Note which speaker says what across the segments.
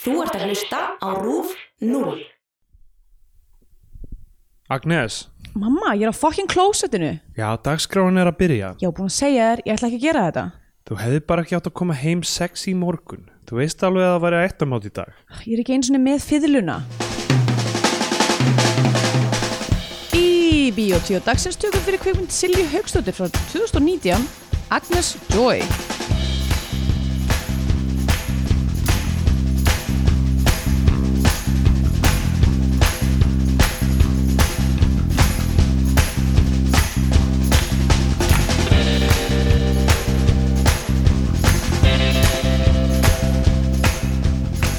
Speaker 1: Þú ert að hlusta á RÚF 0.
Speaker 2: Agnes,
Speaker 3: Mamma, ég er á fucking klósettinu.
Speaker 2: já, dagskráin er að byrja.
Speaker 3: Ég var búin að segja þér, ég ætla ekki að gera þetta.
Speaker 2: Þú hefði bara ekki átt að koma heim sex í morgun. Þú veist alveg að það væri eittamót í dag.
Speaker 3: Ég er ekki eins og með fiðluna. Í Bíotíu dagsins tökum fyrir kvikmynd Silju Haugstóttir frá 2019, Agnes Joy.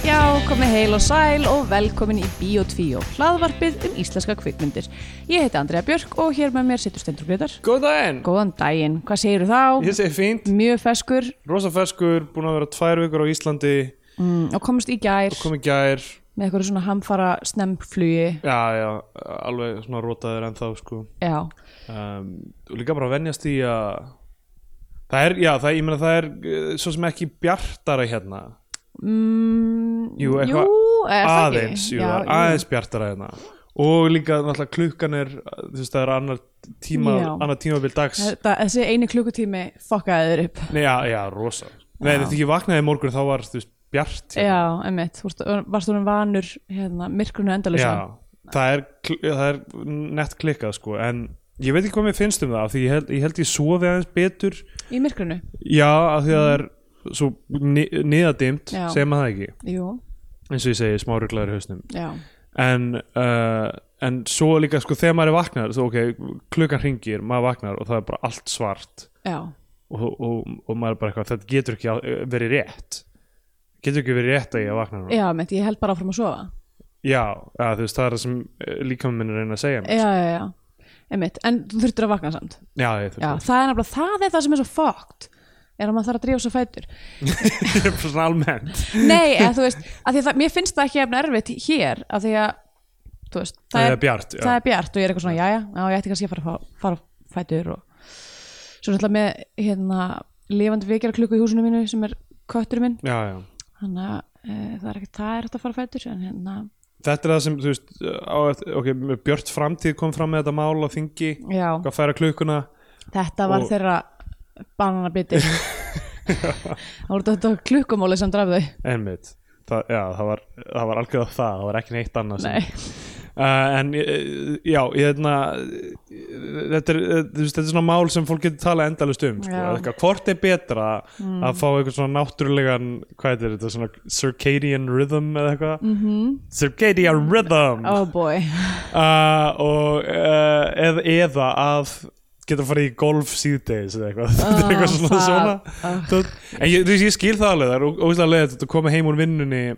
Speaker 3: Já, komið heil og sæl og velkomin í Bíotvíó, hlaðvarpið um íslenska kvikmyndir. Ég heiti Andrea Björk og hér með mér sittur Stendur Grétar.
Speaker 2: Góð daginn!
Speaker 3: Góðan daginn, hvað segir þá?
Speaker 2: Ég segi fínt.
Speaker 3: Mjög feskur
Speaker 2: Rosa ferskur, búin að vera tvær vikur á Íslandi,
Speaker 3: mm, og komist í gær
Speaker 2: kom í gær.
Speaker 3: með eitthvað svona hamfara snemmflugi.
Speaker 2: Já, já, alveg svona rótaður ennþá, sko.
Speaker 3: Já,
Speaker 2: Um, og líka bara að venjast í að... Það er, já, það, ég meina það er eh, svo sem ekki bjartara hérna.
Speaker 3: mm,
Speaker 2: Jú, eitthvað
Speaker 3: er það ekki?
Speaker 2: aðeins, jú,
Speaker 3: Já,
Speaker 2: það er aðeins bjartara hérna. Og líka náttúrulega klukkan er, þú veist, það er annar tíma,
Speaker 3: Já.
Speaker 2: annar tímabil dags.
Speaker 3: Þetta, þessi eini klukkutími fokkaði þér upp
Speaker 2: Nei, já, já, rosa Nei, þetta ekki vaknaði í morgun þá var þú veist bjart hérna.
Speaker 3: Já, emmitt, varst þú vanur hérna, myrkrunu
Speaker 2: já
Speaker 3: endalösa
Speaker 2: það er, kl- það er nett klikkað sko en ég veit ekki hvað mér finnst um það af því ég held ég, held ég sofi aðeins betur Mm.
Speaker 3: í myrkrunu
Speaker 2: já, af því að það er svo ni niðadimt,
Speaker 3: Já.
Speaker 2: segir maður það ekki
Speaker 3: Jú,
Speaker 2: eins og ég segi, smáruglaður hausnum
Speaker 3: já,
Speaker 2: en, uh, en svo líka sko þegar maður er vaknar, þú ok, klukkan hringir maður vaknar og það er bara allt svart
Speaker 3: já,
Speaker 2: og, og, og maður er bara eitthvað, þetta getur ekki á- verið rétt getur ekki verið rétt að ég vakna núna
Speaker 3: já emmitt, ég held bara áfram að sofa
Speaker 2: Já, að, þú veist, það er það sem eh, líkaminn minn er að reyna að segja mér.
Speaker 3: Já, já, já, emmitt, en þú þurftur að vakna samt
Speaker 2: Já, ég
Speaker 3: Já,
Speaker 2: þurfti
Speaker 3: það er nefnilega, það er það sem er svo fokkt er að maður þarf að drífa svo fætur
Speaker 2: að Svona almennt
Speaker 3: Nei, eða, þú veist, að því að það, mér finnst það ekki efna erfitt hér, að því að þú veist, það,
Speaker 2: Það er bjart, já.
Speaker 3: það er bjart og ég er eitthvað svona, jæja, já, ég ætti kannski að fara, fara, fara á fætur og svo náttúrulega með hérna, lifandi vekjara klukku í húsinu mínu sem er köttur minn,
Speaker 2: Já, já
Speaker 3: þannig að e, það er ekki það er hægt að fara á fætur, en hérna
Speaker 2: Þetta er það sem, þú veist, á, eftir- ok, Björt framtíð kom fram með þetta mál á þingi
Speaker 3: já,
Speaker 2: hvað færa klukkuna
Speaker 3: þetta var
Speaker 2: og-
Speaker 3: þeirra bananabitir það voru þetta klukkumóli sem draf þau
Speaker 2: einmitt það, Já, það var, það var algjörða það, það var ekki neitt annað sem-
Speaker 3: Nei,
Speaker 2: uh, En, eh, já, ég hefna þetta er, eh, þú veist, þetta er svona mál sem fólk getur talað endalust um, sko,
Speaker 3: Já. Mm.
Speaker 2: eitthvað, hvort er betra að fá eitthvað svona náttúrulegan hvað heitir þetta, svona circadian rhythm eða eitthvað
Speaker 3: Mhm.
Speaker 2: -hmm. Circadian rhythm
Speaker 3: oh boy
Speaker 2: uh, og uh, eð, eða að geta að fara í golf síðdeis eða eitthvað, Þetta er eitthvað svona,
Speaker 3: það-
Speaker 2: svona. Uh. en ég, þú veist, ég skil það alveg það er ógæslega leið að koma heim úr vinnunni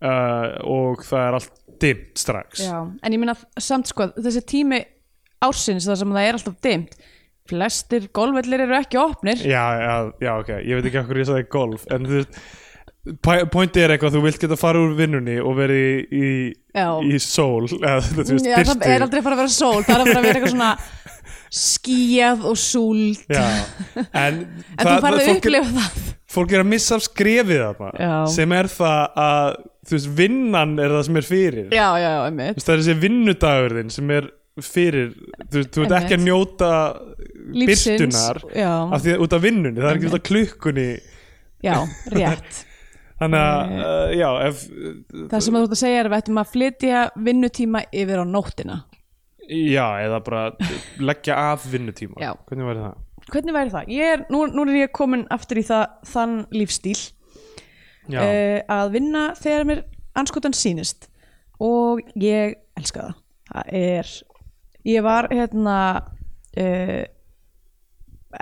Speaker 2: uh, og það er allt dimmt strax
Speaker 3: Já, en ég minna samt sko þessi tími ársins þar sem það er alltaf dimt flestir golfvellir eru ekki opnir
Speaker 2: já, já, já, ok, ég veit ekki af hverju ég sagði golf en þú veist pæ- pointið er eitthvað, þú vilt geta fara úr vinnunni og verið í, í,
Speaker 3: Já.
Speaker 2: í sól eða þú veist,
Speaker 3: Já, það
Speaker 2: birtu.
Speaker 3: er aldrei að fara að vera sól það er að fara að vera eitthvað svona skíjað og súld
Speaker 2: Já, en,
Speaker 3: en þú farið að
Speaker 2: fólk er-
Speaker 3: upplifa það
Speaker 2: fólk er að missa af skrefið þarna
Speaker 3: Já.
Speaker 2: sem er það að þú veist, vinnan er það sem er fyrir
Speaker 3: Já, já, já, einmitt
Speaker 2: Þú veist, það er þessi vinnudagur þinn sem er fyrir þú, veist, þú ert ekki að njóta
Speaker 3: Lífsins,
Speaker 2: byrtunar
Speaker 3: já.
Speaker 2: af því að út af vinnunni, það er ekki út af klukkunni
Speaker 3: Já, rétt
Speaker 2: þannig að, uh, já ef,
Speaker 3: Það sem þú ert að segja er að við ættum að flytja vinnutíma yfir á nóttina
Speaker 2: já, eða bara leggja af vinnutíma
Speaker 3: Já.
Speaker 2: hvernig væri það?
Speaker 3: Hvernig væri það? Ég er, nú, nú er ég komin aftur í það, þann lífstíl
Speaker 2: Já,
Speaker 3: uh, að vinna þegar mér anskotan sýnist og ég elska það það er ég var hérna uh,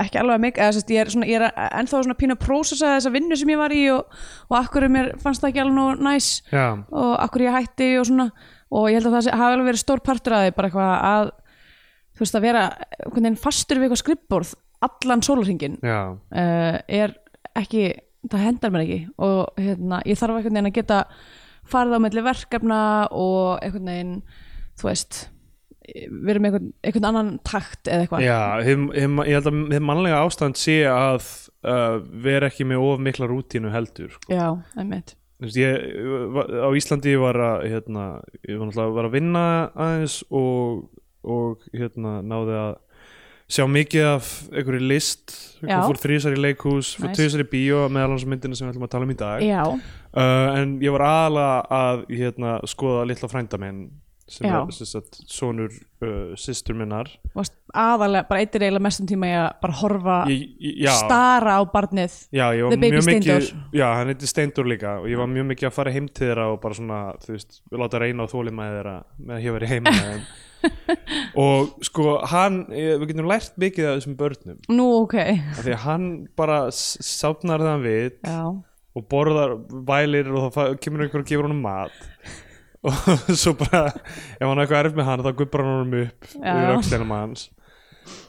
Speaker 3: ekki alveg að mig eða, sest, ég, er svona, ég er að- ennþá svona pínu að prósessa þessa vinnu sem ég var í og, og akkur mér fannst það ekki alveg nóg næs
Speaker 2: já,
Speaker 3: og akkur ég hætti og svona og ég held að það sé- hafi alveg verið stór partur að því bara eitthvað að þú veist að vera einhvern veginn fastur við eitthvað skrippborð allan sólarhingin
Speaker 2: já,
Speaker 3: uh, er ekki, það hendar mér ekki og hérna, ég þarf einhvern veginn að geta farið á melli verkefna og einhvern veginn, þú veist verið með einhvern, einhvern annan takt eða eitthvað
Speaker 2: já hef, hef, ég held að hef mannlega eh, ástand sé að uh, vera ekki með of mikla rútínu heldur sko.
Speaker 3: Já, einmitt
Speaker 2: Þú veist, ég, á Íslandi var að hérna, ég var náttúrulega var að vinna aðeins og, og hérna, náði að sjá mikið af einhverju list
Speaker 3: Já.
Speaker 2: fór þrísar í leikhús, fór
Speaker 3: Nice.
Speaker 2: tvisar í bíó meðal hans myndina sem við ætlum að tala um í dag
Speaker 3: já,
Speaker 2: uh, en ég var aðalega að hérna, skoða litla frænda minn sem
Speaker 3: Já.
Speaker 2: er sem sagt, sonur uh, systur minnar
Speaker 3: varst aðalega bara eittir eiginlega mestum tíma í að bara horfa
Speaker 2: ég, ég, já,
Speaker 3: stara á barnið
Speaker 2: já, ég
Speaker 3: Ah, The
Speaker 2: var
Speaker 3: Baby
Speaker 2: mjög mikið
Speaker 3: Steindór.
Speaker 2: já, hann heiti Steindur líka og ég var mjög mikið að fara heim til þeirra og bara svona, þú veist, láta reyna á þólimaði þeirra með að ég veri heima með þeim og sko, hann eh, við getum lært mikið af þessum börnum
Speaker 3: nú ok
Speaker 2: af því að hann bara s- safnar þann við
Speaker 3: já,
Speaker 2: og borðar vælir og þá fa- kemur einhver og gefur honum mat og svo bara ef hann er eitthvað erf með hann þá guppar hann honum upp
Speaker 3: Já.
Speaker 2: yfir öxlinum hans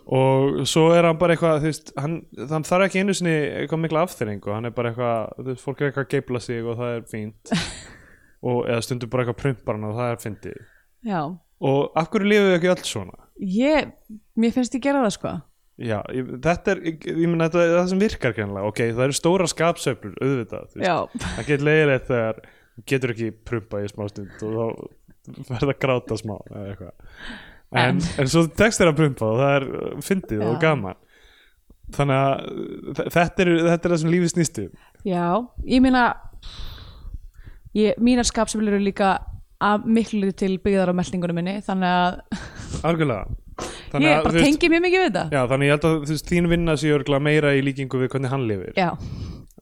Speaker 2: og svo er hann bara eitthvað þú veist, hann, hann þarf ekki einu sinni eitthvað mikla afþyringu, hann er bara eitthvað þú veist, fólk er eitthvað að geifla sig og það er fínt og eða stundum bara eitthvað prumpar hann og það er fyndið
Speaker 3: já
Speaker 2: og af hverju lifið við ekki öll svona
Speaker 3: ég, mér finnst ég gera það sko
Speaker 2: Já, ég, þetta er, ég, ég meina þetta er það sem virkar kennlega, ok, það eru stóra skapsöflur auðvitað, þú veist,
Speaker 3: já,
Speaker 2: það getur leiðilegt þegar þú getur ekki prumpa í smá stund og þá verða að gráta smá eða eitthvað en, en svo tekst þér að prumpa og það er uh, fyndið og
Speaker 3: Já. gaman.
Speaker 2: gaman þannig að þetta er, það sem lífið um. snýstu
Speaker 3: já ég meina ég, mínar skapseflur eru líka að miklu leyti til byggðar á meldingunum minni þannig að
Speaker 2: algjörlega
Speaker 3: ég
Speaker 2: þú
Speaker 3: bara
Speaker 2: veist-
Speaker 3: tengi mjög mikið við þetta
Speaker 2: já, þannig ég held að þú veist, þín vinna sé örgulega meira í líkingu við hvernig hann lifir
Speaker 3: já,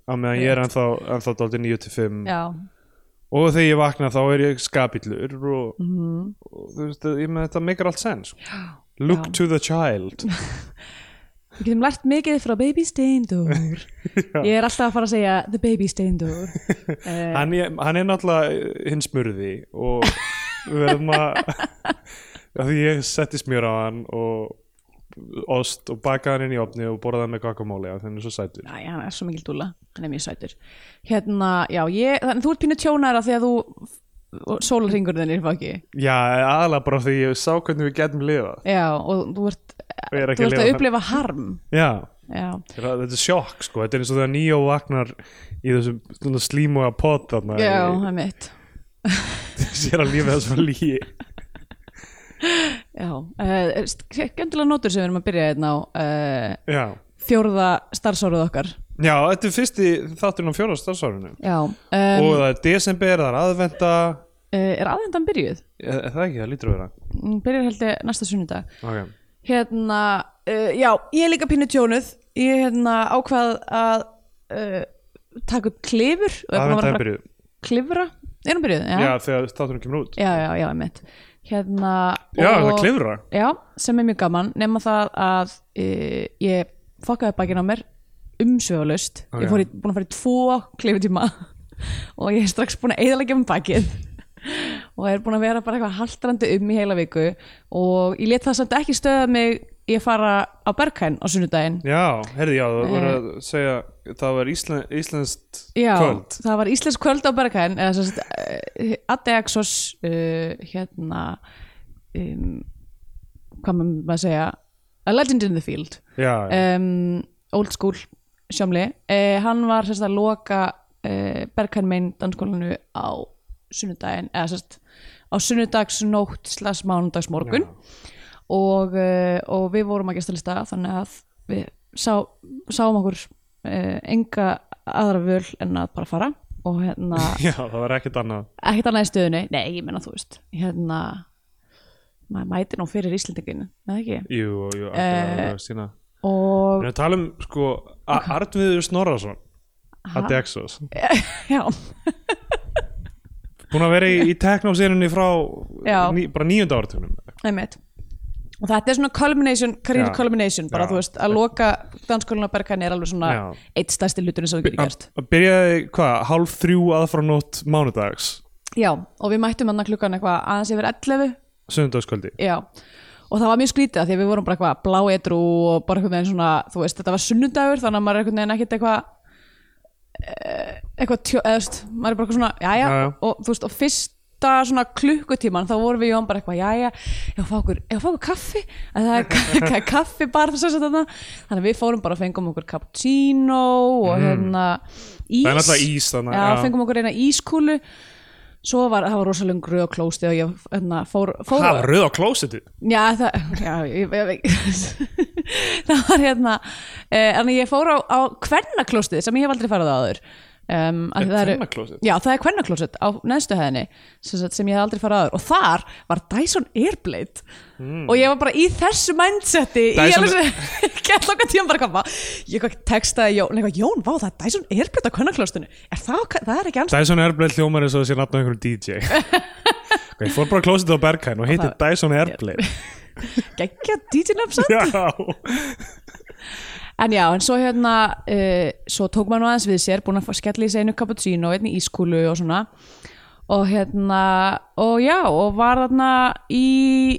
Speaker 2: á meðan ég er ennþá, ennþá dálítið 9-5
Speaker 3: já,
Speaker 2: og þegar ég vakna þá er ég skapillur og, og þú veist, ég með þetta meikar allt sens look
Speaker 3: Mhm. Já.
Speaker 2: to the child
Speaker 3: við getum lært mikið frá Baby Steindor ég er alltaf að fara að segja The Baby Steindor uh,
Speaker 2: hann, er- hann er náttúrulega hinn smurði og við verðum að að því ég setti smjör á hann og ost og bakaði hann inn í opni og borðaði hann með guacamole af því hann er svo sætur
Speaker 3: Æ, hann er svo mikil dúla, hann er mjög sætur hérna, já, ég, þannig þú ert pínu tjónara þegar þú sólringur þinn er fagi
Speaker 2: já, aðalega bara því ég sá hvernig við getum lifað
Speaker 3: já, og þú ert,
Speaker 2: Og ég er ekki að
Speaker 3: þú ert
Speaker 2: lifa
Speaker 3: að
Speaker 2: það.
Speaker 3: upplifa harm
Speaker 2: já,
Speaker 3: já,
Speaker 2: þetta þetta er sjokk sko þetta er eins og þegar Neo vagnar í þessum slímuga pot þarna
Speaker 3: já,
Speaker 2: í-
Speaker 3: það er mitt
Speaker 2: sér að lífa þessum líi
Speaker 3: já, uh, skemmtilega nótur sem við erum að byrja hérna á uh,
Speaker 2: já,
Speaker 3: fjórða starfsáruð okkar
Speaker 2: já, þetta er fyrsti þátturinn á fjóra starfsárinu
Speaker 3: já, um,
Speaker 2: og það er desember, það er aðvenda
Speaker 3: uh, er aðvendan byrjuð?
Speaker 2: er, er það ekki, það lítur að vera
Speaker 3: Mm, byrjar held ég næsta sunnudag
Speaker 2: okay.
Speaker 3: hérna, uh, já, ég er líka pínu tjónuð ég hérna ákvað að uh, taka upp klifur og er búin að
Speaker 2: aðvenda er
Speaker 3: vera að fara
Speaker 2: byrjuð
Speaker 3: að klifra er hún byrjuð, já,
Speaker 2: Já,
Speaker 3: já,
Speaker 2: þegar þáttunum kemur út
Speaker 3: já, já, ég mitt hérna
Speaker 2: Já, það klifra
Speaker 3: já, sem er mjög gaman nema það að uh, ég fokkaði bakinn á mér umsögulust
Speaker 2: Ó, já.
Speaker 3: ég fór í, búin að fara í tvo klifutíma og ég er strax búin að eðalegja um bakið og er búin að vera bara eitthvað haldrandi um í heila viku og ég let það samt ekki stöða mig í að fara á Berghain á sunnudaginn
Speaker 2: Já, herði, já, það var að segja það var Ísland, íslenskt
Speaker 3: Eh. Já,
Speaker 2: kvöld
Speaker 3: það var Íslensk kvöld á Berghain eða sérst uh, Adde Exos uh, hérna um, hvað maður að segja A Legend in the Field
Speaker 2: Já, já,
Speaker 3: um, old school sjámli uh, hann var sérst að loka uh, Berghain Main danskólanu á sunnudaginn eða sérst á sunnudagsnótt slags mánudagsmorgun og, uh, og við vorum að gestalista þannig að við sá, sáum okkur uh, enga aðra völ en að bara fara og hérna
Speaker 2: já, það var ekkert annað
Speaker 3: ekkert annað í stöðunni, nei ég menna þú veist hérna maður mæti nú fyrir Íslendinginu, eða ekki
Speaker 2: Jú, jú,
Speaker 3: Eh.
Speaker 2: akkurat, uh, sína
Speaker 3: og
Speaker 2: Við erum að tala um, sko, A- Arnviður Snorrason Addi Exos
Speaker 3: Eh. já,
Speaker 2: Búin að vera í, í teknósýninni frá
Speaker 3: Já.
Speaker 2: ný, bara nýjönda ártunum
Speaker 3: einmitt og þetta er svona culmination, career
Speaker 2: Já.
Speaker 3: culmination bara
Speaker 2: Já.
Speaker 3: þú veist, að loka danskólinu á Berghain er alveg svona
Speaker 2: Já.
Speaker 3: eitt stærsti hluturinn sem þú getur gert
Speaker 2: Að byrjaði, hvað, hálf þrjú aðfra nótt mánudags
Speaker 3: já, og við mættum hann klukkan eitthvað aðeins yfir 11
Speaker 2: Sunnudagskvöldi
Speaker 3: Já, og það var mjög skrítið af því að við vorum bara eitthvað blá etru og bara einhvern veginn svona, þú veist, þetta var sunnudagur þannig að maður er einhvern veginn ekkert eitthvað eh, eitthvað tjó, eðust, maður er bara eitthvað svona, jæja,
Speaker 2: Já, já.
Speaker 3: og þú veist, og fyrst fyrsta svona klukkutíman þá vorum við Jón bara eitthvað, jæja, ég fá okkur, ég fá okkur kaffi að það er ka- ka- kaffibar þess að þarna þannig að við fórum bara og fengum okkur cappuccino og hérna ís
Speaker 2: Mm. Það er náttúrulega ís, þannig að-
Speaker 3: já,
Speaker 2: já.
Speaker 3: fengum okkur eina ískúlu svo var, það var rosalega gröð og klósti og ég hérna, fór, fór
Speaker 2: Það rauð á klósetu
Speaker 3: Já, það, já, ég, ég, ég, það var hérna eh, en ég fór á, á kvennaklóstið sem ég hef aldrei farið á áður um,
Speaker 2: Er
Speaker 3: það eru-
Speaker 2: kvennaklósett?
Speaker 3: Já, það er kvennaklóstið á neðstu hæðinni sem, sagt, sem ég hef aldrei farið á áður og þar var Dyson Airblade og ég var bara í þessu mindseti
Speaker 2: Hmm. Dyson-
Speaker 3: Dyson... ég hef langa tíma bara koma ég hvað textaði Jón, eitthvað, Jón, vá, það er Dyson Airblade á kvennaklóstinu er það, á- það er ekki anstæð
Speaker 2: Dyson Airblade hljómar eins og þessi nafn á einhverjum DJ Ok, Ég fór bara á klósetu á Berghain og hitti
Speaker 3: Það-
Speaker 2: Dyson Airblade
Speaker 3: geggja DJ-nöfn
Speaker 2: Já
Speaker 3: En já, en svo hérna uh, svo tók maður nú aðeins við sér búin að fá- skella í sig einu cappuccino, einni ískúlu og svona og hérna og já, og var þarna í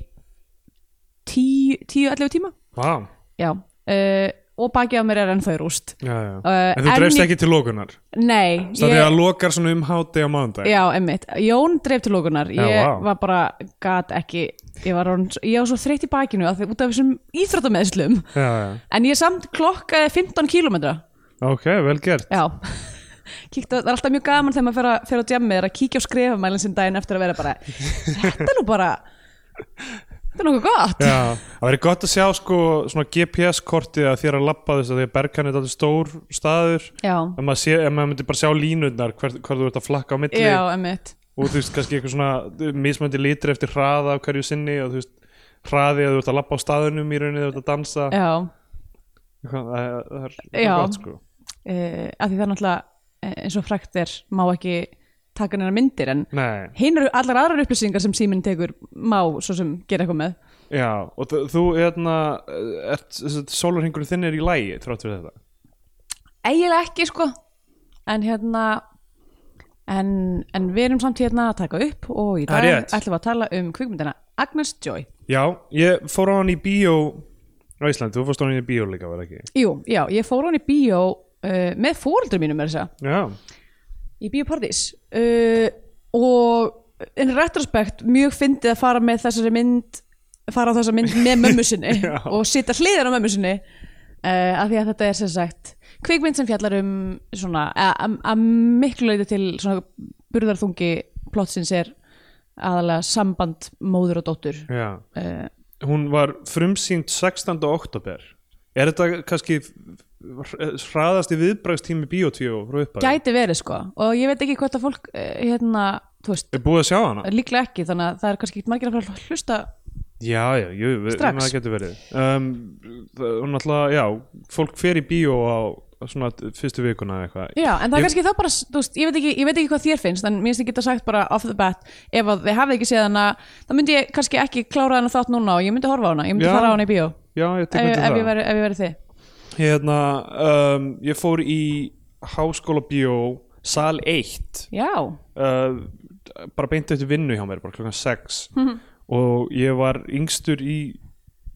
Speaker 3: tíu, tíu allavega tíma
Speaker 2: Vá
Speaker 3: já, uh, og bakið á mér er ennþá í rúst
Speaker 2: Já, já.
Speaker 3: Eh,
Speaker 2: En þú
Speaker 3: en
Speaker 2: dreifst
Speaker 3: ég-
Speaker 2: ekki til lókunar
Speaker 3: Nei,
Speaker 2: Það er að lokar svona um háti á mánudag
Speaker 3: já, emmitt, Jón dreif til lókunar ég
Speaker 2: Já, vá.
Speaker 3: var bara, gat ekki ég var, orðin- ég var svo þreytt í bakinu af því, út af þessum íþróttameðslum
Speaker 2: Já, já,
Speaker 3: en ég samt klokkaði 15 kílómetra
Speaker 2: ok, vel gert
Speaker 3: Já Kíktu, það er alltaf mjög gaman þegar maður fer, að, fer á djamið er að kíkja á skrefamælinn sinn daginn eftir að vera bara þetta er nú bara þetta er nokkuð gott
Speaker 2: Já, það verið gott að sjá sko svona GPS-kortið að þér að lappa þess að því að Berghain er alltaf stór staður
Speaker 3: já,
Speaker 2: en maður, sé, en maður myndi bara sjá línurnar hver, hver þú ert að flakka á milli
Speaker 3: já emmitt
Speaker 2: og þú veist kannski eitthvað svona mismöndi lítur eftir hraða af hverju sinni og þú veist hraði að þú ert að lappa á staðunum í rauninni þú ert að dansa
Speaker 3: já,
Speaker 2: Eitthvað, það, er- það er það er
Speaker 3: Já.
Speaker 2: gott sko
Speaker 3: e, af því það er náttúrulega eh, eins og frækt er má ekki taka neina myndir en
Speaker 2: Nei,
Speaker 3: hinn eru allar aðrar upplýsingar sem síminn tekur má svo sem gera eitthvað með
Speaker 2: já, og þú- þú hérna, ert, sólarhingurinn þinn er í lægi þrátt fyrir þetta
Speaker 3: eiginlega ekki sko en hérna en, en við erum samt hérna að taka upp og í
Speaker 2: Það
Speaker 3: dag
Speaker 2: er rétt.
Speaker 3: ætlum við að tala um kvikmyndina Agnes Joy
Speaker 2: Já, ég fór á hann í bíó á Íslandi, þú fórst á hann í bíó líka, var það ekki?
Speaker 3: Jú, já, ég fór á hann í bíó uh, með fóreldrum mínum er þess að segja,
Speaker 2: Já,
Speaker 3: í bíópartís uh, og in retrospekt mjög fyndið að fara með þessari mynd fara á þessa mynd með mömmu sinni
Speaker 2: Já.
Speaker 3: og sita hliðin á mömmu sinni uh, af því að þetta er sem sagt kvikmynd sem fjallar um svona að- að að miklu leiti til svona burðarþungi plottsins er aðalega samband móður og dóttur
Speaker 2: já
Speaker 3: uh,
Speaker 2: hún var frumsýnd 16. oktober er þetta kannski hraðast í viðbræðstími bíotíu frá upphæði?
Speaker 3: gæti verið sko og ég veit ekki hvort að fólk uh, hérna, þú veist
Speaker 2: Er búið að sjá hana?
Speaker 3: líklega ekki þannig að það er kannski ekkert margir að fara að hlusta
Speaker 2: Já, já, jú, við,
Speaker 3: Strax.
Speaker 2: það getur verið um, það- Hún alltaf, já, fólk fer í bíó á svona fyrstu vikuna eða eitthvað
Speaker 3: já, en það er
Speaker 2: Ég-
Speaker 3: kannski þá bara þú veist, ég, veit ekki, ég veit ekki hvað þér finnst en mér finnst ég geta sagt bara off the bat ef að þið hafið ekki séð hana þá myndi ég kannski ekki klára hana þátt núna og ég myndi horfa á hana, ég myndi
Speaker 2: Já.
Speaker 3: fara á hana í bíó ef,
Speaker 2: Já, ég tek
Speaker 3: ef,
Speaker 2: undir
Speaker 3: ég
Speaker 2: það
Speaker 3: veri, ef ég verið þið
Speaker 2: Hérna, um, ég fór í háskóla bíó sal 1
Speaker 3: já,
Speaker 2: uh, bara beint eftir vinnu hjá mér bara klokkan 6
Speaker 3: Mhm.
Speaker 2: og ég var yngstur í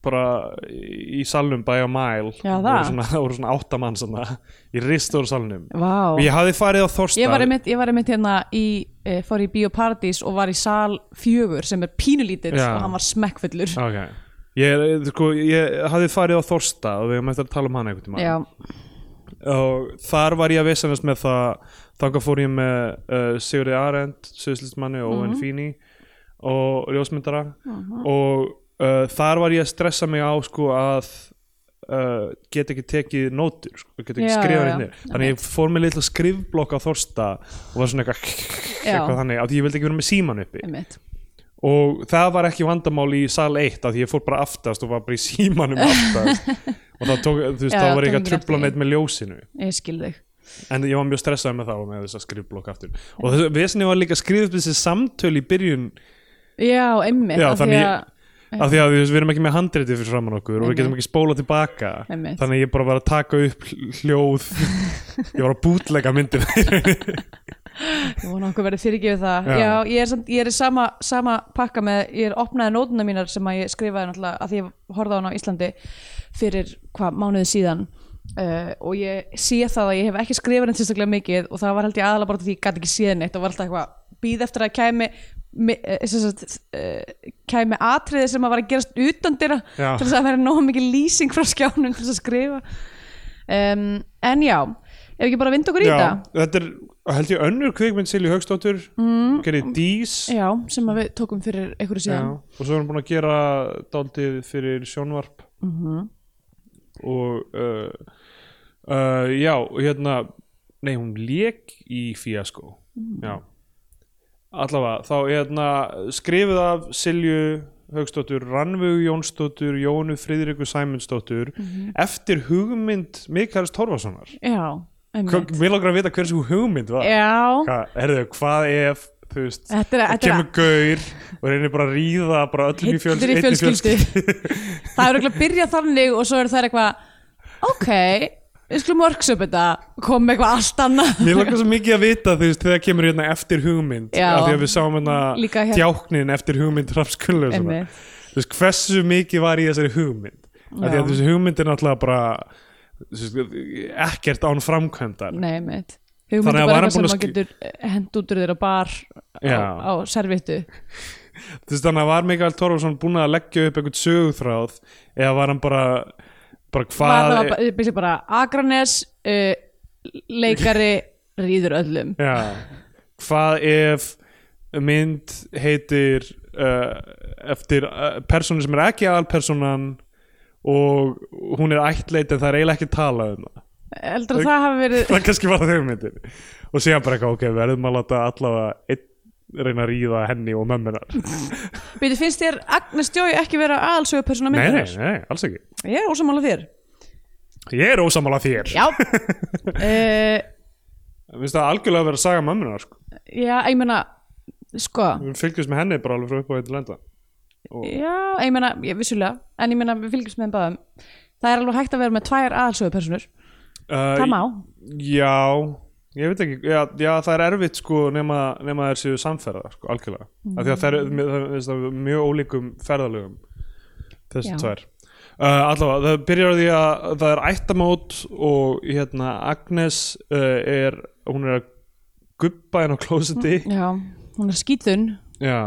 Speaker 2: bara í salnum by a mile
Speaker 3: Já,
Speaker 2: og
Speaker 3: það.
Speaker 2: voru svona, það voru svona áttamann svona, í ristur salnum og
Speaker 3: vá
Speaker 2: ég hafði farið á Þorstar
Speaker 3: ég var einmitt, ég var einmitt hérna í e, fór í bíó Paradís og var í sal fjögur sem er pínulítill
Speaker 2: Já.
Speaker 3: og hann var smekkfullur já,
Speaker 2: okay. ég, sko, ég hafði farið á Þorsta og við erum eftir að tala um hana einhvern tímann
Speaker 3: já,
Speaker 2: og þar var ég að vesanast með það þangað fór ég með uh, Sigurði Arendt, Suðslistmanni og
Speaker 3: Mhm.
Speaker 2: Owen Feeney og Ljósmyndara og uh, þar var ég að stressa mig á sko að uh, get ekki tekið nótur sko, get ekki
Speaker 3: Já,
Speaker 2: skrifað
Speaker 3: já,
Speaker 2: hérna
Speaker 3: já.
Speaker 2: þannig ég fór með litla skrifblokk á Þorsta og var svona eitthvað,
Speaker 3: Já.
Speaker 2: eitthvað þannig af því ég vildi ekki vera með síman uppi
Speaker 3: einmitt
Speaker 2: og það var ekki vandamál í sal 1 af því ég fór bara aftast og var bara í símanum aftast og það tók, þú veist,
Speaker 3: Já,
Speaker 2: þá var ég
Speaker 3: tók
Speaker 2: ekki
Speaker 3: ekki
Speaker 2: að
Speaker 3: eftir
Speaker 2: trubla
Speaker 3: því.
Speaker 2: neitt með ljósinu
Speaker 3: ég skil þig
Speaker 2: en ég var mjög stressaði með það og með þessa skrifblokk aftur og þess að vesinni var líka skrifið upp þessi samtöl í byrjun
Speaker 3: já, einmitt,
Speaker 2: Já,
Speaker 3: af því
Speaker 2: þannig ég-
Speaker 3: að
Speaker 2: af því að þú veist, við erum ekki með handritið fyrir framann okkur og við
Speaker 3: Einmitt.
Speaker 2: getum ekki spólað tilbaka
Speaker 3: Einmitt.
Speaker 2: þannig að ég bara var að taka upp hl- hljóð ég var að bútlega myndið
Speaker 3: Ég vona okkur verið fyrirgefið það.
Speaker 2: Já.
Speaker 3: Já, ég, er samt, ég er í sama, sama pakka með, ég er opnaði nótuna mínar sem að ég skrifaði náttúrulega að því ég horfði á hana á Íslandi fyrir hvað mánuði síðan uh, og ég sé það að ég hef ekki skrifað henni sérstaklega mikið og það var held ég aðalega bara út af því ég gæti ekki séð neitt og var alltaf eitthvað býð eftir að kæmi mi- eh, sem sagt, eh, kæmi atriði sem að var að gerast utan dyra
Speaker 2: Já.
Speaker 3: til þess að vera nógu mikið lýsing frá skjánum til þess að skrifa um, en já, ef ekki bara vind okkur í
Speaker 2: Já,
Speaker 3: þetta
Speaker 2: þetta er, held ég, önnur kvikmynd Silju Högstóttur, mm. gerir Dís
Speaker 3: já, sem að við tókum fyrir einhverju síðan
Speaker 2: og svo er hún búin að gera daldið fyrir sjónvarp -hmm. og uh, uh, já, hérna nei, hún lék í fíaskó já allavega, þá hérna skrifuð af Silju Haugsdóttur, Rannveig Jónsdóttur Jónu Friðriku Sæmundsdóttur eftir hugmynd Mikaels Torfasonar
Speaker 3: já, einmitt
Speaker 2: mér langar að vita hver hversu hugmynd var
Speaker 3: já,
Speaker 2: Hvað, herðu, hvað ef þú veist,
Speaker 3: Þetta er-
Speaker 2: það
Speaker 3: þetta er-
Speaker 2: kemur gaur og reynir bara að ríða bara öllum í fjöls,
Speaker 3: Hillir í
Speaker 2: einni
Speaker 3: fjölskyldu Það er ekki að byrja þannig og svo eru þær eitthvað Ok, við skulum workshop þetta Kom með eitthvað allt annað
Speaker 2: Mér langar svo mikið að vita þú veist þegar kemur hérna eftir hugmynd
Speaker 3: Já.
Speaker 2: af því að við sáum hérna
Speaker 3: Líka hér-
Speaker 2: djáknin eftir hugmynd rafskullu
Speaker 3: Einmitt.
Speaker 2: þú veist hversu mikið var í þessari hugmynd af því
Speaker 3: Já.
Speaker 2: að þessi hugmynd er náttúrulega bara þú veist, ekkert án framkvæmdar
Speaker 3: Nei, mitt
Speaker 2: Þannig
Speaker 3: Hugmyndi
Speaker 2: að
Speaker 3: bara
Speaker 2: var hann
Speaker 3: eitthvað sem
Speaker 2: búinn að
Speaker 3: maður
Speaker 2: ski-
Speaker 3: getur hend út úr þér á bar
Speaker 2: Já.
Speaker 3: á, á servittu
Speaker 2: þú veist þannig að var Mikael Torfason búin að leggja upp einhvern sögurþráð eða var hann bara bara
Speaker 3: Var
Speaker 2: hvað
Speaker 3: það bara, byrja bara Akranes uh, leikari ríður öllum
Speaker 2: Já, hvað ef mynd heitir uh, eftir uh, persónu sem er ekki aðalpersonan og hún er ættleit en það er eiginlega ekki talað um það
Speaker 3: Eldur að það hafi verið
Speaker 2: það kannski var þau myndir og síðan bara eitthvað, ok, við verðum að láta allavega einn reyna að ríða henni og mömmunar nei,
Speaker 3: Býtu, finnst þér Agnes Djói ekki vera aðalsögu persóna
Speaker 2: nei,
Speaker 3: myndir?
Speaker 2: nei, alls ekki
Speaker 3: Ég er ósamála þér
Speaker 2: ég er ósamála þér
Speaker 3: Já uh,
Speaker 2: Mér finnst það algjörlega að vera að saga mömmunar sko.
Speaker 3: Já, ég meina Sko
Speaker 2: við fylgjumst með henni bara alveg frá upp á eitt lenda
Speaker 3: Já, ég meina, ég, vissulega en ég meina, við fylgjumst með þeim báðum það er alveg hægt að vera með tvær aðalsögupersonur
Speaker 2: uh,
Speaker 3: það má,
Speaker 2: Já, ég veit ekki Já, já það er erfitt sko nema, nema þær séu samferða sko, algjörlega mm. Því að þær eru mér- það- veist það, mjög ólíkum ferðalögum þessi
Speaker 3: Já.
Speaker 2: tvær Uh, allavega, það byrjar á því að það er ættamót og hérna Agnes uh, er, hún er að gubba henn á klósiti
Speaker 3: já, hún er skýtun
Speaker 2: Já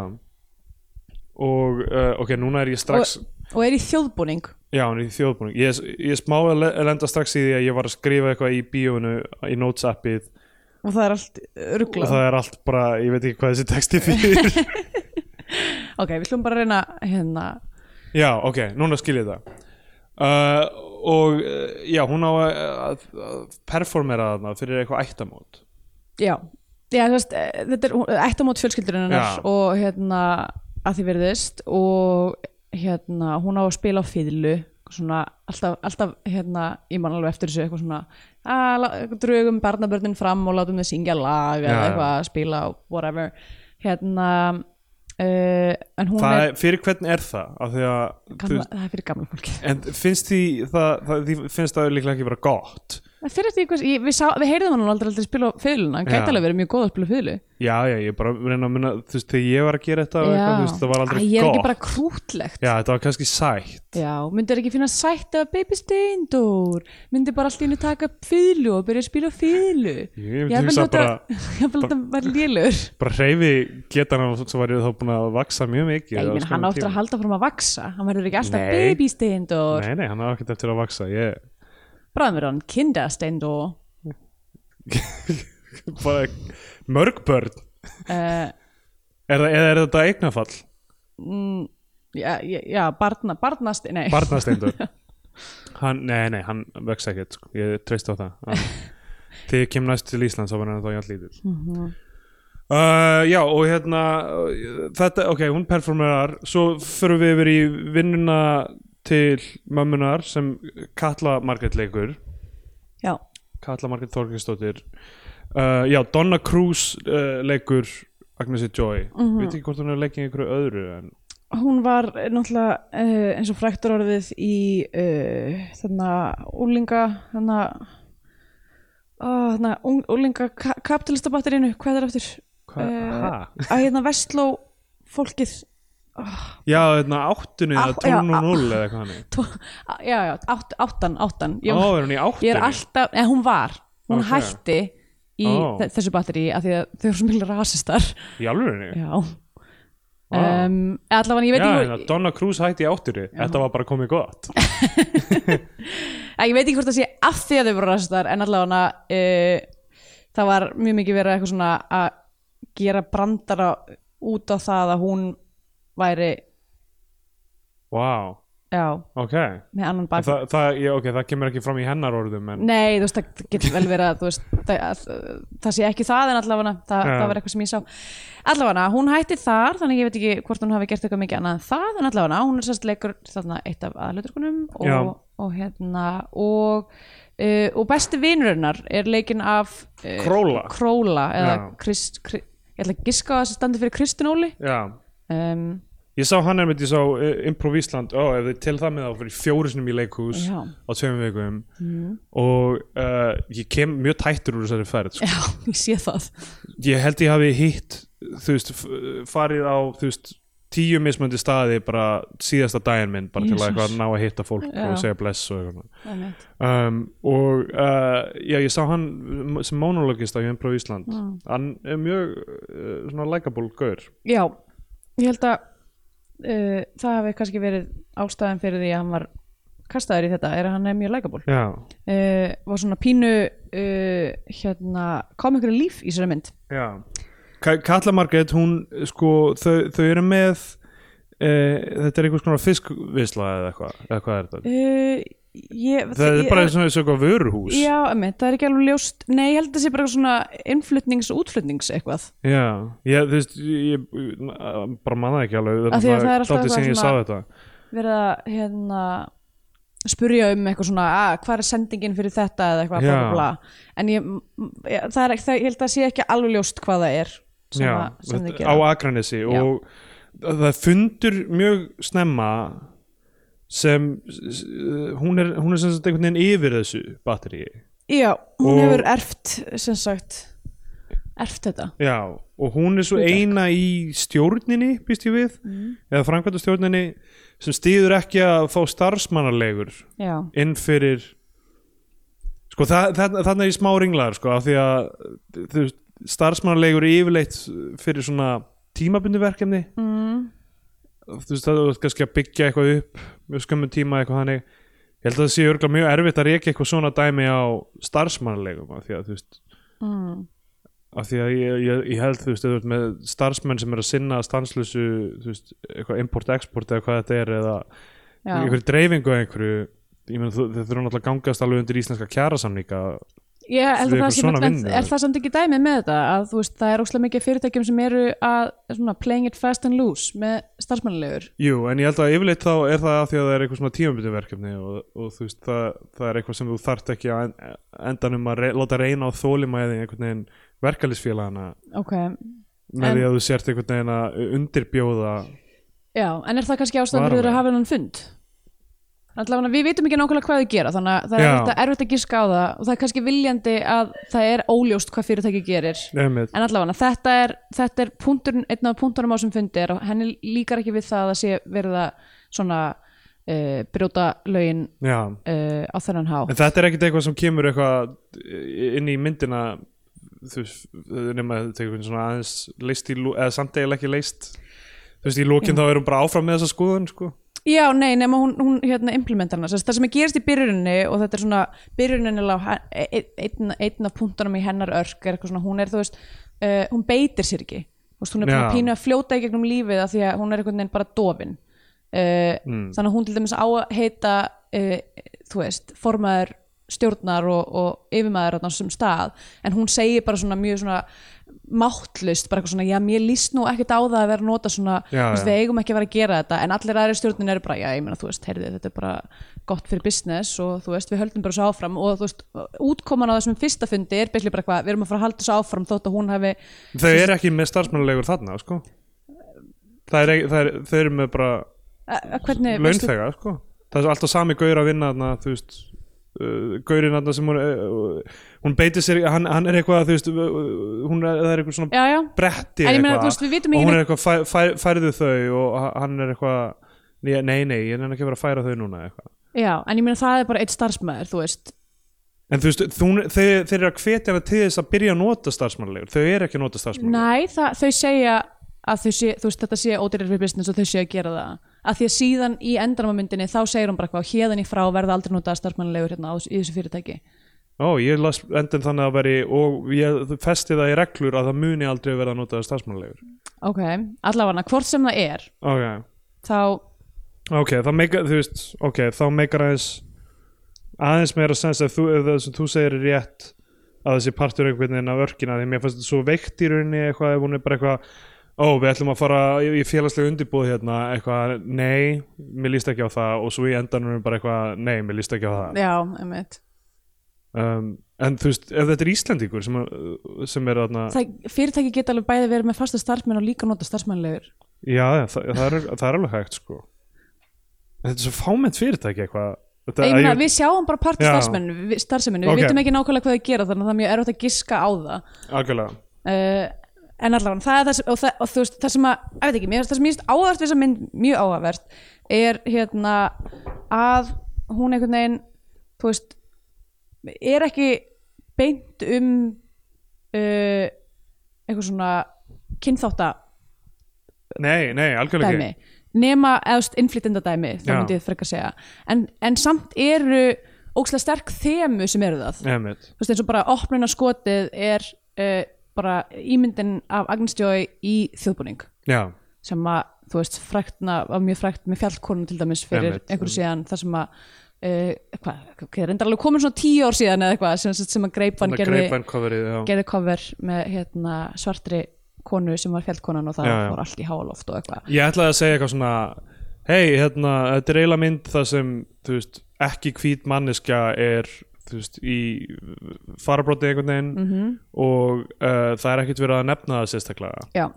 Speaker 2: og uh, ok, núna er ég strax
Speaker 3: og, og er í þjóðbúning
Speaker 2: Já, hann er í þjóðbúning Ég, ég er smá að le- lenda strax í því að ég var að skrifa eitthvað í bíóinu í notes appið
Speaker 3: og það er allt
Speaker 2: og
Speaker 3: ruggla
Speaker 2: það er allt bara, ég veit ekki hvað þessi texti fyrir
Speaker 3: ok, við slum bara að reyna hérna,
Speaker 2: já, ok, núna skil ég það uh, og uh, já, hún á að, að, að performera þarna fyrir eitthvað ættamót
Speaker 3: já, já þú veist, eh, þetta er hún- ættamót fjölskyldurinn
Speaker 2: Já.
Speaker 3: hennar og hérna, að því verðist og hérna, hún á að spila á fýðlu svona alltaf, alltaf hérna, ég man alveg eftir þessu eitthvað svona að la- drögum barnabörnin fram og látum þau syngja lag
Speaker 2: Já,
Speaker 3: eða
Speaker 2: já.
Speaker 3: eitthvað að spila og whatever hérna uh, en hún
Speaker 2: það,
Speaker 3: er,
Speaker 2: er, fyrir hvern er það? Af því að, þú
Speaker 3: gamla,
Speaker 2: veist,
Speaker 3: það er fyrir gamla fólki
Speaker 2: en finnst því það, það því finnst það líklega ekki vera gott
Speaker 3: Það fyrir eftir eitthvað, ég, við, sá, við heyrðum hann aldrei aldrei spila á fyluna, hann
Speaker 2: Já.
Speaker 3: gæti alveg verið mjög góð að spila á fylun
Speaker 2: já, já, ég bara reyna að minna þú veist, þegar ég var að gera þetta og eitthvað, þú veist, það var aldrei
Speaker 3: Æ, ég er
Speaker 2: gott
Speaker 3: ekki bara krútlegt
Speaker 2: já, þetta var kannski sætt
Speaker 3: Já, myndi er ekki finna sætt af Baby Steindór myndi bara allt í hennu taka upp fýðlu og byrja að spila fýðlu
Speaker 2: Ég myndi hugsa bara-
Speaker 3: Ég vil þetta vera lélur
Speaker 2: bara hreyfi getan hann sem var ég þá búin að vaksa mjög mikið á
Speaker 3: Ég minn,
Speaker 2: skömmum
Speaker 3: hann áttur
Speaker 2: tíma.
Speaker 3: að halda fram að vaksa hann verður ekki alltaf
Speaker 2: Nei.
Speaker 3: Baby Steindór
Speaker 2: nei, nei, hann á ekkert eftir að vaksa ég,
Speaker 3: Bráðum verður hann Kinda Steindór
Speaker 2: bara mörg börn
Speaker 3: uh,
Speaker 2: er, það- eða er þetta eignafall
Speaker 3: Já, já, já, barna, barna Stein- Nei,
Speaker 2: barnasteindur hann, nei, nei, hann vex ekkert sko. ég treyst á það hann, þegar ég kem næst til Íslands þá var hann þá jætt lítill uh, já, og hérna uh, þetta, ok, hún performerar svo förum við yfir í vinnuna til mömmunar sem Katla Margrét leikur
Speaker 3: já,
Speaker 2: Katla Margrét Þorgensdóttir uh, já, Donna Cruz uh, leikur Agnesi Joy
Speaker 3: Mhm.
Speaker 2: veit ekki hvort hún er leikið einhverju öðru en
Speaker 3: hún var eh, náttúrulega uh, eins og fræktur orðið í uh, þarna úlinga þarna Oh, þannig að úlinga ka kapitalistabatterinu, hvað er aftur?
Speaker 2: Hva- ha?
Speaker 3: að hérna vestló fólkið,
Speaker 2: já, hérna áttunni eða
Speaker 3: Á- já,
Speaker 2: 12 og
Speaker 3: á-
Speaker 2: 0 eða eitthvað hann
Speaker 3: tó, á- já, já, átt, áttan, áttan. Ég,
Speaker 2: Ó, er hún í
Speaker 3: ég er
Speaker 2: áttunni?
Speaker 3: alltaf, eða hún var, hún
Speaker 2: Ok.
Speaker 3: hætti í
Speaker 2: Ó.
Speaker 3: þe- þessu batteri af því að þau eru svo miklu rasistar
Speaker 2: í alvörunni
Speaker 3: já
Speaker 2: Vá.
Speaker 3: um, allavega ég
Speaker 2: Já,
Speaker 3: veit
Speaker 2: en
Speaker 3: ekki
Speaker 2: að Donna Cruz hætti í átturu Þetta var bara komið gott
Speaker 3: Eh, ég veit ekki hvort það sé af því að þau voru rasistar en allavega uh, það var mjög mikið verið eitthvað svona að gera brandara út á það að hún væri
Speaker 2: Vá,
Speaker 3: já,
Speaker 2: ok
Speaker 3: með annan
Speaker 2: En
Speaker 3: bak
Speaker 2: það, það, já, ok, það kemur ekki fram í hennar orðum en,
Speaker 3: Nei, þú veist, það getur vel verið að þú veist, það, að, það sé ekki það en allavega það,
Speaker 2: Já.
Speaker 3: það var eitthvað sem ég sá allavega, hún hætti þar, þannig ég veit ekki hvort hún hafi gert eitthvað mikið annað en það en allavega, hún er sérst leikur þarna eitt af aðluturkunum
Speaker 2: Já.
Speaker 3: og, og hérna og, uh, og besti vinurinnar er leikin af uh,
Speaker 2: Króla.
Speaker 3: eða
Speaker 2: Já.
Speaker 3: Krist, Krist, ég ætla að giska á að þessi standi fyrir Kristin Óli
Speaker 2: Já,
Speaker 3: um,
Speaker 2: Ég sá hann einmitt, ég sá eh, Improv Ísland ó, ef þið til það með þá fyrir fjóru sinum í leikhús
Speaker 3: Já. Mhm.
Speaker 2: á tveim vikum og uh, ég kem mjög tættur úr þessari ferð sko.
Speaker 3: já, ég sé það
Speaker 2: ég held ég hafi hitt þú veist, f- farið á þú veist, tíu mismöndi staði bara síðasta daginn minn bara til að
Speaker 3: Jesus.
Speaker 2: eitthvað ná að hitta fólk
Speaker 3: Já.
Speaker 2: og segja bless og eitthvað
Speaker 3: Einmitt.
Speaker 2: um, og uh, já, ég sá hann m- sem monologist á Improv Ísland
Speaker 3: Mm.
Speaker 2: hann er mjög uh, svona likeable gaur
Speaker 3: Já, ég held að uh, það hafi kannski verið ástæðan fyrir því að hann var kastaður í þetta er að hann er mjög lækaból uh,
Speaker 2: já,
Speaker 3: var svona pínu uh, hérna, kom ykkur líf í sér mynd
Speaker 2: Já, Ka- Katla Margrét hún, sko, þau, þau eru með e, þetta er einhvers konar fiskvisla eða eitthvað, eða hvað er þetta?
Speaker 3: uh, ég,
Speaker 2: Það er bara
Speaker 3: ég,
Speaker 2: eins og eins og eitthvað vöruhús
Speaker 3: Já, emmi, það er ekki alveg ljóst Nei, ég held að það sé bara eitthvað svona innflutnings og útflutnings eitthvað
Speaker 2: Já, ég, þú veist, ég, ég bara manna ekki alveg,
Speaker 3: Af því að það er
Speaker 2: dálítið
Speaker 3: alltaf eitthvað
Speaker 2: sem ég sá
Speaker 3: svona-
Speaker 2: þetta
Speaker 3: verið að hérna spurja um eitthvað svona að hvað er sendingin fyrir þetta eða eitthvað bla,
Speaker 2: Já.
Speaker 3: bla, bla. en ég, m- ég, það er ekki, það, ég held að það sé ekki alveg ljóst hvað það er sem,
Speaker 2: Já,
Speaker 3: að, sem þið
Speaker 2: á
Speaker 3: gera
Speaker 2: Akranesi
Speaker 3: Já.
Speaker 2: og það fundur mjög snemma sem s- eh, hún er, hún er sem sagt einhvern veginn yfir þessu batteríi
Speaker 3: Já, hún
Speaker 2: og-
Speaker 3: hefur erft sem sagt erft þetta
Speaker 2: Já, og hún er svo
Speaker 3: Hlutverk.
Speaker 2: eina í stjórninni, býst ég við eða framkvæmta sem stýður ekki að fá starfsmannarlegur
Speaker 3: Já,
Speaker 2: inn fyrir sko, það, það, þarna er ég smá ringlaður sko, af því að þú veist, starfsmannarlegur er yfirleitt fyrir svona tímabundu verkefni mm. þú veist, það er kannski að byggja eitthvað upp mjög skömmu tíma eitthvað þannig ég held að það sé örgulega mjög erfitt að reyka eitthvað svona dæmi á starfsmannarlegum af því að þú veist af því að ég, ég, ég held þú veist, ef þú veist með starfsmenn sem er að sinna stanslösu þú veist, eitthvað import-export eða hvað þetta er eða
Speaker 3: já,
Speaker 2: einhverju dreifingu eða einhverju ég meina þau þau þurfa náttúrulega að gangast alveg undir íslenska kjarasamninga
Speaker 3: ég held að
Speaker 2: Fyrir
Speaker 3: það sé
Speaker 2: eitthvað svona
Speaker 3: nefnilegt,
Speaker 2: vinnu,
Speaker 3: er
Speaker 2: eða?
Speaker 3: það samt ekki dæmið með þetta að þú veist, það er óslega mikið af fyrirtækjum sem eru að svona playing it fast and loose með starfsmannlegur
Speaker 2: jú, en ég held að yfirleitt þá er það af því að það er eitthvað svona tímabindu verkefni og, og þú veist, það, það er eitthvað sem þú þarft ekki að en- endanum að rey, láta reyna á þólimæði einhvern veginn verkalýsfélagana
Speaker 3: Ok,
Speaker 2: með
Speaker 3: En-
Speaker 2: því að þú sért einhvern veginn að undirbjóða
Speaker 3: Já, en er það kannski ástæðan
Speaker 2: Varanlega.
Speaker 3: fyrir að hafa hennan fund? Allavega, við vitum ekki nákvæmlega hvað þau gera þannig að það
Speaker 2: Já.
Speaker 3: er erfitt að, erfitt að giska á það og það er kannski viljandi að það er óljóst hvað fyrirtæki gerir
Speaker 2: Einmitt.
Speaker 3: en allavega, þetta er, þetta er punkturinn, einn af punktunum á sem fundi er og henni líkar ekki við það að það sé verið að svona uh, brjóta lögin
Speaker 2: Já.
Speaker 3: uh, á þennan há
Speaker 2: En þetta er ekkert eitthvað sem kemur eitthvað eh, inn í myndina þú veist, nema að þetta er eitthvað svona aðeins leist í, lú- eða samt eiginlega ekki leist þú veist, í lókin þá erum bara áfram með þessa skoðun, sko.
Speaker 3: Já, nei, nema hún, hún hérna implementar hana Sess, það sem er gerist í byrjuninni og þetta er svona byrjuninni lá, einn, einn af punktunum í hennar örk er eitthvað svona, hún er þú veist uh, hún beitir sér ekki Þú veist, hún er
Speaker 2: Já.
Speaker 3: búin að pínu að fljóta í gegnum lífið af því að hún er einhvern veginn bara dofin uh,
Speaker 2: Mm.
Speaker 3: þannig að hún til dæmis á að heita uh, þú veist, formaður stjórnar og, og yfirmaður á þessum stað en hún segir bara svona mjög svona máttlust, bara eitthvað svona já, mér líst nú ekkert á það að vera að nota svona
Speaker 2: Já,
Speaker 3: þú veist,
Speaker 2: já.
Speaker 3: við eigum ekki að vera að gera þetta en allir aðri stjórnin eru bara, já ég meina þú veist heyrði, þetta er bara gott fyrir business og þú veist við höldum bara svo áfram og þú veist útkoman á þessum fyrsta fundi er byrjum bara hvað við erum að fara að halda þessu áfram þótt að hún hafi
Speaker 2: Þau eru ekki með starfsmannulegur þarna, sko. Það er, ekki- það er, þau eru með bara
Speaker 3: að- að eh, hvernig veistu-
Speaker 2: launþega, sko. Það er alltaf sami gaur að vinna þarna, þú veist, uh, gaurinn þarna sem hún, uh, hún beitir sér, hann, hann er eitthvað, þú veist, uh, uh, hún er, það er eitthvað svona
Speaker 3: já já
Speaker 2: bretti
Speaker 3: En ég meina, þú veist, við vitum
Speaker 2: og
Speaker 3: ekki
Speaker 2: hún er
Speaker 3: neitt-
Speaker 2: eitthvað fæ, fæ, færðu þau og h- hann er eitthvað nei, nei, nei, ég er ekki að vera að færa þau núna eitthvað
Speaker 3: Já, en ég meina það er bara eitt starfsmæður, þú veist
Speaker 2: En þú veist, þú, þeir, þeir eru að hvetja hana til þess að byrja að nota starfsmannalegur Þau eru ekki að nota starfsmannalegur
Speaker 3: Nei, það, þau segja að þau sé, þú veist, þetta sé ódýrar fyrir business og þau sé að gera það að því að síðan í endarmamyndinni þá segir hún bara eitthvað hérðan í frá verða aldrei notaða starfsmannalegur hérna á, í þessu fyrirtæki
Speaker 2: Ó, ég las endin þannig að veri og ég festi það í reglur að það muni aldrei verða að nota starfsmannalegur
Speaker 3: ok, allavega, hvort sem það er
Speaker 2: Ok,
Speaker 3: þá,
Speaker 2: ok, þá meikar, þú veist, ok, þá meikar aðeins aðeins meira sens ef, þú, ef það sem þú segir er rétt að þessi partur einhvern veginn af örkina því mér fannst þetta svo veikt í rauninni eitthvað ef hún er bara eitthvað ó, við ætlum að fara í í félagslega undirbúð hérna eitthvað, nei, mér líst ekki á það og svo í endanum er bara eitthvað, nei, mér líst ekki á það
Speaker 3: já, einmitt
Speaker 2: um, en þú veist, ef þetta er Íslendingur sem, sem er þarna
Speaker 3: það, fyrirtæki geta alveg bæði verið með fasta starfsmenn og líka nota starfsmannalegur
Speaker 2: já, það, það, er, það er alveg hægt sko þetta er svo fámennt fyrirtæki eitthvað þetta,
Speaker 3: Ég
Speaker 2: að
Speaker 3: meina, við sjáum bara part
Speaker 2: Já.
Speaker 3: af starfsmenn, starfseminu,
Speaker 2: Ok.
Speaker 3: við vitum ekki nákvæmlega hvað þau gera þannig að það er mjög erfitt að giska á það
Speaker 2: algjörlega
Speaker 3: uh, en allavega það er það sem, og, það, og þú veist það sem að, ég veit ekki, mér, finnst- það sem mýst áhært við þess að mynd mjög áhært er hérna að hún einhvern veginn þú veist, er ekki beint um uh, eitthvað svona kynþátta
Speaker 2: nei, nei, algjörlega
Speaker 3: dæmi
Speaker 2: ekki
Speaker 3: nema eðust innflytenda dæmi þá
Speaker 2: Já.
Speaker 3: myndi ég frekar segja en, en samt eru ókslega sterk þemu sem eru það
Speaker 2: Einmitt.
Speaker 3: þú veist eins og bara opnuna skotið er uh, bara ímyndin af Agnes Joy í þjóðbúning
Speaker 2: já,
Speaker 3: sem að þú veist fræktna, var mjög frækt með fjallkonum til dæmis fyrir
Speaker 2: Einmitt,
Speaker 3: einhverju síðan þar sem að uh, hvað, hvað er reyndar alveg komin svona tíu ár síðan eða eitthvað sem, sem að Greipan
Speaker 2: þannig að
Speaker 3: gerði,
Speaker 2: greipan coverið já.
Speaker 3: gerði cover með hérna, svartri konu sem var fjallkonan og það
Speaker 2: Já, já.
Speaker 3: fór allt í háaloft og eitthvað
Speaker 2: ég ætlaði að segja eitthvað svona hei, hérna, þetta er eiginlega mynd það sem, þú veist, ekki hvít manneskja er, þú veist, í farabróti einhvern veginn -hmm.
Speaker 3: Mhm.
Speaker 2: og uh, það er ekkert verið að nefna það sérstaklega
Speaker 3: já,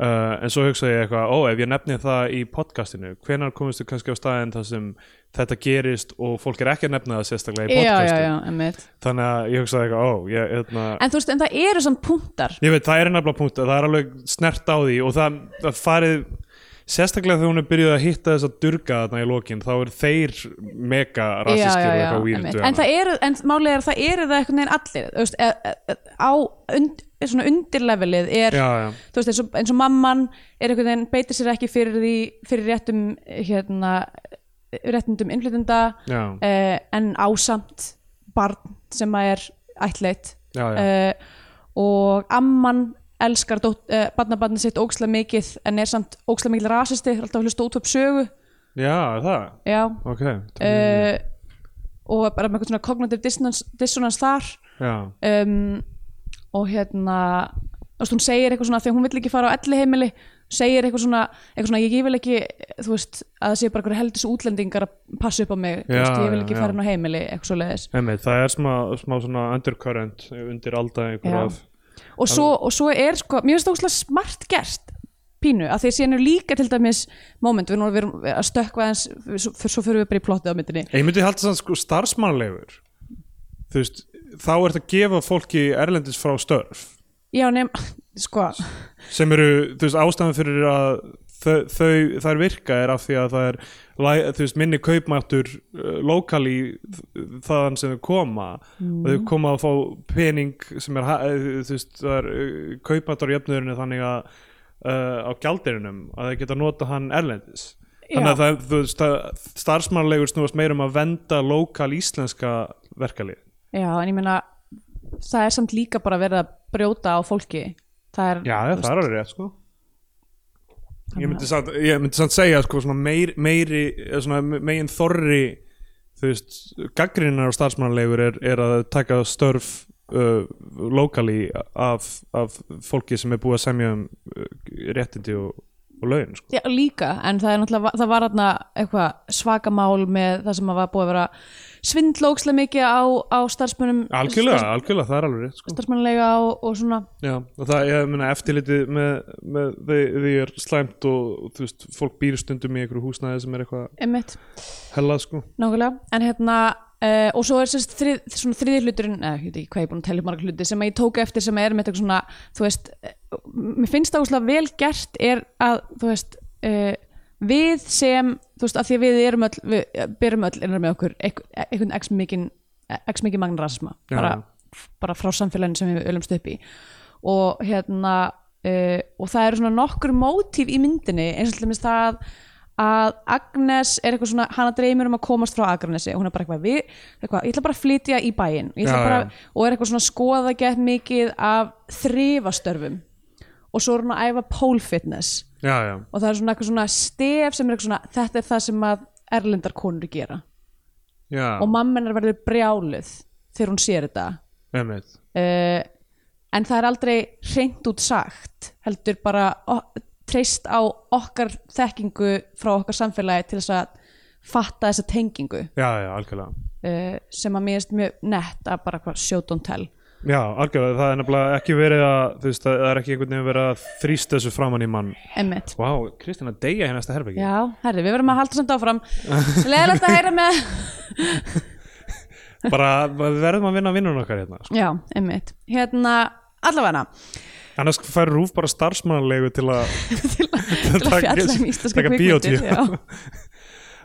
Speaker 2: uh, en svo hugsaði ég eitthvað, ó, ef ég nefni það í podcastinu, hvenær komist þú kannski á staðin þar sem þetta gerist og fólk er ekki að nefna það sérstaklega í
Speaker 3: já, já,
Speaker 2: podcastinu
Speaker 3: já, emmitt
Speaker 2: þannig að ég hugsaði eitthvað, ó, ég, hérna
Speaker 3: en þú veist, en það eru samt punktar
Speaker 2: Ég veit, það er nefnilega punkt að það er alveg snert á því og það, það farið sérstaklega þegar hún er byrjuð að hitta þess að durga þarna í lokin, þá eru þeir mega rasískir og eitthvað weird
Speaker 3: einmitt.
Speaker 2: við
Speaker 3: en
Speaker 2: hana.
Speaker 3: það eru, en málið er að það eru það einhvern veginn allir þú veist, e- e- e- á und, svona undirlevelið er,
Speaker 2: Já, já,
Speaker 3: þú veist, eins og, eins og mamman er einhvern veginn, beitir sér ekki fyrir því fyrir réttum hérna, réttundum innflytenda
Speaker 2: já,
Speaker 3: uh, en ásamt barn sem að er ættleitt
Speaker 2: já, já,
Speaker 3: uh, og amman elskar dótt, uh, barnabarni sitt ókslega mikið en er samt ókslega mikið rasisti alltaf að hlusta út upp sögu
Speaker 2: já, það,
Speaker 3: já,
Speaker 2: ok, uh,
Speaker 3: uh, og bara með eitthvað svona cognitive dissonance, dissonance þar
Speaker 2: já,
Speaker 3: um, og hérna þú veist, hún segir eitthvað svona þegar hún vill ekki fara á elli heimili segir eitthvað svona, eitthvað svona ég, ég vil ekki, þú veist, að það sé bara eitthvað heldis útlendingar að passa upp á mig þú
Speaker 2: Já,
Speaker 3: veist, ég vil
Speaker 2: já,
Speaker 3: ekki
Speaker 2: já.
Speaker 3: fara inn á heimili, eitthvað svo
Speaker 2: einmitt, það er smá, smá svona undercurrent undir alda
Speaker 3: Já.
Speaker 2: einhverja af,
Speaker 3: og svo, og svo er sko, mér finnst það ógeðslega smart gert pínu, að þeir séu líka til dæmis moment, við erum, við erum að stökkva aðeins, svo, svo fyrir við bara í plottið á myndinni
Speaker 2: ég myndi halda sann sko starfsmannlegur, þú veist, þá er þetta að gefa fólki erlendis frá störf
Speaker 3: já, nefn, sko
Speaker 2: sem eru, þú veist, ástæðan fyrir að þau, þau þær virka er af því að það er, læ- þú veist, minni kaupmáttur uh, lokal í þ- þaðan sem þau koma og þau koma að fá pening sem er, ha- eh, þú veist, það er uh, kaupmáttur í öfnurinu þannig að uh, á gjaldeirinum að þau geta nota hann erlendis þannig
Speaker 3: Já.
Speaker 2: að það, þú veist, það- starfsmannalegur snúast meira um að venda lokal íslenska verkalið
Speaker 3: Já, en ég meina það er samt líka bara verið að brjóta á fólki það er,
Speaker 2: Já, já, það er alveg rétt sko Ég myndi samt, ég myndi samt segja sko, svona meir, meiri, eða svona megin þorri þú veist, gaggrinnar og starfsmannleigur er, er að taka störf uh, lokali af, af fólki sem er búið að semja um uh, réttindi og, og laun sko.
Speaker 3: já, líka en það er náttúrulega, það var þarna eitthvað svakamál með það sem að var búið að vera svindlókslega mikið á, á starfsmönnum
Speaker 2: Algjörlega, algjörlega, það er alveg rétt sko.
Speaker 3: starfsmönnlega og, og svona
Speaker 2: Já, og það, ég meina, eftirlitið með, með því, því er slæmt og þú veist, fólk býr stundum í einhverju húsnæði sem er eitthvað
Speaker 3: einmitt,
Speaker 2: hella sko.
Speaker 3: nákvæmlega en hérna, uh, og svo er sérst þrið, svona þriði hluturinn, eða ég veit ekki hvað ég er búin að telja upp marga hluti sem að ég tók eftir sem er með eitthvað svona þú veist, eh, mér finnst það úslega vel gert er að, þú veist uh, eh, við sem, þú veist, af því að við erum öll, við eh, berum öll innan með okkur einhvern- einhvern x mikinn x mikið magn rasisma
Speaker 2: Já,
Speaker 3: bara,
Speaker 2: já.
Speaker 3: bara frá samfélaginu sem við ölumst upp í og hérna uh, og það eru svona nokkur mótíf í myndinni eins og til dæmis það að Agnes er eitthvað svona hana dreymir um að komast frá Akranesi hún er bara eitthvað, við, eitthvað ég ætla bara að flytja í bæinn Ég ætla
Speaker 2: Já,
Speaker 3: bara,
Speaker 2: já.
Speaker 3: og er eitthvað svona að skoða gett mikið af þrifastörfum og svo er hún að æfa pole fitness
Speaker 2: já, já,
Speaker 3: og það er svona eitthvað svona stef sem er eitthvað svona þetta er það sem að erlendar konur gera
Speaker 2: já,
Speaker 3: og mamma hennar verður brjáluð þegar hún sér þetta
Speaker 2: einmitt
Speaker 3: uh, en það er aldrei hreint út sagt heldur bara o- treyst á okkar þekkingu frá okkar samfélagi til þess að fatta þessa tengingu
Speaker 2: já, já, algjörlega
Speaker 3: uh, sem að mér finnst mjög nett að bara hvað show don't tell
Speaker 2: Já, algjörlega, það er nefnilega ekki verið að þú veist, það það er ekki einhvern veginn verið að þrýst þessu framann í mann
Speaker 3: emmitt
Speaker 2: Vá, Kristina deyja í næsta herbyggi
Speaker 3: Já, herri, við verðum að halda samt áfram Leðilegt að heyra með
Speaker 2: Bara við verðum að vinna vinnun okkar hérna sko.
Speaker 3: Já, einmitt Hérna, allavega
Speaker 2: Annars fær Rúf bara starfsmannlegu til að
Speaker 3: til, til að
Speaker 2: taka-
Speaker 3: fjalla um íslenska
Speaker 2: taka
Speaker 3: kvikmyndir
Speaker 2: bíótíu.
Speaker 3: já.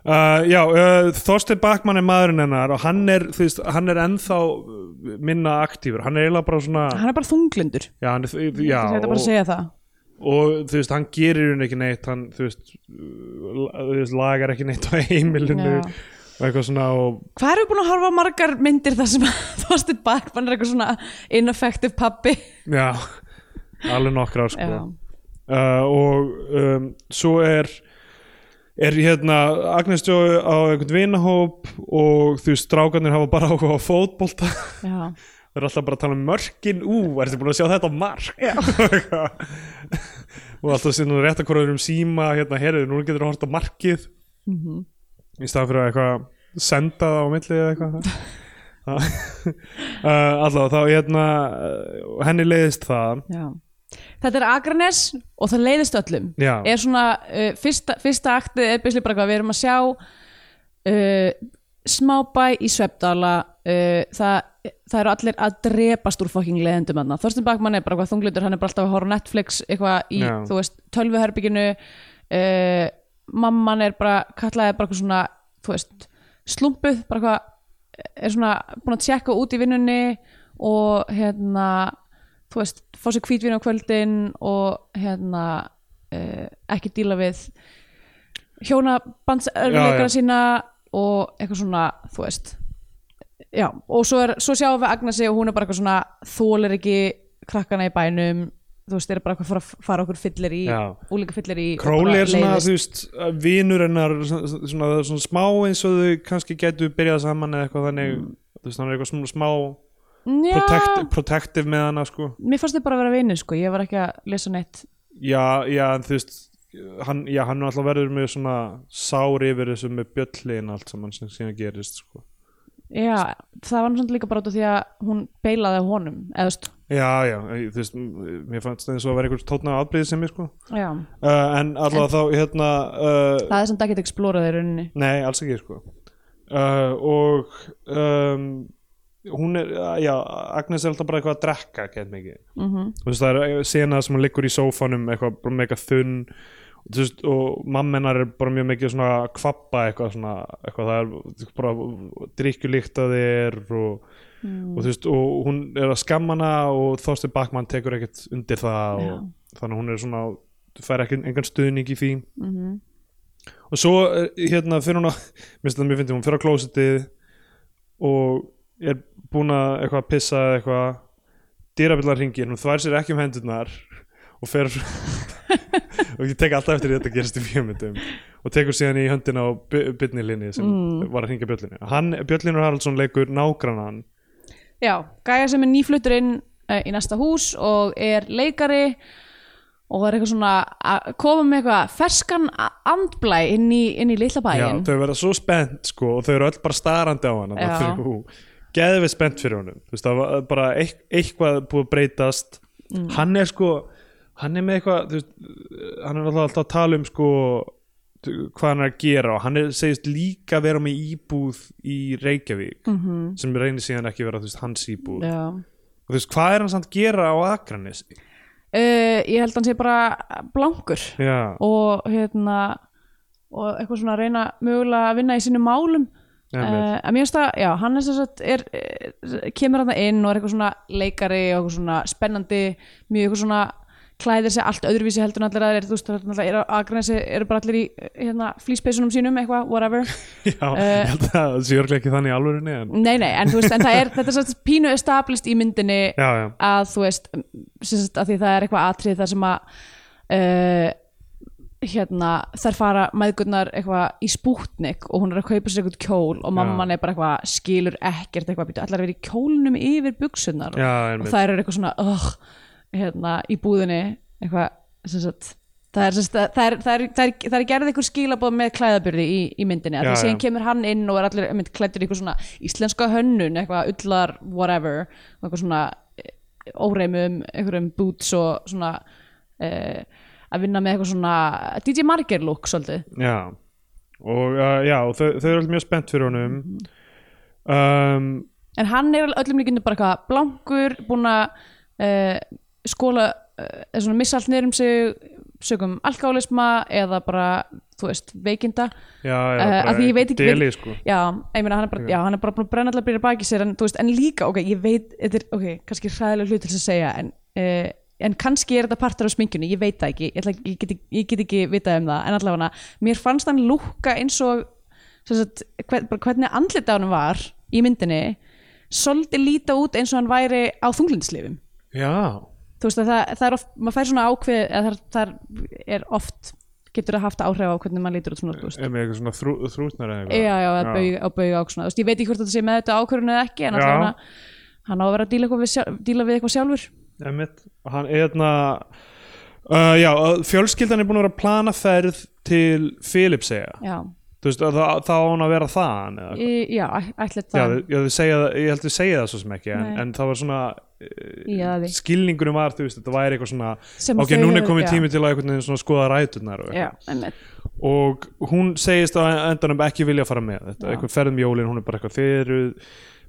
Speaker 2: Uh, já, uh, Þorstein Bakman er maðurinn hennar og hann er, þú veist, hann er ennþá uh, minna aktífur, hann er eiginlega bara svona
Speaker 3: hann er bara þunglindur
Speaker 2: Já, hann er, já
Speaker 3: ég ætla bara
Speaker 2: og,
Speaker 3: að segja það
Speaker 2: og þú veist, hann gerir hún ekki neitt hann, þú veist, la- þú veist lagar ekki neitt á heimilinu
Speaker 3: Já.
Speaker 2: og eitthvað svona og
Speaker 3: hvað erum við búin að horfa á margar myndir þar sem Þorstin Bakman er eitthvað svona ineffective pappi
Speaker 2: Já, alveg nokkrar sko
Speaker 3: Já.
Speaker 2: uh, og um, svo er er hérna Agnes Jó á einhvern vinahóp og þú veist, strákanir hafa bara áhuga á fótbolta
Speaker 3: já.
Speaker 2: þeir eru alltaf bara að tala um mörkin ú, ertu búin að sjá þetta mark og alltaf sinna rétt að hvoraður um síma hérna, herrið, nú getur þú hort á markið í staðan fyrir að eitthvað senda það á milli eða eitthvað Það- uh, allavega þá hérna uh, henni leiðist það
Speaker 3: Já. þetta er Akranes og það leiðist öllum
Speaker 2: Já.
Speaker 3: er svona uh, fyrsta, fyrsta aktið er byrjuslega bara hvað við erum að sjá uh, smábæ í Svepdala uh, það, það eru allir að drepast úr fokking leiðendum hann Þorstin Bakman er bara hvað þunglindur, hann er bara alltaf að horfa á Netflix eitthvað í,
Speaker 2: Já.
Speaker 3: þú veist, tölvuherbygginu uh, mamman er bara kallaði bara eitthvað svona, þú veist slumpuð, bara hvað er svona búin að tjekka út í vinnunni og hérna þú veist, fá sér hvítvín á kvöldin og hérna uh, ekki díla við
Speaker 2: Já,
Speaker 3: hjónabandserfileikana
Speaker 2: já.
Speaker 3: sína og eitthvað svona, þú veist já, og svo, er, svo sjáum við Agnesi og hún er bara eitthvað svona þólir ekki krakkana í bænum þú veist, þeir eru bara eitthvað að fara, fara okkur fyllir í
Speaker 2: Já.
Speaker 3: úlíka fyllir í
Speaker 2: Króli er svona, þú veist, vinur hennar svona, svona, svona smá eins og þau kannski getu byrjað saman eða eitthvað þannig þú veist, hann er eitthvað svona smá protect,
Speaker 3: protect
Speaker 2: protective með hana sko
Speaker 3: mér fannst þið bara að vera vinir sko, ég var ekki að lesa neitt
Speaker 2: Já, já, en þú veist hann, já, hann alltaf verður með svona sár yfir þessu með bjöllin allt saman sem síðan gerist sko.
Speaker 3: já, það var náttúrulega líka bara út af því að hún beilaði á honum eða þú veist,
Speaker 2: Já, já, þú veist mér fannst eins og að vera einhver tótna afbrýðið sem ég sko uh,
Speaker 3: já,
Speaker 2: en allavega þá, hérna uh,
Speaker 3: það er samt ekki að explora þeir rauninni
Speaker 2: Nei, alls ekki sko uh, og um, hún er, já, Agnes er alltaf bara eitthvað að drekka, gett mikið
Speaker 3: mm
Speaker 2: þú veist, það er sena sem hún liggur í sófanum eitthvað bara mega þunn og, þú veist, og mamma hennar er bara mjög mikið svona að kvappa eitthvað svona eitthvað, það er bara drikkjulíkt að þér og, og þú veist og hún er að skamma hana og Þorstein Bakman tekur ekkert undir það og, þannig að hún er svona fær ekki engan stuðning í því
Speaker 3: Mhm.
Speaker 2: og svo eh, hérna fyrir hún að minnst það mjög fyndi, hún fyrir á klósitið og er búin að eitthvað að pissa eða eitthvað dýrabillar hringir, hún þvær sér ekki um hendurnar og fer og ég tek alltaf eftir því að þetta gerist í fjömyndum og tekur síðan í höndina á byrnilinni sem var að hringja bjöllinu hann, Bjöllinur Haraldsson leikur nágrannan
Speaker 3: já, gæja sem er nýfluttur inn uh, í næsta hús og er leikari og er eitthvað svona að koma með eitthvað ferskan a- andblæ inn í, inn í litla bæin
Speaker 2: þau verða svo spennt sko og þau eru öll bara starandi á hann
Speaker 3: Já.
Speaker 2: geðu við spennt fyrir honum þú veist, það var eh, bara eit- eitthvað búið að breytast
Speaker 3: Mm.
Speaker 2: hann er sko hann er með eitthvað þú veist, hann er náttúrulega alltaf að tala um sko þú- hvað hann er að gera og hann er, segist líka vera með íbúð í Reykjavík -hmm. sem reynir síðan ekki vera þú veist, hans íbúð
Speaker 3: Mhm. já.
Speaker 2: og þú veist hvað er hann samt að gera á Akranesi
Speaker 3: Uh, ég held að hann sé bara blankur
Speaker 2: já,
Speaker 3: og hérna og eitthvað svona að reyna mögulega að vinna í sínum málum
Speaker 2: Einmitt.
Speaker 3: uh, en mér finnst það, já, hann er sem sagt er, er, kemur hann inn og er eitthvað svona leikari og eitthvað svona spennandi mjög eitthvað svona klæðir sig allt öðruvísi heldur en allir að er, þú veist, þarna er að agransi eru bara allir í hérna, flýspeysunum sínum eitthvað, whatever
Speaker 2: Já, ég held að það sé örglega ekki þannig í alvörunni en,
Speaker 3: nei, nei, en þú veist, en það er þetta er sem sagt pínu established í myndinni
Speaker 2: Já, já,
Speaker 3: að þú veist sem sagt, að því það er eitthvað atrið þar sem að uh, hérna þær fara meðgurnar eitthvað í spútnik og hún er að kaupa sér eitthvað kjól og mamman er bara eitthvað skilur ekkert eitthvað býtu allar að vera í kjólnum yfir buksunar
Speaker 2: já,
Speaker 3: og
Speaker 2: einmitt
Speaker 3: þær eru eitthvað svona oh, hérna í búðinni eitthvað sem sagt Það er, sem sagt- það, er, það, er, það, er, það er gerð einhver skilabóð með klæðabyrði í, í myndinni
Speaker 2: Já,
Speaker 3: þannig að síðan
Speaker 2: já.
Speaker 3: kemur hann inn og er allir mynd, klættur í eitthvað svona íslenska hönnun eitthvað ullar whatever og eitthvað svona eh, óreimum einhverjum boots og svona uh, að vinna með eitthvað svona DJ Marger look svolítið
Speaker 2: Já, og, uh, já, og þau, þau eru alltaf mjög spennt fyrir honum um,
Speaker 3: en hann er öllum líkinu bara eitthvað blankur búin að uh, skóla, uh, eða svona missa allt niður um sig sögum alkoholisma eða bara, þú veist, veikinda
Speaker 2: Já, já,
Speaker 3: Eh,
Speaker 2: bara
Speaker 3: að því ég veit ekki-
Speaker 2: deli, sko
Speaker 3: já, ég meina hann er bara, já, hann er bara búin að brenna allar byrja baki sér en, þú veist, en líka, ok, ég veit þetta er, ok, kannski hræðilega hlut til þess að segja en, uh, en kannski er þetta partur af sminkunni ég veit það ekki, ég, ætla, ekki- ég, get, ekki- ég get ekki vitað um það, en allavega mér fannst hann lúkka eins og sem sagt, hvern, bara hvernig andlita hann var í myndinni, svolítið líta út eins og hann væri á þunglindislifum
Speaker 2: Já,
Speaker 3: þú veist að það, það er oft, maður fær svona ákveð eða það, það er oft getur það haft áhrif á hvernig maður lítur út svona, þú veist
Speaker 2: er með eitthvað svona þrú, þrútnar eða eitthvað
Speaker 3: já, já, að bauga- að bauga áksuna þú veist, ég veit ekki hvort þetta sé með þetta ákvörðun eða ekki
Speaker 2: Já.
Speaker 3: en alltaf hann, hann á að vera að díla, eitthvað við, sjálf, díla við eitthvað sjálfur
Speaker 2: Einmitt, hann er hérna uh, Já, að fjölskyldan er búin að vera að plana ferð til Filipseyja
Speaker 3: já,
Speaker 2: Þú veist, að það, það á hann að vera þaðan eða
Speaker 3: í, já æ- ætlit
Speaker 2: Já,
Speaker 3: það
Speaker 2: þau- já, þau segja, það- ég held að segja það svo sem ekki en,
Speaker 3: Nei.
Speaker 2: en það var svona
Speaker 3: í aði
Speaker 2: skilningurum var, þú veist, þetta væri eitthvað svona
Speaker 3: Sem
Speaker 2: ok,
Speaker 3: þau
Speaker 2: núna er
Speaker 3: höfðu-
Speaker 2: komið
Speaker 3: já.
Speaker 2: tími til að einhvern veginn svona skoða ræturnar og,
Speaker 3: já, einmitt.
Speaker 2: eitthvað. og hún segist að endanum ekki vilja fara með þetta,
Speaker 3: Já.
Speaker 2: eitthvað ferðum jólin hún er bara eitthvað, þið eru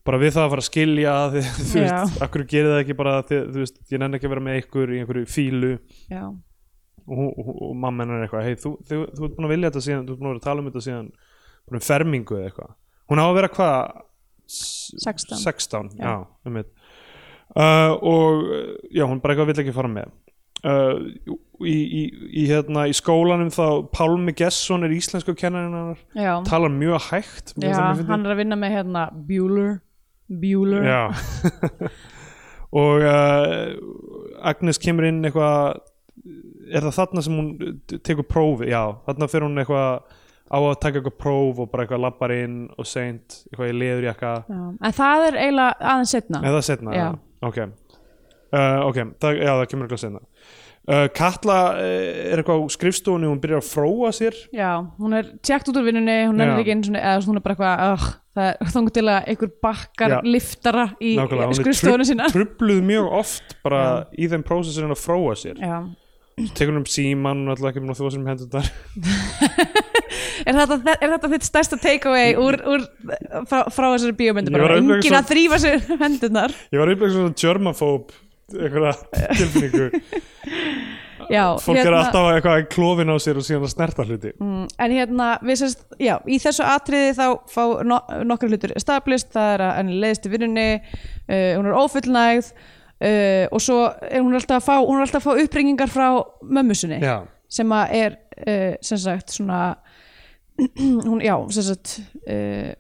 Speaker 2: bara við það að fara að skilja þið, þú
Speaker 3: Já.
Speaker 2: veist, akkur gerir það ekki bara þið, þú veist, ég nenni ekki að vera með ykkur í einhverju fílu
Speaker 3: já,
Speaker 2: og, hún- og, og mamma hennar er eitthvað hei, þú, þú, þú, ert búin að vilja þetta síðan, þú ert búin að vera að tala um þetta síðan bara um fermingu eða eitthvað hún á að vera hvað S-
Speaker 3: 16.
Speaker 2: 16 já,
Speaker 3: Já.
Speaker 2: um uh, og uh, já, hún bara eitthvað vill ekki fara með uh, í, í, í, hérna, í skólanum þá Pálmi Gesson er íslensku kennarinn hennar
Speaker 3: já,
Speaker 2: talar mjög hægt mér
Speaker 3: já
Speaker 2: finnst það mjög fyndið.
Speaker 3: hann er að vinna með hérna Bueller Bueller
Speaker 2: Já Og uh, Agnes kemur inn eitthvað Er það þarna sem hún uh, tekur prófi? Já, þarna fyrir hún eitthvað á að taka eitthvað próf og bara eitthvað lappar inn og seint, eitthvað í leðurjakka
Speaker 3: Já. en það er eiginlega aðeins setna
Speaker 2: Eða setna,
Speaker 3: Já.
Speaker 2: ok Uh, ok, það, já það kemur eitthvað senna uh, Katla uh, er eitthvað á skrifstofunni hún byrjar að fróa sér
Speaker 3: já, hún er tjækt út úr vinnunni hún
Speaker 2: Já.
Speaker 3: er ekki eins og eða hún er bara eitthvað uh, það er þóngu til að einhver bakkar
Speaker 2: Já.
Speaker 3: liftara í
Speaker 2: Nákvæmlega, hún er
Speaker 3: skrifstofunum sína
Speaker 2: trubluð mjög oft bara í þeim prósessin að fróa sér
Speaker 3: já,
Speaker 2: tekur hún um síman, hún er alltaf ekki mér að þvó sem hendur þar
Speaker 3: Er þetta, er þetta þitt stærsta takeaway úr, úr frá, frá þessari bíómyndu
Speaker 2: Ég var
Speaker 3: bara
Speaker 2: að
Speaker 3: engin
Speaker 2: umlega
Speaker 3: að þrýfa sér um hendurnar
Speaker 2: Ég var upplegð svona germafób einhverja tilfinningu
Speaker 3: já,
Speaker 2: fólk er alltaf eitthvað í klófin á sér og síðan að snerta hluti
Speaker 3: hérna- Mm, en hérna, við sérst, já, í þessu atriði þá fá no, nokkra hlutur established, það er að henni leiðist í vinnunni uh, hún er ófullnægð uh, og svo er hún er alltaf að fá hún er alltaf að fá uppringingar frá mömmusinni
Speaker 2: Já,
Speaker 3: sem að er uh, sem sagt svona hún, já, sem sagt uh,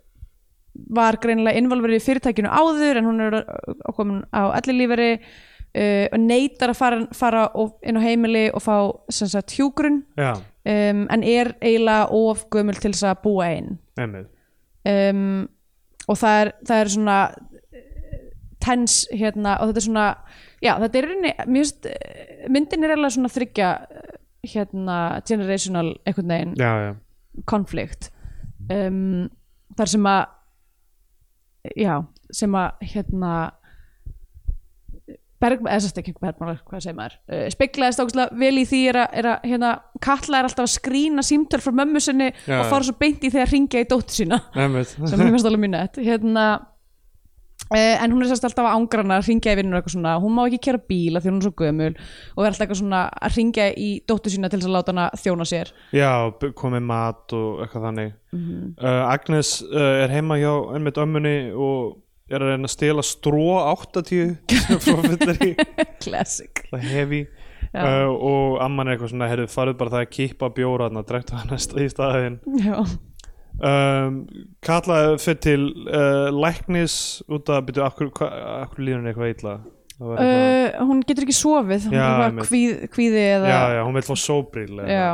Speaker 3: var greinilega involverið í fyrirtækinu áður en hún er á- komin á ellilíferi uh, og neytar að fara, fara of- inn á heimili og fá sem sagt hjúgrun
Speaker 2: já,
Speaker 3: um, en er eiginlega of gömul til þess að búa einn
Speaker 2: emmið
Speaker 3: um, og það er, það er svona tens hérna og þetta er svona já þetta er í rauninni mér finnst, eh, myndin er eiginlega svona þryggja eh, hérna generational einhvern veginn
Speaker 2: Já, já,
Speaker 3: konflikt um, þar sem að já, sem að hérna Bergman, eða sérst ekki Bergman, hvað segir maður uh, speglaðist ákvæmstlega vel í því er að, er að hérna, Katla er alltaf að skrína símtöl frá mömmu sinni
Speaker 2: Já,
Speaker 3: og fara svo beint í þegar hringja í dóttu sína
Speaker 2: emmið
Speaker 3: sem mér finnst alveg mjög nett hérna Eh, en hún er sérst alltaf að ángrana, ringja í vinnur og eitthvað svona, hún má ekki kera bíla því hún er svo gömul og er alltaf eitthvað svona að ringja í dóttu sína til þess að láta hana þjóna sér
Speaker 2: Já, b- komið mat og eitthvað þannig
Speaker 3: Mhm.
Speaker 2: uh, Agnes uh, er heima hjá einmitt ömmunni og er að reyna að stela stró 80 frá fyllari
Speaker 3: classic
Speaker 2: það hefi
Speaker 3: Já.
Speaker 2: uh, og amman er eitthvað svona, heyrðu farið bara það að kippa bjóra þarna, drekktu hann í staðin
Speaker 3: Já.
Speaker 2: um, Kalla fyrir til uh, læknis út að byrja, akkur, hva, akkur líður henni eitthvað illa Það var eitthvað-
Speaker 3: uh, hún getur ekki sofið hún
Speaker 2: Já,
Speaker 3: er bara
Speaker 2: einmitt.
Speaker 3: kvíð, kvíði eða
Speaker 2: Já, já, hún vil fá sóbrýl
Speaker 3: já,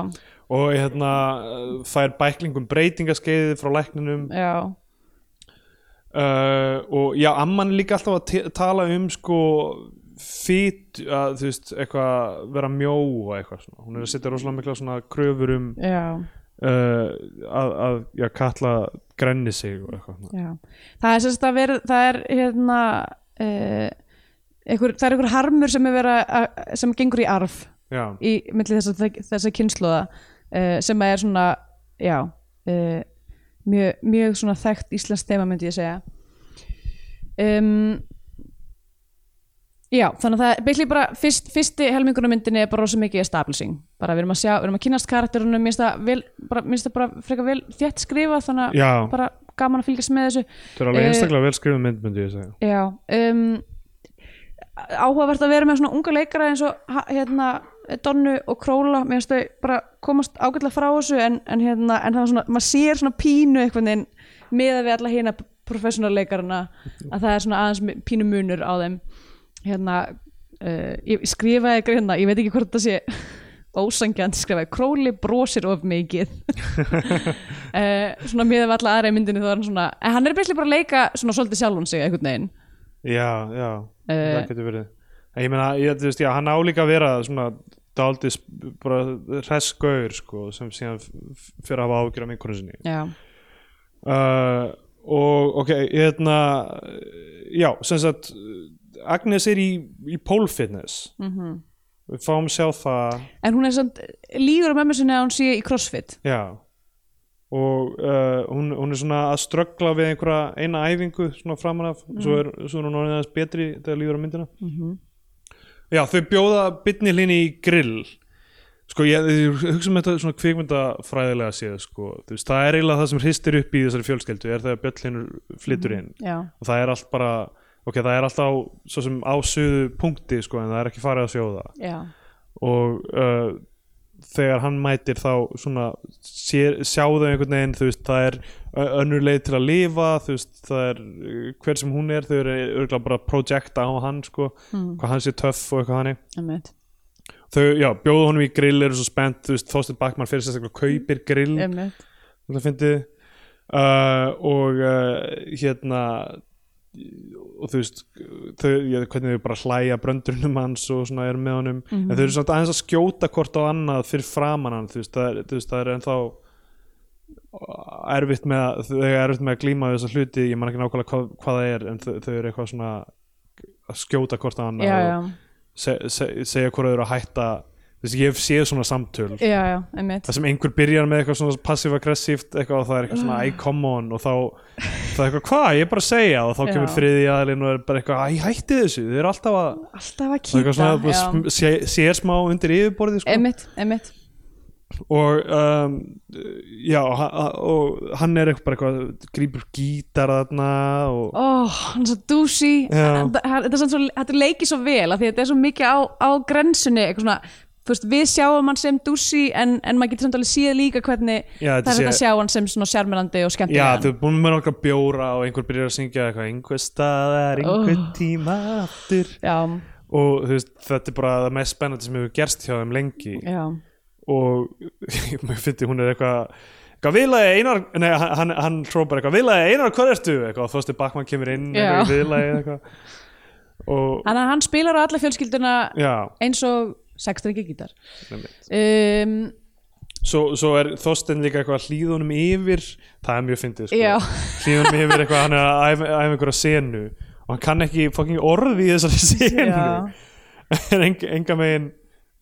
Speaker 2: og hérna uh, fær bæklingum breytingaskeiðið frá lækninum
Speaker 3: já.
Speaker 2: uh, og já, amman er líka alltaf að te- tala um sko fít, að þú veist, eitthvað vera mjó og eitthvað svona hún er að setja rosalega mikla svona kröfur um uh,
Speaker 3: já,
Speaker 2: að, að já, kalla grenni sig og eitthvað svona.
Speaker 3: já það er sérst að vera það er hérna uh, einhver, það er einhver harmur sem er vera sem gengur í arf
Speaker 2: já,
Speaker 3: í milli þess að þess að kynnslóða uh, sem að er svona já uh, mjög, mjög svona þekkt íslensk tema myndi ég segja um, já þannig að það er basically bara fyrst, fyrsti helmingunum myndinni er bara rosa mikið establishing bara við erum að sjá, við erum að kynast karakterunum minnst það vel, bara, minnst það bara frekar vel þétt skrifað þannig að
Speaker 2: já
Speaker 3: bara gaman að fylgjast með þessu
Speaker 2: það er alveg
Speaker 3: eh,
Speaker 2: einstaklega vel skrifum mynd myndi ég segja
Speaker 3: Já um, áhugavert að vera með svona unga leikara eins og ha- hérna Donnu og Króla, mér finnst þau bara komast ágætlega frá þessu en, en, hérna, en það var svona, maður sér svona pínu einhvern veginn með við alla hérna professional leikarana að það er svona aðeins mi- pínu munur á þeim hérna uh, ég skrifaði greina, ég veit ekki hvort það sé ósangjant, skrifaði Króli brosir of mikið uh, svona með við alla aðra í myndinni þá er hann svona, en hann er beislega bara að leika svona svolítið sjálfan sig einhvern veginn
Speaker 2: Já, já,
Speaker 3: Eh.
Speaker 2: það getur verið En Ég meina, ég, þú veist, já, hann álíka að vera svona dálítið sp- bara hressgaur sko, sem síðan f- f- fyrir að hafa ágjur af einhvern sinni
Speaker 3: Já,
Speaker 2: uh, og ok, hérna já, sem sagt Agnes er í, í pole fitness
Speaker 3: mhm.
Speaker 2: við fáum sjá það
Speaker 3: en hún er samt lígur á mömmu sinni að hún sé í crossfit
Speaker 2: já og uh, hún, hún er svona að ströggla við einhverja eina æfingu svona framan af, svo, er, svo er hún orðin aðeins betri þegar líður á myndina
Speaker 3: Mhm.
Speaker 2: Já, þau bjóða bitni hlýni í grill Sko, ég, ég hugsa um þetta svona kvikmyndafræðilega séð, sko Þú veist, það er eiginlega það sem hristir upp í þessari fjölskeldu er þegar bjöllinu flyttur inn
Speaker 3: Já,
Speaker 2: og það er allt bara, ok, það er allt á svo sem á suðu punkti, sko en það er ekki farið að sjóða
Speaker 3: já,
Speaker 2: og uh, þegar hann mætir þá svona sér, sjáðu einhvern veginn, þú veist, það er ö- önnur leið til að lifa, þú veist það er, uh, hver sem hún er, þau eru örgulega bara að projekta á hann, sko
Speaker 3: Mm.
Speaker 2: hvað hann sé töff og eitthvað hannig
Speaker 3: emmitt
Speaker 2: þau, já, bjóðu honum í grill eru svo spennt, þú veist, Þorstein Bakmann fyrir sérstaklega kaupir grill, um.
Speaker 3: Emmitt,
Speaker 2: það fyndið uh, og uh, hérna og þú veist þau, já, hvernig þau bara hlæja bröndrunum hans og svona eru með honum
Speaker 3: Mhm.
Speaker 2: en þau eru svona aðeins að skjóta hvort á annað fyrir framan hann, þú veist, það er, þú veist, það er ennþá erfitt með að þau eru erfitt með að glíma við þessa hluti, ég man ekki nákvæmlega hvað, hvað það er en þau, þau eru eitthvað svona að skjóta hvort á annað
Speaker 3: já,
Speaker 2: og-
Speaker 3: já,
Speaker 2: se, se, segja hvora þau eru að hætta þess að ég hef séð svona samtöl
Speaker 3: já, já, emmitt
Speaker 2: það sem einhver byrjar með eitthvað svona passiv-aggressíft eitthvað og það er eitthvað svona I come on og þá það er eitthvað hvað, ég er bara að segja og þá
Speaker 3: Já.
Speaker 2: kemur þriði aðlinn og er bara eitthvað æ, hætti þessu, þau eru alltaf að
Speaker 3: Alltaf að
Speaker 2: það er eitthvað
Speaker 3: kýta
Speaker 2: svona að sm- sé, sér smá undir yfirborðið sko.
Speaker 3: Emmitt, emmitt
Speaker 2: og um, já, og ha- og hann er eitthvað bara eitthvað, grípur gítar þarna og
Speaker 3: Ó, hann er svo dúsi
Speaker 2: Já.
Speaker 3: Þetta hann- þetta er samt svo- þetta leikið svo vel af því þetta er svo mikið á, á grensunni eitthvað svona þú Veist, við sjáum hann sem dúsi en, en maður getur samt alveg síða líka hvernig
Speaker 2: Já, þetta
Speaker 3: það er
Speaker 2: sé-
Speaker 3: þetta að sjá hann sem svona sjarmerandi og
Speaker 2: Já,
Speaker 3: skemmtilegan
Speaker 2: þau er búin með nokkra bjóra og einhver byrjar að syngja eitthvað einhver staðar, einhver
Speaker 3: Oh.
Speaker 2: tíma aftur
Speaker 3: Já,
Speaker 2: og þú veist, þetta er bara það mest spennandi sem hefur gerst hjá þeim lengi
Speaker 3: já,
Speaker 2: og mér finnst hún er eitthvað eitthvað viðlagi einar nei, hann, hann- hann hrópar eitthvað viðlagi einar hvað ertu eitthvað og Þorstein Bakman kemur inn
Speaker 3: Já.
Speaker 2: eitthvað viðlagi eitthvað og
Speaker 3: þannig að hann spilar á alla fjölskylduna
Speaker 2: já,
Speaker 3: eins og sextrengi gítar
Speaker 2: nefnir
Speaker 3: um,
Speaker 2: svo, svo er Þorstein líka eitthvað hlýðunum yfir það er mjög fyndið
Speaker 3: Já.
Speaker 2: sko. hlýðunum yfir eitthvað hann er að æfa- æfa einhverja senu og hann kann ekki fucking orð í þessari senu
Speaker 3: Já.
Speaker 2: en enga, enga megin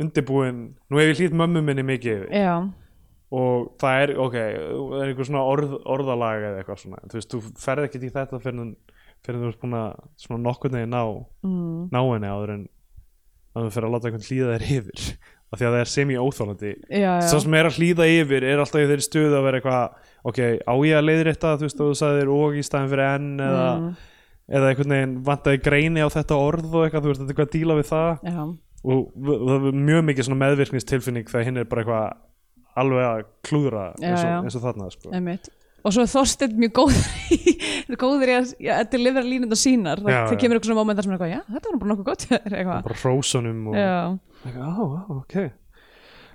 Speaker 2: undirbúin nú hef ég hlýtt mömmu minni mikið yfir
Speaker 3: já,
Speaker 2: og það er, ok, það er einhver svona orð, orðalag eða eitthvað svona, þú veist, þú ferð ekki í þetta fyrir en fyrir þú ert búin að svona nokkurn veginn ná,
Speaker 3: mm,
Speaker 2: ná henni áður en að þú fyrir að láta einhvern hlýða þér yfir af því að það er semi-óþólandi
Speaker 3: já, já,
Speaker 2: svo sem er að hlýða yfir er alltaf í þeirri stuð að vera eitthvað ok, á ég að leiðir þetta þú veist að þú sagðir og í staðin fyrir enn eða,
Speaker 3: Mm.
Speaker 2: eða einhvern veginn vantaði greini á þetta orð og eitthvað, þú veist þetta eitthvað að díla við það
Speaker 3: já,
Speaker 2: og v- það er mjög mikið svona meðvirkningstilfinning þegar hinn er bara eitthvað alveg að klúðra eins,
Speaker 3: Já, já.
Speaker 2: og, eins og þarna sko.
Speaker 3: einmitt og svo er Þorsteinn mjög góður í, góður í að, já, að delivera línundar sínar það,
Speaker 2: Já,
Speaker 3: það
Speaker 2: já.
Speaker 3: kemur eitthvað svona moment þar sem er eitthvað, já, þetta var nú bara nokkuð gott hjá þér," eitthvað,
Speaker 2: bara hrósunum og
Speaker 3: já,
Speaker 2: já, já, ok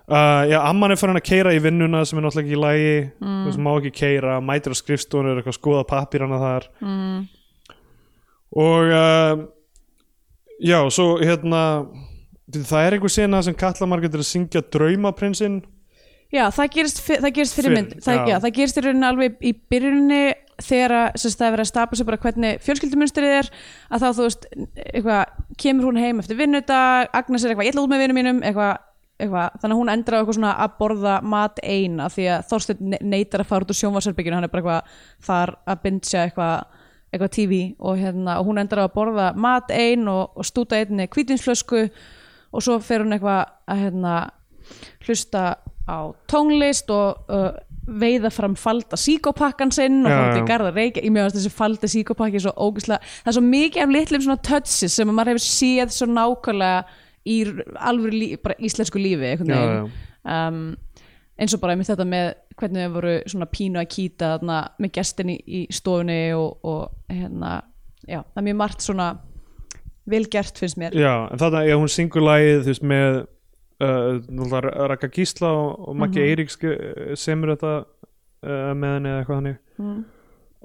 Speaker 2: Uh, já, amman er farin að keira í vinnuna sem er náttúrulega ekki í lagi mm. sem má ekki keira, mætir á skrifstofun er eitthvað að skoða pappirana þar mm. og uh, já, svo hérna það er einhver sena sem kalla margir að syngja draumaprinsinn
Speaker 3: já, það gerist, fyr- það gerist fyrir
Speaker 2: Fyrr,
Speaker 3: mynd það,
Speaker 2: já.
Speaker 3: já. það gerist í rauninni alveg í byrjunni þegar að, sem sagt, það er verið að stapla sér bara hvernig fjölskyldumynstrið er að þá, þú veist, eitthvað kemur hún heim eftir vinnudag, Agnes er eitthvað ég ætla út með vinnum mínum, eitthvað Eitthvað. þannig að hún endrar á eitthvað svona að borða mat eina því að Þorsteinn ne- neitar að fara út úr sjónvarsherbygginu, hann er bara eitthvað þar að bindja eitthvað eitthvað TV og, hérna, og hún endar á að borða mat ein og, og stúta einni kvítinsflösku og svo fer hún eitthvað að hérna, hlusta á tónlist og uh, veiða fram falda síkópakkan sinn og
Speaker 2: Já,
Speaker 3: hún til
Speaker 2: já.
Speaker 3: garða reykja í mjög að þessi falda síkópakki er svo ógislega það er svo mikið af litlum svona touches sem maður hefur séð svo nákvæmlega í alvöru líf, bara íslensku lífi einhvern
Speaker 2: Já,
Speaker 3: veginn um, eins og bara einmitt þetta með hvernig við voru svona pínu að kýta þarna, með gestin í, í stofunni og, og hérna, já, það er mjög margt svona vel gert finnst mér
Speaker 2: Já, en þarna, já, hún syngur lagið þú veist, með uh, Raka Gísla og, og Maggi
Speaker 3: Mhm.
Speaker 2: Eiríks eh, semur þetta uh, með henni eða eitthvað hannig
Speaker 3: Mm.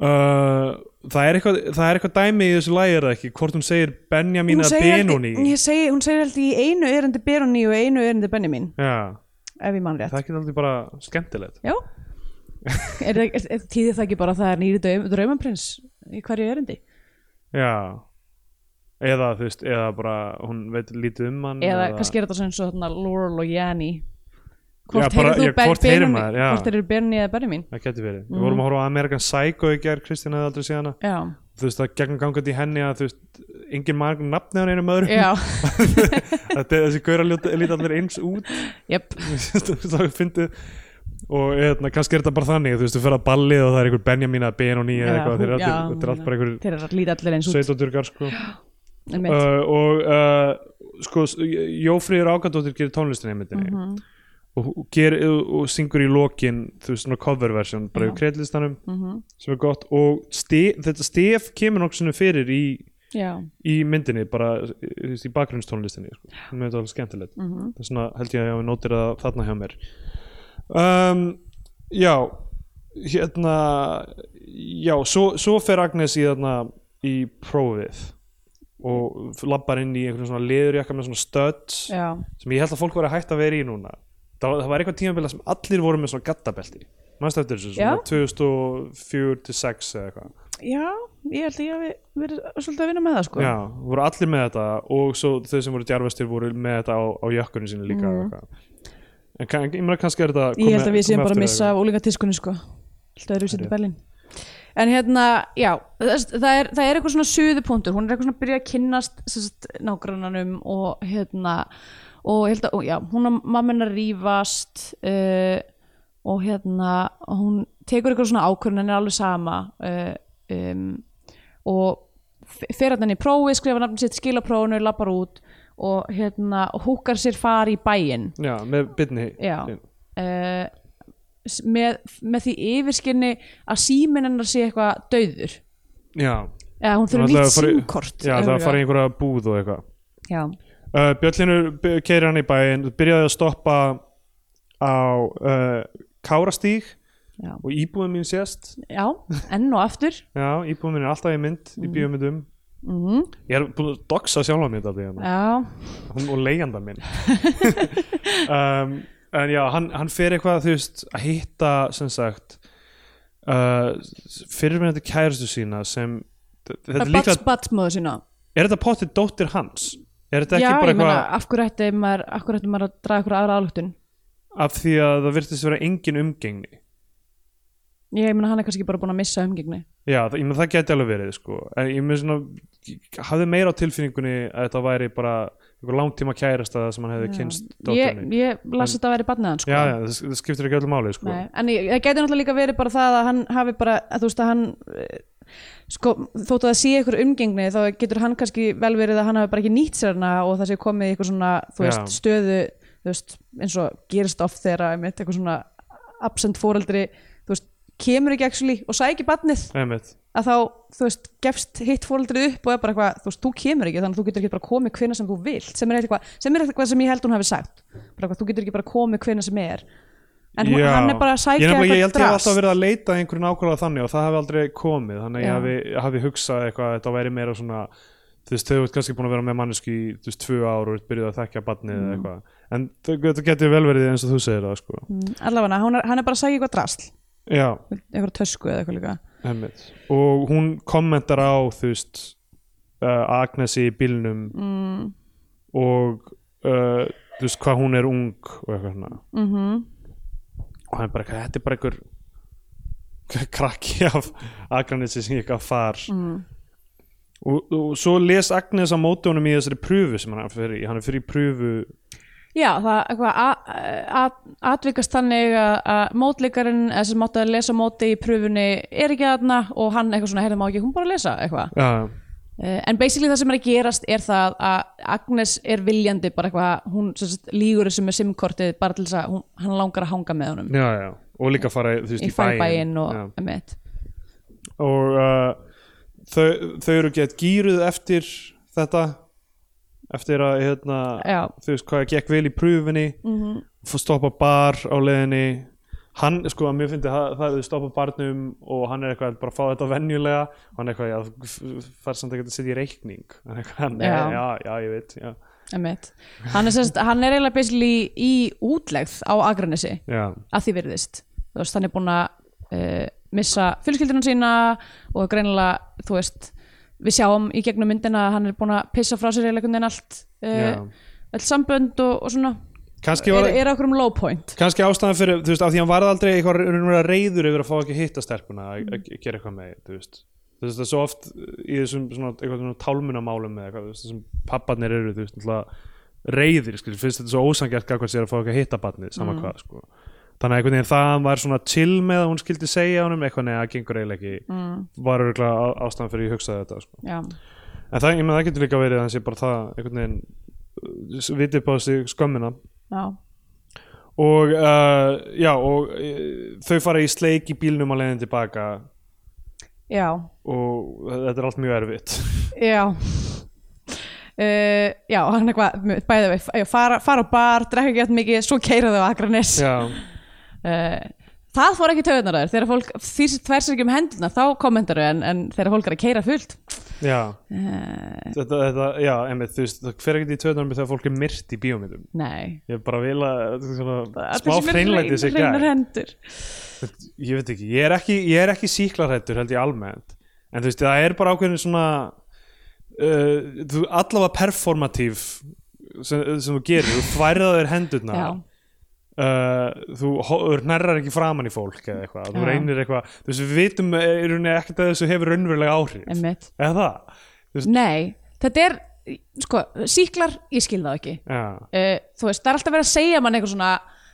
Speaker 2: uh, það, er eitthvað, það er eitthvað dæmi í þessu lagi er það ekki, hvort hún segir Benjamin
Speaker 3: hún
Speaker 2: eða
Speaker 3: segir held
Speaker 2: Benoni
Speaker 3: í- ég segi, hún segir alltaf í einu erindi Benoni og einu erindi Benjamin
Speaker 2: Já,
Speaker 3: ef ég mann rétt
Speaker 2: það er ekki alltaf bara skemmtilegt
Speaker 3: já er, er, er, tíði það ekki bara að það er nýri draum, draumaprins í hverju erindi
Speaker 2: Já Eða, þú veist, eða bara hún veit lítið um hann
Speaker 3: eða kannski er þetta svona eins og þarna Laurel og Janny
Speaker 2: Já, bara-
Speaker 3: heyrðir
Speaker 2: já,
Speaker 3: þú Ben-
Speaker 2: hvort heyrir
Speaker 3: Benoni-
Speaker 2: maður, já.
Speaker 3: hvort eru Benoni eða Benjamin
Speaker 2: Það geti verið,
Speaker 3: Mhm.
Speaker 2: við vorum að horfa á Amerikan Psycho í gerð, Kristín hefði aldrei séð hana
Speaker 3: já,
Speaker 2: þú veist, það gegnum gangandi í henni að þú veist, engin margur nafni á einum öðrum
Speaker 3: já,
Speaker 2: þetta er þessi gauðra lítið allir eins út
Speaker 3: jöp
Speaker 2: það er fyndið og eðna, kannski er þetta bara þannig, þú veist, þú fyrir að ballið og það er einhver Benjamin að Benoni eða
Speaker 3: Já,
Speaker 2: eitthvað, þeir eru
Speaker 3: já,
Speaker 2: allir- þetta er allt bara einhver
Speaker 3: þeir eru að líta allir eins út
Speaker 2: sveitadurgar sko
Speaker 3: einmitt.
Speaker 2: uh, og uh, sko, s- Jófríður Ákandóttir gerir tónlistin einmittinni mm
Speaker 3: Mhm.
Speaker 2: -hmm. og, hún ger, og, og syngur í lokin þú veist, svona cover version, bara yfir kreitlistanum
Speaker 3: Mhm.
Speaker 2: sem er gott og stef, þetta stef kemur nokkuð fyrir í
Speaker 3: já,
Speaker 2: í myndinni bara þú veist, í bakgrunnstónlistinni sko. mér finnst það alveg skemmtilegt mm
Speaker 3: Mhm.
Speaker 2: -hmm. þess vegna held ég að ég hafi nótir það þarna hjá mér um, já hérna já, svo, svo fer Agnes í þarna í prófið og labbar inn í einhvern svona leðurjakka með svona stöds
Speaker 3: já,
Speaker 2: sem ég held að fólk var að hætta að vera í núna það, það var eitthvað tímabila sem allir voru með svona gattabelti mannst eftir þessu,
Speaker 3: Já.
Speaker 2: svona 2004 til 6 eða eitthvað
Speaker 3: já ég held að ég hafi verið svolítið að vinna með það sko
Speaker 2: Já, voru allir með þetta og svo þau sem voru djarfastir voru með þetta á, á jökkunni sínu líka mm. en kann, ég meina kannski er þetta
Speaker 3: Mhm. ég held að við séum
Speaker 2: komið
Speaker 3: bara að
Speaker 2: aftur
Speaker 3: missa
Speaker 2: eða
Speaker 3: af úlingatiskunni sko alltaf eru við sér til Berlín en hérna, já, það það er, það er eitthvað svona suðupunktur, hún er eitthvað svona að byrja að kynnast sem sagt, nágrannanum og hérna og ég held að, og já, hún og mamma hennar rífast uh, og hérna og hún tekur eitthvað svona ákvörðun en er alveg sama uh, um, og f- fer hann í prófi, skrifa nafn sitt skilaprófinu, lappar út og hérna húkar sér far í bæinn
Speaker 2: eitthvað. Já, með byrni
Speaker 3: já, uh, með, með því yfirskinni að síminn hennar sé eitthvað dauður
Speaker 2: Já,
Speaker 3: eða hún þurfi
Speaker 2: Hún ætlaði
Speaker 3: nýtt
Speaker 2: að fara í-
Speaker 3: símkort
Speaker 2: já það
Speaker 3: örugglega.
Speaker 2: fara í einhverja búð og eitthvað
Speaker 3: já,
Speaker 2: uh, Bjöllinu keiri hann í bæinn byrjaði að stoppa á uh, Kárastíg
Speaker 3: já.
Speaker 2: og íbúðum mín sést
Speaker 3: já, enn og aftur
Speaker 2: Já, íbúðum mín er alltaf í mynd
Speaker 3: Mhm.
Speaker 2: í bíómyndum
Speaker 3: mm,
Speaker 2: Ég er búin að doxa sjálfa mér þetta hérna.
Speaker 3: já,
Speaker 2: hún og leigjanda minn um, en já, hann, hann fer eitthvað þú veist, að hitta sem sagt uh, fyrirvinandi kærustu sína sem þetta er líka,
Speaker 3: batsmóðu sína
Speaker 2: er þetta pottið dóttir hans? Er þetta
Speaker 3: já,
Speaker 2: ekki bara
Speaker 3: ég meina,
Speaker 2: eitthvað
Speaker 3: af hverju ætti maður af hverju ætti maður að draga eitthvað aðra álugtun
Speaker 2: af því að það virtist vera engin umgengni
Speaker 3: ég meina hann er kannski bara búin að missa umgengni
Speaker 2: Já, það, ég meina það geti alveg verið sko. en ég meina svona ég hafði meira á tilfinningunni að þetta væri bara einhver langtíma kærasta sem hann hefði kynst
Speaker 3: ég,
Speaker 2: dóttunni.
Speaker 3: ég las þetta að vera barnið hans sko.
Speaker 2: Já, já, það, það skiptir ekki öllu máli sko.
Speaker 3: Nei, en ég- það gæti náttúrulega líka verið bara það að hann hafi bara, að þú veist að hann eh, sko, þótt að það sé ykkur umgengni þá getur hann kannski vel verið að hann hafi bara ekki nýtt sér hana og það sé komið í ykkur svona, þú
Speaker 2: Já.
Speaker 3: veist, stöðu þú veist, eins og gerist oft þegar að mitt eitthvað svona absent foreldri þú veist, kemur ekki actually og sækir barnið
Speaker 2: Einmitt.
Speaker 3: að þá, þú veist, gefst hitt fóreldrið upp og er bara eitthvað, þú veist, þú kemur ekki þannig að þú getur ekki bara komið hvenna sem þú vilt sem er eitthvað sem, er eitthvað sem ég held hún hafi sagt bara eitthvað, þú getur ekki bara komið hvenna sem er en hún,
Speaker 2: Já.
Speaker 3: hann er bara að
Speaker 2: ég,
Speaker 3: sækja
Speaker 2: nefnilega- ég held ég hafi
Speaker 3: drast.
Speaker 2: alltaf verið að leita að einhverju nákvæmlega þannig og það hafi aldrei komið þannig að ég
Speaker 3: Já.
Speaker 2: hafi, hafi hugsað eitthvað að þetta væri meira svona þú veist, þau ert kannski búin að vera með manneski þú veist, tvö ár og ert byrjuð að þekkja barnið eða eitthvað en þau- þetta getur vel verið eins og þú segir það sko.
Speaker 3: Mm, allavega, hann er, hann er bara að sækja eitthvað drasl
Speaker 2: já,
Speaker 3: eitthvað tösku eða eitthvað líka
Speaker 2: hemmið og hún kommentar á þú veist uh, Agnesi í bílnum mm. og uh, þú veist hvað hún er ung og eitthvað svona
Speaker 3: mm -hmm.
Speaker 2: og hann bara, eitthvað, þetta er bara einhver einhver krakki af Agranesi sem ég gaf þar mm. og, og svo les Agnes á móti honum í þessari pröfu sem hann fyrir í, hann er fyrir í pröfu
Speaker 3: Já, það eitthvað a- a- atvikast þannig að- að mótleikarinn eða sem átti að lesa móti í pröfunni er ekki aðna og hann eitthvað svona, heyrðu má ekki hún bara lesa eitthvað
Speaker 2: uh,
Speaker 3: Eh, en basically það sem er að gerast er það að Agnes er viljandi bara eitthvað, hún sem sagt, lígur þessu með simkortið bara til þess að hún, hann langar að hanga með honum
Speaker 2: já, já, og líka fara þú veist,
Speaker 3: í
Speaker 2: í bæinn
Speaker 3: fagbæinn og
Speaker 2: Já.
Speaker 3: emitt
Speaker 2: og uh, þau, þau eru gett gýruð eftir þetta eftir að hérna,
Speaker 3: Já.
Speaker 2: þú veist hvað gekk vel í pröfunni mm -hmm.
Speaker 3: Mhm.
Speaker 2: stoppa bar á leiðinni hann, sko, að mér fyndi það, það er þau stoppa barnum og hann er eitthvað bara að fá þetta venjulega og hann er eitthvað, já, þú fær samt ekki að setja í reikning hann er eitthvað, nei,
Speaker 3: Já.
Speaker 2: já, já, ég veit já,
Speaker 3: emitt hann er, sem sagt, hann er eiginlega basically í útlegð á Agranesi
Speaker 2: já,
Speaker 3: að því virðist þú veist, hann er búinn að uh, missa fjölskyldina sína og greinilega, þú veist við sjáum í gegnum myndina að hann er búinn að pissa frá sér eiginlega einhvern veginn allt
Speaker 2: Já.
Speaker 3: uh, öll sambönd og, og svona
Speaker 2: kannski var
Speaker 3: er, er okkur um low point
Speaker 2: kannski ástæðan fyrir, þú veist, af því hann varð aldrei eitthvað raunverulega reyður yfir að fá ekki að hitta stelpuna að að gera eitthvað með, þú veist þú veist, það er svo oft í þessum svona, eitthvað svona tálmunamálum eða eitthvað, þú veist, þessum papparnir eru, þú veist, náttúrulega reyðir, skil, finnst þetta svo ósangjart gagvart sér að fá ekki að hitta barnið, sama hvað, sko þannig að einhvern veginn það að hann var svona chill með að hún skildi segja honum eitthvað neða, gengur eiginlega ekki mm. var örgulega ástæðan fyrir ég hugsaði þetta, sko
Speaker 3: já
Speaker 2: en það, ég með það getur líka verið að hann sé bara það, einhvern veginn uh, viti upp á sig skömmina
Speaker 3: Já,
Speaker 2: og uh, já og uh, þau fara í sleik í bílnum á leiðin tilbaka
Speaker 3: já,
Speaker 2: og þetta er allt mjög erfitt
Speaker 3: já. Uh, já, hann eitthvað bæðið við, fara, fara á bar, drekka ekki eftir mikið, svo keira þau á Akranes uh,
Speaker 2: já,
Speaker 3: Það fór ekki töðunar þær, þegar fólk þýr þvær sér ekki um hendurna þá kommentar þau en, en þegar fólk er að keira fullt
Speaker 2: já
Speaker 3: uh,
Speaker 2: þetta, þetta, já, emið, þú veist það hver ekkert í töðunum þegar fólk er myrt í bíómyndum
Speaker 3: Nei
Speaker 2: ég bara vil að þetta er svona,
Speaker 3: Allir
Speaker 2: smá
Speaker 3: sem eru
Speaker 2: hreinlæti
Speaker 3: hrein-
Speaker 2: sig
Speaker 3: hreinar
Speaker 2: gæ
Speaker 3: hendur
Speaker 2: ég veit ekki, ég er ekki, ég er ekki síklarhættur held ég almennt, en þú veist það er bara ákveðin svona uh, þú, allavega performatív sem, sem þú gerir, þú þværða þér hendurna
Speaker 3: Já,
Speaker 2: uh, þú nærrar ekki framan í fólk eða eitthvað, þú
Speaker 3: Já.
Speaker 2: reynir eitthvað þú veist, við vitum eh, í rauninni ekkert að þessu hefur raunverulega áhrif,
Speaker 3: emmitt
Speaker 2: eða það
Speaker 3: Nei, þetta er, sko, síklar, ég skil það ekki
Speaker 2: já,
Speaker 3: uh, þú veist, það er alltaf verið að segja mann eitthvað svona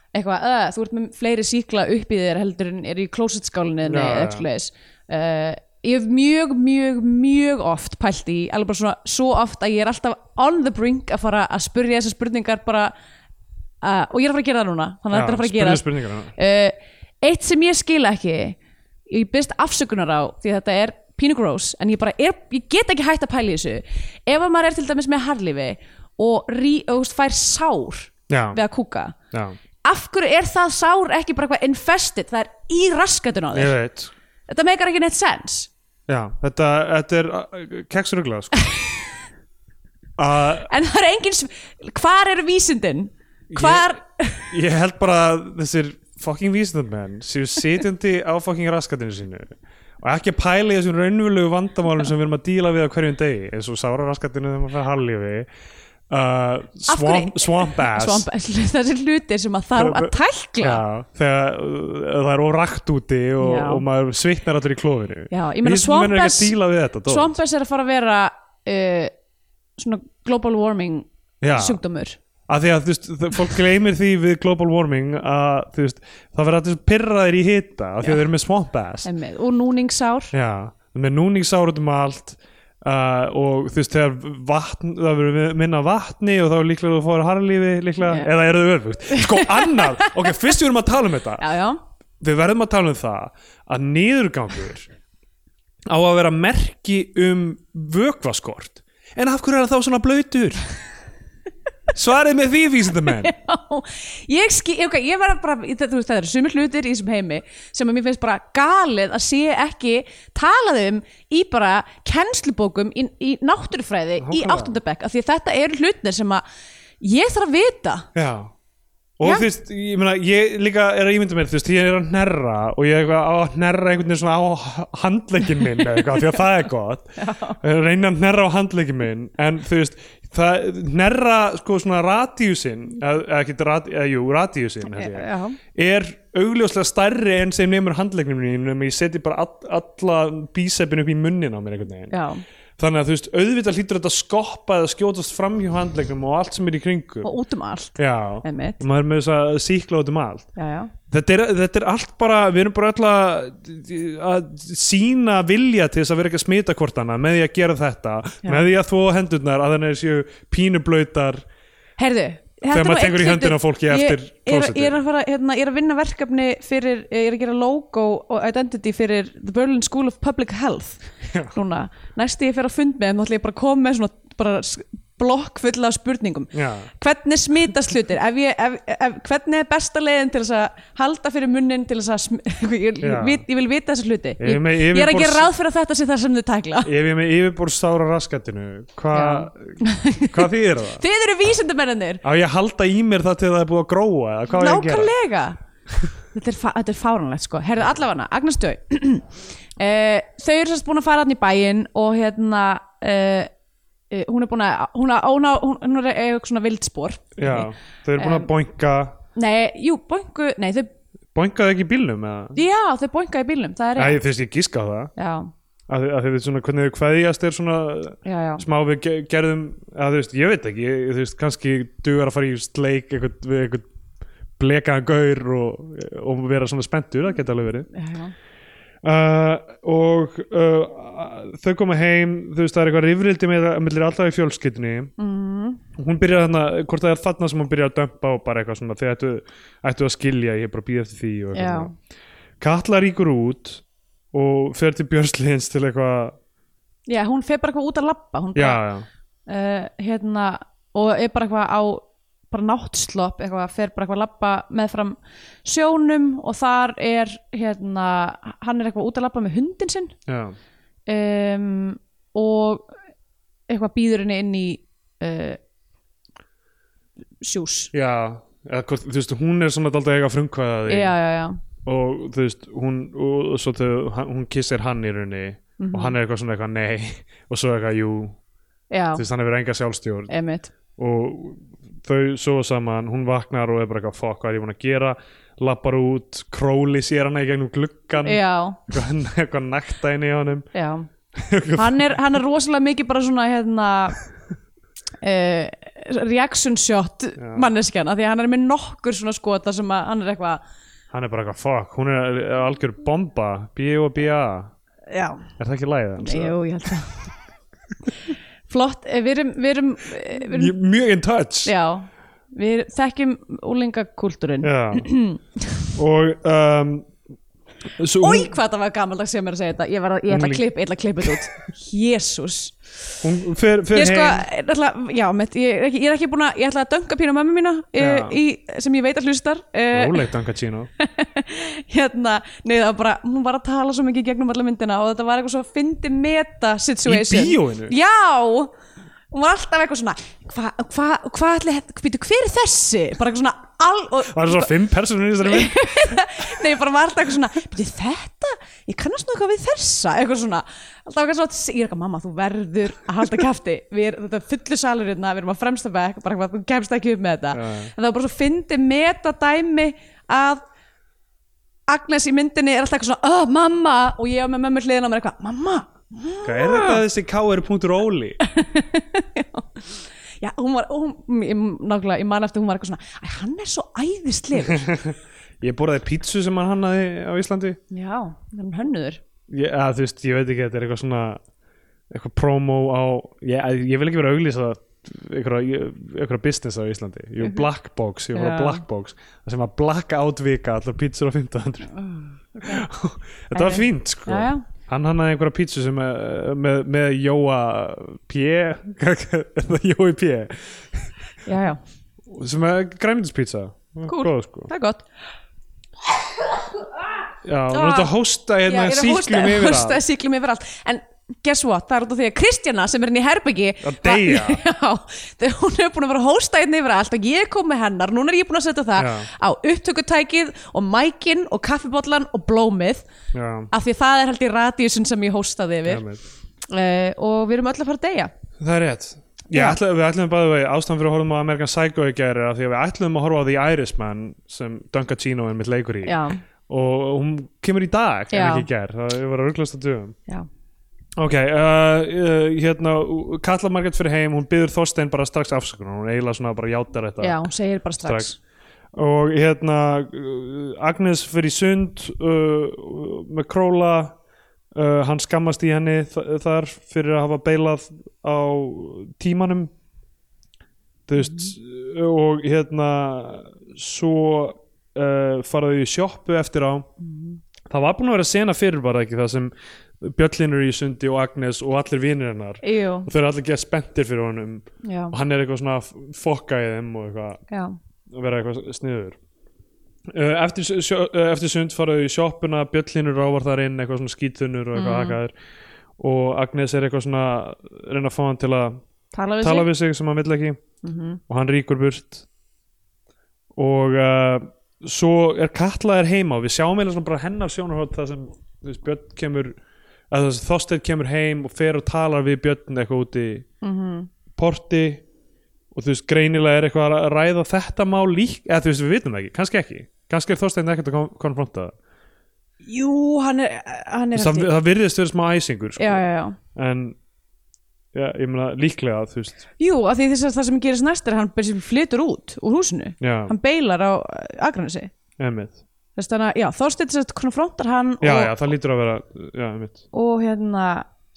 Speaker 3: eitthvað, uh, þú ert með fleiri síkla upp í þér heldur en er í klósetskálinni
Speaker 2: Já,
Speaker 3: eða
Speaker 2: já.
Speaker 3: eitthvað leis uh, ég hef mjög, mjög, mjög oft pælt í, alveg bara svona svo oft að ég er alltaf on the brink að fara að spurja þessar spurningar bara uh, og ég er að fara að gera það núna þannig að þetta er að fara að
Speaker 2: spurðu
Speaker 3: gera
Speaker 2: spurningar núna.
Speaker 3: Uh, eitt sem ég skil ekki ég byrst afsökunar á því að þetta er pínu gross en ég bara er, ég get ekki hægt að pæla í þessu ef að maður er til dæmis með harlifi og rí, og þú veist, fær sár
Speaker 2: Já.
Speaker 3: við að kúka
Speaker 2: já,
Speaker 3: af hverju er það sár ekki bara eitthvað infested það er í raskatun á
Speaker 2: ég
Speaker 3: þér
Speaker 2: veit
Speaker 3: þetta meikar ekki neitt sens
Speaker 2: já, þetta, þetta er eh, keksrugla sko. Uh, að
Speaker 3: en það er engin sv- hvar eru vísindin hvar
Speaker 2: ég held bara að þessir fucking vísindamenn séu sitjandi á fucking raskatinu sínu og ekki að pæla í þessum raunvölu vandamálum sem við erum að díla við á hverjum degi eins og sára raskatinu þegar maður fær harlífi uh,
Speaker 3: Af hverju-
Speaker 2: swamp, swamp ass
Speaker 3: Svamp, þessi hlutir sem að þarf að tækla
Speaker 2: Já, þegar uh, það er órakt úti og,
Speaker 3: Já.
Speaker 2: og maður svitnar allir í klófinu
Speaker 3: Já, ég meina
Speaker 2: Íslendingar
Speaker 3: Swamp
Speaker 2: eru ekki
Speaker 3: Ass-
Speaker 2: að díla við þetta dót.
Speaker 3: Svampes er að fara að vera uh, svona global warming
Speaker 2: Já.
Speaker 3: sjúkdómur
Speaker 2: að því að þú veist, þ- fólk gleymir því við global warming að þú veist, það verður allir svo pirraðir í hita af því að þeir eru með swamp ass
Speaker 3: Einmitt. og núningssár
Speaker 2: Já, með núningssár út um allt uh, og þú veist þegar vatn, það verður minna vatni og þá er líklega að þú fóður harlífi líklega,
Speaker 3: Já.
Speaker 2: eða eru þau öfugt sko annað, ok, fyrst við erum að tala um þetta
Speaker 3: já, já,
Speaker 2: við verðum að tala um það að niðurgangur á að vera merki um vökvaskort en af hverju er það þá svona blöytur? Svarið með því vísindamenn
Speaker 3: ég skil, ok, ég verða bara ég- þú veist það eru sumir hlutir í þessum heimi sem að mér finnst bara galið að sé ekki talað um í bara kennslubókum í, í náttúrufræði í
Speaker 2: Nákvæmlega.
Speaker 3: áttundabekk, af því að þetta eru hlutir sem að ég þarf að vita
Speaker 2: Já Og
Speaker 3: Já.
Speaker 2: þú veist, ég meina, ég líka er að ímynda mér, þú veist, ég er að hnerra og ég er eitthvað á að hnerra einhvern veginn svona á handlegin minn eða eitthvað, því að það er gott reyna að hnerra á handlegin minn en þú veist, það, hnerra sko svona radíusin eða eða ekki, rad, eða jú, radíusin held ég,
Speaker 3: Já.
Speaker 2: er augljóslega stærri en sem nefnur handlegin minn en ég seti bara all, alla bíseppin upp í munnin á mér einhvern veginn
Speaker 3: já.
Speaker 2: þannig að þú veist, auðvitað hlýtur þetta að skoppa eða skjótast fram hjá handlegnum og allt sem er í kringum
Speaker 3: og út um allt
Speaker 2: Já,
Speaker 3: Einmitt.
Speaker 2: maður er með þess að síkla út um allt
Speaker 3: já, já.
Speaker 2: þetta er, þetta er allt bara, við erum bara öll að að sína vilja til þess að vera ekki að smita hvort hana með því að gera þetta, með því að þvó hendurnar að þannig séu pínublautar
Speaker 3: Herðu, þetta
Speaker 2: maður
Speaker 3: var
Speaker 2: tekur í
Speaker 3: einn
Speaker 2: höndina
Speaker 3: hlutur-
Speaker 2: á fólki
Speaker 3: Ég-
Speaker 2: eftir
Speaker 3: ég er,
Speaker 2: klósettið.
Speaker 3: ég, er að fara, hérna, ég er að vinna verkefni fyrir, ég er að gera logo og identity fyrir The Berlin School of Public Health núna, næsti ég fer að fund með þá ætla ég bara að koma með svona bara s- blokk fulla af spurningum
Speaker 2: Já.
Speaker 3: hvernig smitast hlutir ef ég, ef, ef, hvernig er besta leiðin til þess að halda fyrir munnin til þess að sm- ég,
Speaker 2: Já.
Speaker 3: ég, ég vil vita þessa hluti
Speaker 2: Ég er
Speaker 3: ég,
Speaker 2: með
Speaker 3: ég er að gera
Speaker 2: yfirborðs-
Speaker 3: ráð fyrir að þetta sé það sem þau tækla
Speaker 2: ef ég er með yfirborðstára raskatinu hvað hva þýðir það?
Speaker 3: þið eru vísindamennir
Speaker 2: Á ég að halda í mér það til það er búið að gróa eða hvað á ég að gera?
Speaker 3: Nákvæmlega Þetta er, fa- þetta er fáránlegt sko Herðu allafana, Agnes Döi uh, Þau eru sérst búin að fara hann í bæinn og hérna uh, uh, hún er búin að hún, á, hún, á, hún, hún er eitthvað svona vildspor
Speaker 2: Já, þau eru búin að boinga
Speaker 3: Nei, jú, boingu Nei, þau,
Speaker 2: boingaðu ekki í bílnum eða?
Speaker 3: já, þau boinga í bílnum Það er
Speaker 2: Æ, ég finnst ég gíska á það
Speaker 3: Já,
Speaker 2: að, að þið veit svona hvernig þau kveðjast er svona
Speaker 3: já, já
Speaker 2: smá við ge- gerðum að þú veist, ég veit ekki, ég, þú veist, kannski dugar að fara í sleik eitthvað, við eitthvað blekaðan gaur og, og vera svona spenntur, það geta alveg verið
Speaker 3: Já, já.
Speaker 2: uh, og uh, þau koma heim þú veist, það er eitthvað rifrildi með millir alltaf í fjölskyldinni mm.
Speaker 3: Mhm.
Speaker 2: hún byrjar þarna, hvort það er þarna sem hún byrjar að dömpa og bara eitthvað svona, þau ættu, ættu að skilja ég er bara að býða eftir því og
Speaker 3: Já.
Speaker 2: eitthvað svona. Katla ríkur út og fer til Björnsliðins til eitthvað
Speaker 3: já, hún fer bara eitthvað út að labba Hún
Speaker 2: já,
Speaker 3: bara,
Speaker 2: já,
Speaker 3: uh, hérna og er bara eitthvað á bara náttslopp, eitthvað, fer bara eitthvað að labba með fram sjónum og þar er hérna, hann er eitthvað út að labba með hundin sinn
Speaker 2: já.
Speaker 3: um, og eitthvað býður henni inn í uh, sjús
Speaker 2: Já, eða, hvort, þú veist, hún er svona daldið eiga frumkvæðaði
Speaker 3: já, já, já,
Speaker 2: og þú veist, hún, og, og svo þau, hann- hún kissir hann í rauninni
Speaker 3: Mhm.
Speaker 2: og hann er eitthvað svona eitthvað nei og svo eitthvað jú,
Speaker 3: já,
Speaker 2: þú veist, hann hefur enga sjálfstjórn
Speaker 3: emitt
Speaker 2: og þau sofa saman, hún vaknar og er bara eitthvað fokk, hvað er ég búin að gera lappar út, króli sér hana í gegnum gluggan,
Speaker 3: já,
Speaker 2: eitthvað, eitthvað nækta inn í honum
Speaker 3: já hann er, hann er rosalega mikið bara svona hérna uh, reaction shot manneskjana því að hann er með nokkur svona skota sem að hann er eitthvað
Speaker 2: hann er bara eitthvað fokk, hún er algjör bomba, B.O.B.A
Speaker 3: Já,
Speaker 2: er það ekki læðið?
Speaker 3: jú, ég held það Flott, eh, við erum, við erum, eh, við erum
Speaker 2: Mjög in touch
Speaker 3: Já, við þekkjum úlingakúltúrin
Speaker 2: Já. og um, svo
Speaker 3: Ói,
Speaker 2: hún,
Speaker 3: hvað það var gamaldags sem er að segja þetta Ég, var, að- ég ætla að
Speaker 2: Ungling-
Speaker 3: klippa, ég ætla að klippa þetta út Jésús
Speaker 2: hún fer, fer
Speaker 3: Ég sko,
Speaker 2: heim
Speaker 3: ég ætla, já, mitt, ég, er ekki, ég er ekki búin að, ég ætla að dönga pínu mamma mína uh,
Speaker 2: Já.
Speaker 3: í, sem ég veit að hlustar uh,
Speaker 2: Rólegt Dankacino
Speaker 3: hérna, nei það var bara hún var að tala svo mikið í gegnum alla myndina og þetta var eitthvað svo fyndi meta situation
Speaker 2: Í bíóinu?
Speaker 3: Já, hún var alltaf eitthvað svona hvað hva, hva ætli, þetta- býtu, hver er þessi? Bara eitthvað svona al, og,
Speaker 2: Það er svo fimm personur í þessari mynd
Speaker 3: nei, bara var alltaf eitthvað svona býtu, þetta, ég kannast nú eitthvað við þessa eitthvað svona, alltaf eitthvað svona ég er eitthvað mamma, þú verður að halda kæfti við erum þetta er fullu salur hérna, við erum að fremsta bekk bara eitthvað, þú kemst ekki upp með þetta
Speaker 2: Já, já.
Speaker 3: en það var bara svo fyndi metadæmi að Agnes í myndinni er alltaf eitthvað svona oh, mamma, og ég á með mömmu hliðina og mér eitthvað, mamma
Speaker 2: Hvað er þetta þessi kr.óli?
Speaker 3: Já, hún var, hún, ég, nákvæmlega, ég man eftir hún var eitthvað svona, æ, hann er svo æðislegur.
Speaker 2: Ég borðaði pítsu sem hann hannaði á Íslandi
Speaker 3: Já, það er hann hönnuður.
Speaker 2: ég, að, þú veist, ég veit ekki, þetta er eitthvað svona eitthvað promo á ég, að- ég vil ekki vera að auglýsa eitthvað, eitthvað business á Íslandi ég var black box, ég var
Speaker 3: Mhm. Já.
Speaker 2: á black box það sem var black out vika allar pítsur á 500 þetta var
Speaker 3: Ah, Ok.
Speaker 2: fínt sko
Speaker 3: Já, já.
Speaker 2: hann hannaði einhverja pítsu sem eh, með, með Jóa P eða Jói P
Speaker 3: Já, já,
Speaker 2: sem er græmitispítsa
Speaker 3: Kúl.
Speaker 2: Góð, sko.
Speaker 3: það er gott.
Speaker 2: Já, nú er þetta að hósta
Speaker 3: Ah. Já,
Speaker 2: hérna
Speaker 3: ég er að hósta-
Speaker 2: síklum yfir
Speaker 3: hósta síklum yfir allt. En guess what, það er út af því að Kristjana sem er henni í herbyggi.
Speaker 2: Að deyja.
Speaker 3: Já, þegar hún hefur búin að vera að hósta hérna yfir allt og ég kom með hennar, núna er ég búin að setja það
Speaker 2: Já.
Speaker 3: á upptökutækið og mækin og kaffibollan og blómið.
Speaker 2: það
Speaker 3: Af því það er held í radíusin sem ég hóstaði yfir
Speaker 2: Já,
Speaker 3: uh, og við erum öll að fara að deyja.
Speaker 2: Það er rétt Já,
Speaker 3: Já.
Speaker 2: ætla, við ætlum bæði vegi, ástæðan fyrir að horfum á Amerikan Psycho í gæri af því að við ætlum að horfa á The Irishman sem Dunga Chino er mitt leikur í
Speaker 3: Já.
Speaker 2: og hún kemur í dag en
Speaker 3: Já.
Speaker 2: ekki í gær, það er bara rugglast að dögum
Speaker 3: Já.
Speaker 2: Ok, uh, uh, hérna Kalla Margrét fyrir heim, hún byður Þorstein bara strax afsökunar, hún eiginlega svona bara játar þetta
Speaker 3: Já, hún segir bara strax.
Speaker 2: og hérna uh, Agnes fyrir sund uh, með króla uh, hann skammast í henni þ- þar fyrir að hafa beilað á tímanum þú veist og hérna svo uh, faraðu í sjoppu eftir á það var búin að vera sena fyrir var það ekki það sem Bjöllin eru í sundi og Agnes og allir vinir hennar
Speaker 3: Jú,
Speaker 2: og þau eru allir gett spenntir fyrir honum
Speaker 3: já,
Speaker 2: og hann er eitthvað svona að fokka í þeim og eitthvað
Speaker 3: já,
Speaker 2: að vera eitthvað sniður uh, eftir, s- sjó, uh, eftir sund faraðu í sjoppuna bjöllinur ávar þar inn eitthvað svona skítunur og eitthvað hakaður og Agnes er eitthvað svona að reyna að fá hann til að
Speaker 3: tala við
Speaker 2: tala
Speaker 3: sig.
Speaker 2: við sig sem hann vill ekki
Speaker 3: Mm
Speaker 2: og hann rýkur burt og uh, svo er Katla er heima og við sjáum eða svona bara hennar sjónarhótt það sem þú veist, Björn kemur að þess að Þorsteinn kemur heim og fer og talar við Björn eitthvað út í
Speaker 3: Mhm.
Speaker 2: porti og þú veist greinilega er eitthvað að ræða þetta mál lík, eða þú veist við vitum það ekki, kannski ekki kannski er Þorsteinn ekkert að kon- konfronta það.
Speaker 3: Jú, hann er, hann er
Speaker 2: það
Speaker 3: eftir.
Speaker 2: það virðist verið smá æsingur sko.
Speaker 3: Já, já, já.
Speaker 2: en já, ég meina líklega þú veist,
Speaker 3: Jú, af því þess að það sem gerist næst er að hann basically flytur út úr húsinu.
Speaker 2: já,
Speaker 3: Hann beilar á eh, Akranesi.
Speaker 2: emitt
Speaker 3: Þess þannig að, já, Þorsteinn sem sagt konfrontar hann
Speaker 2: já,
Speaker 3: og,
Speaker 2: já, það lítur að vera, já, emitt
Speaker 3: og hérna,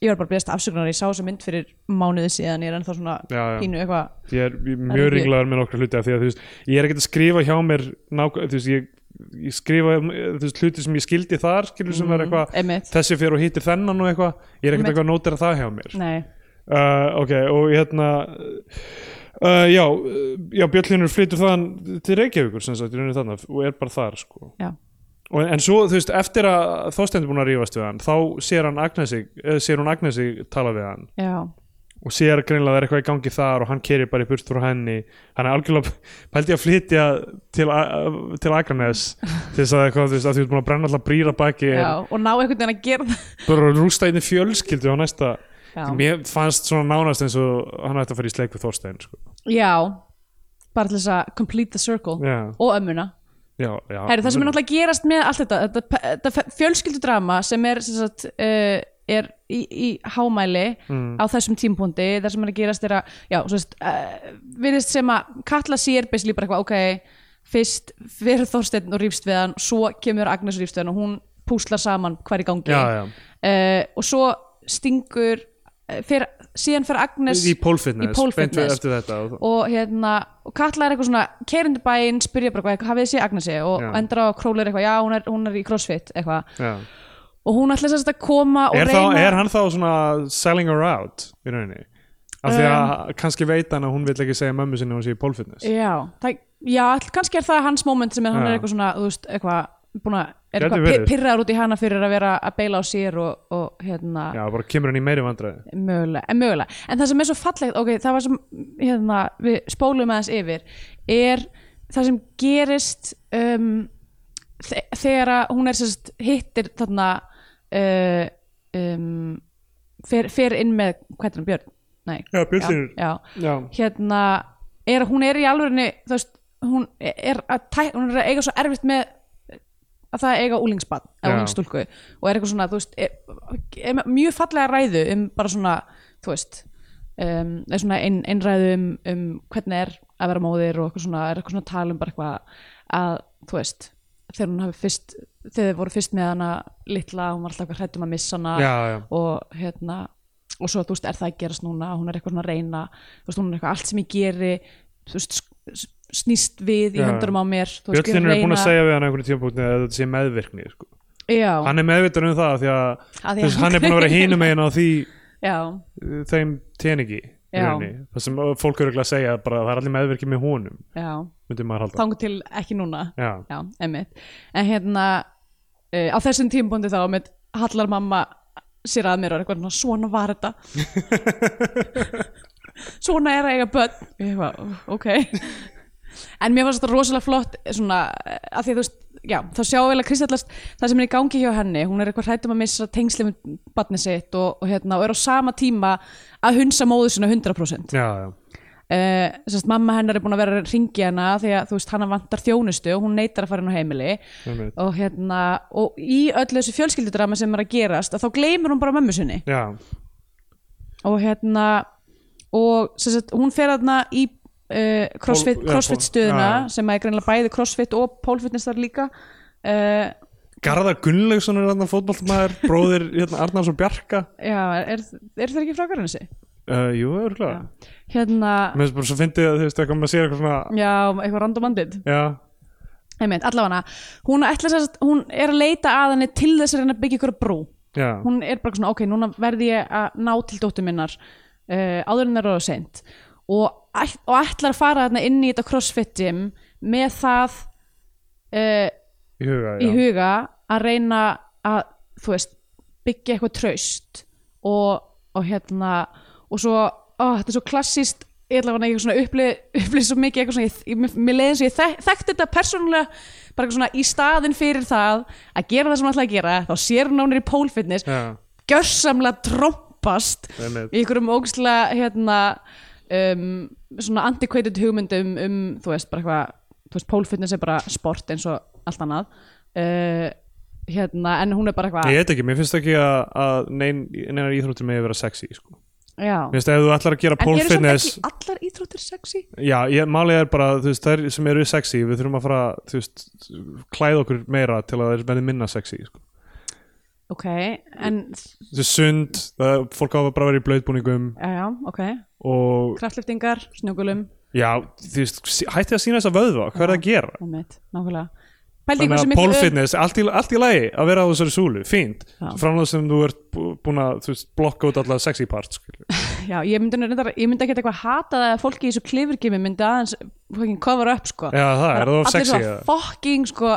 Speaker 3: ég var bara að beðast afsökunar, ég sá þessa mynd fyrir mánuði síðan, ég er ennþá svona
Speaker 2: Já, já.
Speaker 3: pínu eitthvað.
Speaker 2: ég er ég er
Speaker 3: Það
Speaker 2: mjög
Speaker 3: er ekki-
Speaker 2: ringlaður með nokkra hluti af því að þú veist, ég er ekkert að skrifa hjá mér nákvæm, þú veist, ég, ég skrifa um, eh, þú veist, hluti sem ég skildi þar skilur sem er eitthvað,
Speaker 3: Mm, Einmitt.
Speaker 2: þessi fyrir og hittir þennan og eitthvað, ég er ekkert
Speaker 3: Einmitt.
Speaker 2: eitthvað að nótera það hjá mér
Speaker 3: Nei,
Speaker 2: uh, ok, og hérna uh, já, uh, já Björnlinur flytur þaðan til Reykjavíkur sem sagt, í rauninni þarna og er bara þar sko
Speaker 3: já,
Speaker 2: og, en svo, þú veist, eftir að Þorstein er búin að rífast við hann, þá sér, hann Agnesi, eh, sér hún Agnesi tala við hann
Speaker 3: já,
Speaker 2: og sér greinlega að það er eitthvað í gangi þar og hann keri bara í burt frá henni hann er algjörlega pældi að flytja til, A- til Akranes til þess að eitthvað, þú veist, að þú ert búin að brenna alltaf brýra baki
Speaker 3: já,
Speaker 2: er
Speaker 3: og ná einhvern veginn að gera það.
Speaker 2: bara að rústa einni fjölskyldu á næsta
Speaker 3: Já.
Speaker 2: mér fannst svona nánast eins og hann ætti að fara í sleik við Þorstein sko.
Speaker 3: Já, bara til þess að complete the circle
Speaker 2: Já.
Speaker 3: og ömmuna
Speaker 2: já, já,
Speaker 3: Heri, Það sem er náttúrulega gerast með allt þetta þetta, þetta fjölskyldudrama sem er, sem sagt, uh, er í, í hámæli
Speaker 2: Mm.
Speaker 3: á þessum tímpúndi það sem er að gerast er að já, svo veist, uh, virðist sem að Katla sér basically bara eitthvað, ok fyrst fyrir Þorsteinn og rýfst við hann svo kemur Agnes og rýfst við hann og hún púslar saman hver í gangi
Speaker 2: já, já.
Speaker 3: Eh, og svo stingur eh, fer, síðan fer Agnes
Speaker 2: í pólfitness,
Speaker 3: í Pole Fitness.
Speaker 2: eftir þetta og,
Speaker 3: og hérna, og Katla er eitthvað svona keirindi bæinn, spyrja bara eitthvað, hafið þið sé Agnesi og
Speaker 2: Já.
Speaker 3: endra á królir eitthvað, já hún er, hún er í crossfit eitthvað,
Speaker 2: já.
Speaker 3: og hún ætla þess að koma og
Speaker 2: Er, þá,
Speaker 3: reyna
Speaker 2: er hann þá svona selling her out í rauninni af því að kannski veit hann að hún vill ekki segja mömmu sinni að hún sé í pólfitness
Speaker 3: Um. já, það, já, all- kannski er það hans moment sem er, hann
Speaker 2: Já.
Speaker 3: er eitthvað svona, þú veist, eitthvað búin að, er
Speaker 2: Gæti
Speaker 3: eitthvað pi-
Speaker 2: verið.
Speaker 3: pirraður út í hana fyrir að vera að beila á sér og, og hérna,
Speaker 2: já, bara kemur hann í meiri vandræði
Speaker 3: mögulega, en mögulega en það sem er svo fallegt, ok, það var sem hérna, við spólum aðeins yfir er það sem gerist um, þe- þegar að hún er sérst hittir þarna uh, um, fer, fer inn með hvað er hann Björn? Nei,
Speaker 2: Já, Björn Hlynur.
Speaker 3: já, já
Speaker 2: já,
Speaker 3: hérna er, hún er í alvörinni þú veist, hún er að, tæ, hún er að eiga svo erfitt með að það að eiga úlingsbann
Speaker 2: Já.
Speaker 3: eða úlingstúlku og er eitthvað svona, þú veist er, er með mjög fallega ræðu um bara svona, þú veist um, er svona ein, einræðu um, um hvernig er að vera móðir og eitthvað svona er eitthvað svona að tala um bara eitthvað að, þú veist, þegar hún hafi fyrst þegar þið voru fyrst með hana litla hún var alltaf eitthvað hrættum að missa hana
Speaker 2: já, já.
Speaker 3: og hérna og svo þú veist er það að gerast núna hún er eitthvað svona að reyna þú veist hún er eitthvað allt sem ég geri þú veist sk- s- snýst við í
Speaker 2: Já.
Speaker 3: höndunum á mér þú veist, ég
Speaker 2: Björninn
Speaker 3: að
Speaker 2: er búin að
Speaker 3: reyna-
Speaker 2: segja við hann á einhvern tímpúkni að þetta sé meðvirkni sko.
Speaker 3: já,
Speaker 2: hann er meðvitað um það því að,
Speaker 3: Að því
Speaker 2: þess,
Speaker 3: að-
Speaker 2: hann er búin að vera hinum einn á því
Speaker 3: já,
Speaker 2: uh, þeim teningi í
Speaker 3: Já.
Speaker 2: rauninni. það sem uh, fólk eru örugglega að segja bara að það er allir meðvirkið með honum
Speaker 3: já,
Speaker 2: myndi maður halda
Speaker 3: þangu til ekki núna
Speaker 2: já,
Speaker 3: já, emmitt en hérna uh, á þessum tímbundi þá mitt hallar mamma sér að mér og er eitthvað svona, svona var þetta svona er að eiga börn ég var, ok en mér var þetta rosalega flott eh, svona, að því að þú veist, já, þá sjáum við að kristallast það sem er í gangi hjá henni hún er eitthvað hrættum að missa tengsli með barni sitt og, og, hérna, og er á sama tíma að hunsa móður sinna 100%
Speaker 2: já, já.
Speaker 3: uh, sérst, mamma hennar er búin að vera að ringja hana því að þú veist hana vantar þjónustu og hún neytar að fara inn á heimili
Speaker 2: Einmitt.
Speaker 3: og hérna og í öllu þessu fjölskyldudrama sem er að gerast að þá gleymur hún bara mömmu sinni
Speaker 2: já.
Speaker 3: og hérna og sem sagt, hún fer þarna í uh, crossfit,
Speaker 2: Pól- já,
Speaker 3: crossfit
Speaker 2: pól-
Speaker 3: stöðuna
Speaker 2: já, já.
Speaker 3: sem er greinlega bæði crossfit og pólfitness þar líka uh,
Speaker 2: Garðar Gunnlaugsson er hann fótballtmaður bróðir hérna, Arnars og Bjarka
Speaker 3: já, er, er það ekki frákvæðan þessi?
Speaker 2: uh, jú, örgulega
Speaker 3: hérna,
Speaker 2: mér finnst bara svo fyndið að þú veist eitthvað maður sér eitthvað svona
Speaker 3: já, eitthvað random andlit
Speaker 2: já,
Speaker 3: einmitt, allavega hún, ætlar sem sagt- hún er að leita að henni til þess að reyna að byggja ykkur brú
Speaker 2: já,
Speaker 3: hún er bara svona, ok, núna verði ég að ná til dóttur minnar uh, áður en það er sent og, ætl- og ætlar að fara þarna inn í þetta crossfit gym með það uh,
Speaker 2: í huga, já.
Speaker 3: í huga að reyna að, þú veist, byggja eitthvað traust og, og hérna, og svo ó, þetta er svo klassíst, ég ætla að ég svona upplið upplið svo mikið eitthvað svona ég, ég, mér- mér leiðin sem ég þek, þekkti þetta persónulega bara eitthvað svona í staðin fyrir það að gera það sem hann ætla að gera, þá sér hún ánir í pólfitness,
Speaker 2: já,
Speaker 3: gjörsamlega trompast
Speaker 2: Einmitt.
Speaker 3: í einhverjum ógislega hérna um, svona antiquated hugmyndum um, þú veist, bara eitthvað þú veist, pole fitness er bara sport eins og allt annað uh, hérna, en hún er bara
Speaker 2: ég
Speaker 3: eitthvað
Speaker 2: veit ekki, mér finnst ekki að, að nein, neinar íþróttir með vera sexy sko.
Speaker 3: já,
Speaker 2: mér finnst að ef þú ætlar að gera
Speaker 3: en eru samt
Speaker 2: pólfitness
Speaker 3: ekki allar íþróttir sexy?
Speaker 2: já, ég, málið er bara, þú veist, þær sem eru sexy við þurfum að fara, þú veist klæða okkur meira til að þær verði minna sexy sko.
Speaker 3: ok, en
Speaker 2: þú veist, sund, það, fólk á að bara vera í blöðbúningum
Speaker 3: já, já, ok,
Speaker 2: og
Speaker 3: kraftliftingar snugulum,
Speaker 2: já, þú veist, sí- hætti að sína þess að vöðva hvað er það að gera?
Speaker 3: einmitt, nákvæmlega Pældi
Speaker 2: Þannig
Speaker 3: hversu
Speaker 2: að
Speaker 3: miklu
Speaker 2: pole
Speaker 3: ör-
Speaker 2: fitness, allt í, allt í lagi að vera á þessari súlu, fínt
Speaker 3: Já.
Speaker 2: framlega sem þú ert bú- búin að þú veist, blokka út alla sexy part
Speaker 3: Já, ég myndi, nú reyndar, ég myndi ekki eitthvað hata það að fólki í þessu klifurgimi myndi aðeins fucking cover up sko
Speaker 2: Já, það, er það of
Speaker 3: allir
Speaker 2: sexy
Speaker 3: svo
Speaker 2: eða?
Speaker 3: fucking sko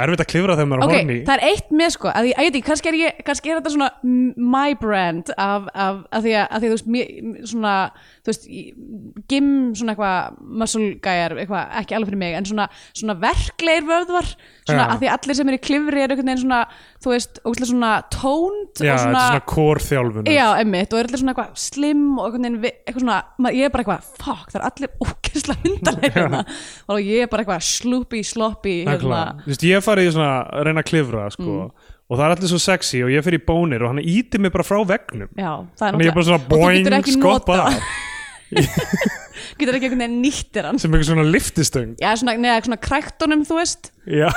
Speaker 2: erfitt að klifra þegar maður
Speaker 3: ok,
Speaker 2: er horni
Speaker 3: það er eitt með sko að, ég- að, ég veit ekki, kannski, er ég, kannski er þetta svona m- my brand af, af, af því að, að því að þú veist mér, svona, þú veist í- gym svona eitthvað muscle gæjar, eitthvað ekki alveg fyrir mig en svona, svona verkleir vöðvar svona
Speaker 2: Já.
Speaker 3: að því að allir sem eru í klifri er einhvern veginn svona, þú veist, ógeðslega svona tónd
Speaker 2: já,
Speaker 3: og
Speaker 2: þetta er svona kórþjálfun
Speaker 3: Já, emmitt, og er allir svona eitthvað slim og einhvern veginn, vi- eitthvað svona, maður, ég er bara eitthvað, fuck, það er allir ógeðslega myndalegir hérna og ég er bara eitthvað sloopy, sloppy, hérna, Mm.
Speaker 2: Nákvæmlega. Þú veist, ég hef farið í svona að reyna að klifra sko, og það er allir svo sexy og ég fer í bónir og hann íti mig bara frá vegnum
Speaker 3: Já, það er
Speaker 2: Þannig ég er bara svona boing, skoppa af.
Speaker 3: notað- Getur ekki einhvern veginn nýttir hann
Speaker 2: sem eitthvað svona liftistöng
Speaker 3: Já, svona, neða, svona kræktunum, þú veist
Speaker 2: já.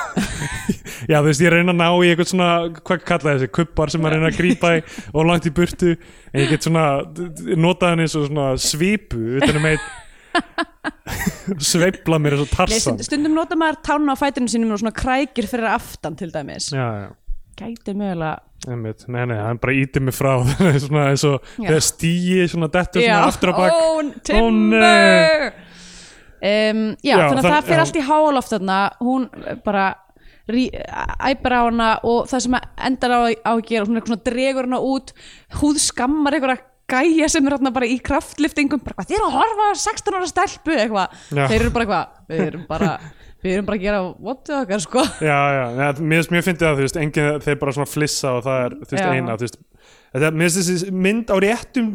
Speaker 2: já, þú veist, ég reyna að ná í eitthvað svona, hvað kallaði þessi, kubbar sem maður reyna að grípa í og langt í burtu en ég get svona, d- d- notað hann eins og svona svipu utanum eitt sveifla mér eins og
Speaker 3: Nei,
Speaker 2: tarsan
Speaker 3: stund- Stundum nota maður tánna á fætinu sínum og svona krækir fyrir aftan til dæmis
Speaker 2: já, já
Speaker 3: Gæti mögulega
Speaker 2: Einmitt. Nei, nei, hann bara íti mig frá svona eins og
Speaker 3: Já.
Speaker 2: þegar stíi svona dettur svona aftur á bak
Speaker 3: Ó,
Speaker 2: Ó,
Speaker 3: timber
Speaker 2: nei.
Speaker 3: um, já,
Speaker 2: Já,
Speaker 3: þannig að
Speaker 2: þann-
Speaker 3: það fyrir
Speaker 2: já.
Speaker 3: allt í háaloft þarna Hún eh, bara rí- æpir á hana og það sem að endar á, á að gera Hún er svona dregur hana út Húðskammar einhverja gæja sem er hérna bara í kraftliftingum bara hvað, þið eru að horfa á 16 ára stelpu eitthvað,
Speaker 2: Já.
Speaker 3: þeir eru bara eitthvað við erum bara, við erum bara að gera votið okkar sko
Speaker 2: já, já, já, mér finnst mjög fyndið að þú veist, enginn þeir bara svona flissa og það er þú veist,
Speaker 3: Já.
Speaker 2: eina, þú veist þetta, mér finnst þessi mynd á réttum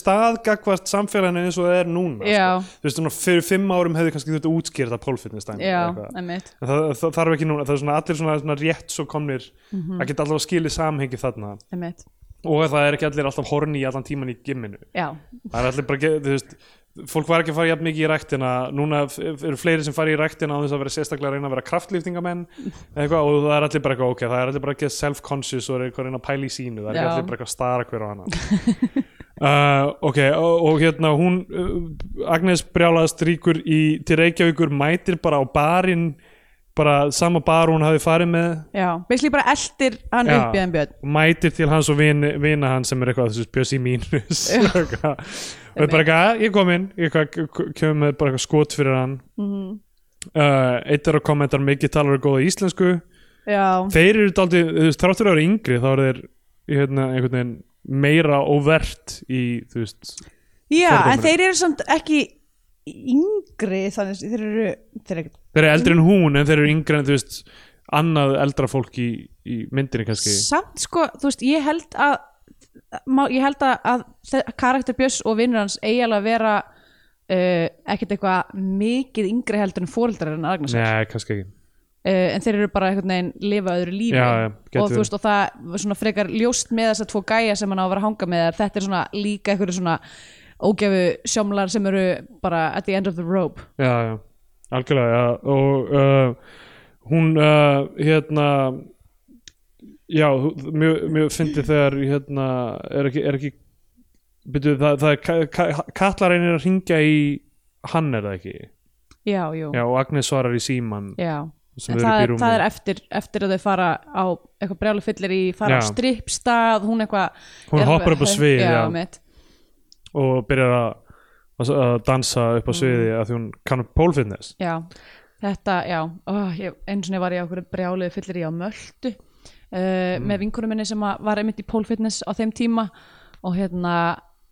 Speaker 2: staðgagvart samfélaginu eins og það er núna
Speaker 3: Já.
Speaker 2: sko. þú veist, svona fyrir fimm árum hefði kannski þetta útskýrt að pólfitnist dæmi
Speaker 3: já,
Speaker 2: eða eitthvað.
Speaker 3: einmitt
Speaker 2: En það, það þarf ekki núna, það er svona allir svona, svona rétt svo komnir
Speaker 3: Mhm.
Speaker 2: að geta allavega skilið samhengi þarna
Speaker 3: einmitt,
Speaker 2: og það er ekki allir alltaf horni í allan tíman í gimminu
Speaker 3: já,
Speaker 2: það er allir bara, ge- þú veist fólk var ekki að fara jafn mikið í ræktina núna f- eru fleiri sem fara í ræktina á þess að vera sérstaklega að reyna að vera kraftlýftingamenn eitthvað, og það er allir bara eitthvað ok það er allir bara ekki self-conscious og er eitthvað að reyna að pæla í sínu það er ekki
Speaker 3: Já.
Speaker 2: allir bara eitthvað að stara hver á annan uh, ok, og, og hérna hún uh, Agnes brjálaðast ríkur í, til Reykjavíkur mætir bara á barinn bara sama bar hún hafi farið með
Speaker 3: já basically bara eldir hann
Speaker 2: Já.
Speaker 3: upp í enn björn
Speaker 2: og mætir til hans og vin, vina hans sem er eitthvað þessu spjösi mínus eitthvað. og er bara eitthvað, "Ah, ég kom inn ég eitthvað, kemur með bara eitthvað skot fyrir hann mm eitt er að kommentar mikið talar og góða íslensku
Speaker 3: já,
Speaker 2: þeir eru daldið, þú veist, þráttur að vera yngri þá eru þeir, hérna, einhvern veginn meira óvert í, þú veist
Speaker 3: já
Speaker 2: Fordómar.
Speaker 3: en þeir eru samt ekki yngri þannig að þeir eru þeir eru ekkert
Speaker 2: þeir eru eldri en hún en þeir eru yngri en, þú veist annað eldra fólk í, í myndinni kannski
Speaker 3: samt sko, þú veist, ég held að má, ég held að, að þe- karakter Björns og vinnur hans eigi alveg að vera uh, ekkert eitthvað mikið yngri heldur en fóreldrar en Agnes uh,
Speaker 2: Nei, kannski ekki
Speaker 3: en þeir eru bara einhvern veginn lifa öðru lífi
Speaker 2: Já, já, getur
Speaker 3: og þú veist, og það var svona frekar ljóst með þess að tvo gæja sem hann á að vera að hanga með þetta er svona líka einhverju svona ógefu sjómlar sem eru bara at the end of the rope
Speaker 2: já, já, algjörlega já. og uh, hún uh, hérna já, hú- mjög, mjög fyndi þegar hérna, er ekki, er ekki byrju, það, það er Ka- Ka- Katla reynir að ringja í hann er það ekki já,
Speaker 3: já, jú,
Speaker 2: og Agnes svarar í síman
Speaker 3: já.
Speaker 2: sem
Speaker 3: En
Speaker 2: þau
Speaker 3: það,
Speaker 2: eru upp
Speaker 3: er,
Speaker 2: í
Speaker 3: það er
Speaker 2: rúmi
Speaker 3: eftir, eftir að þau fara á eitthvað brjálu fyllir í fara á
Speaker 2: Já.
Speaker 3: strippstað hún eitthvað
Speaker 2: Hún
Speaker 3: er
Speaker 2: hoppar
Speaker 3: alveg-
Speaker 2: upp á svið,
Speaker 3: já,
Speaker 2: já.
Speaker 3: mitt.
Speaker 2: og byrjar að, að- að dansa upp á sviði mm. að því hún kann pole fitness
Speaker 3: já. þetta, já Ó, ég, eins og var ég á okkur brjálu fyllir í á Möldu uh,
Speaker 2: Mm.
Speaker 3: með vinkunum minni sem að var einmitt í pole fitness á þeim tíma og hérna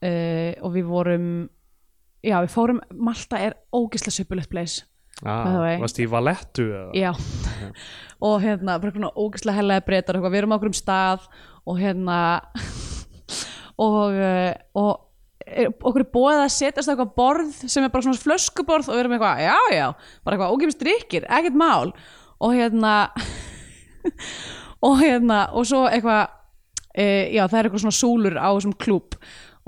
Speaker 3: uh, og við vorum já, við fórum, Malta er ógisla söpulegt place By the
Speaker 2: ah,
Speaker 3: way.
Speaker 2: varst í Valettu eða?
Speaker 3: Já, og hérna bara svona ógæslega hellaði breytar eitthvað, við erum á okkur um stað og hérna og, eh, og er- okkur er bóðið að setjast á eitthvað borð sem er bara svona flöskuborð og við erum eitthvað, já, já, bara eitthvað ógæmst drikkir, ekkert mál og hérna og hérna, og svo eitthvað e, já, það er eitthvað svona súlur á þessum klúb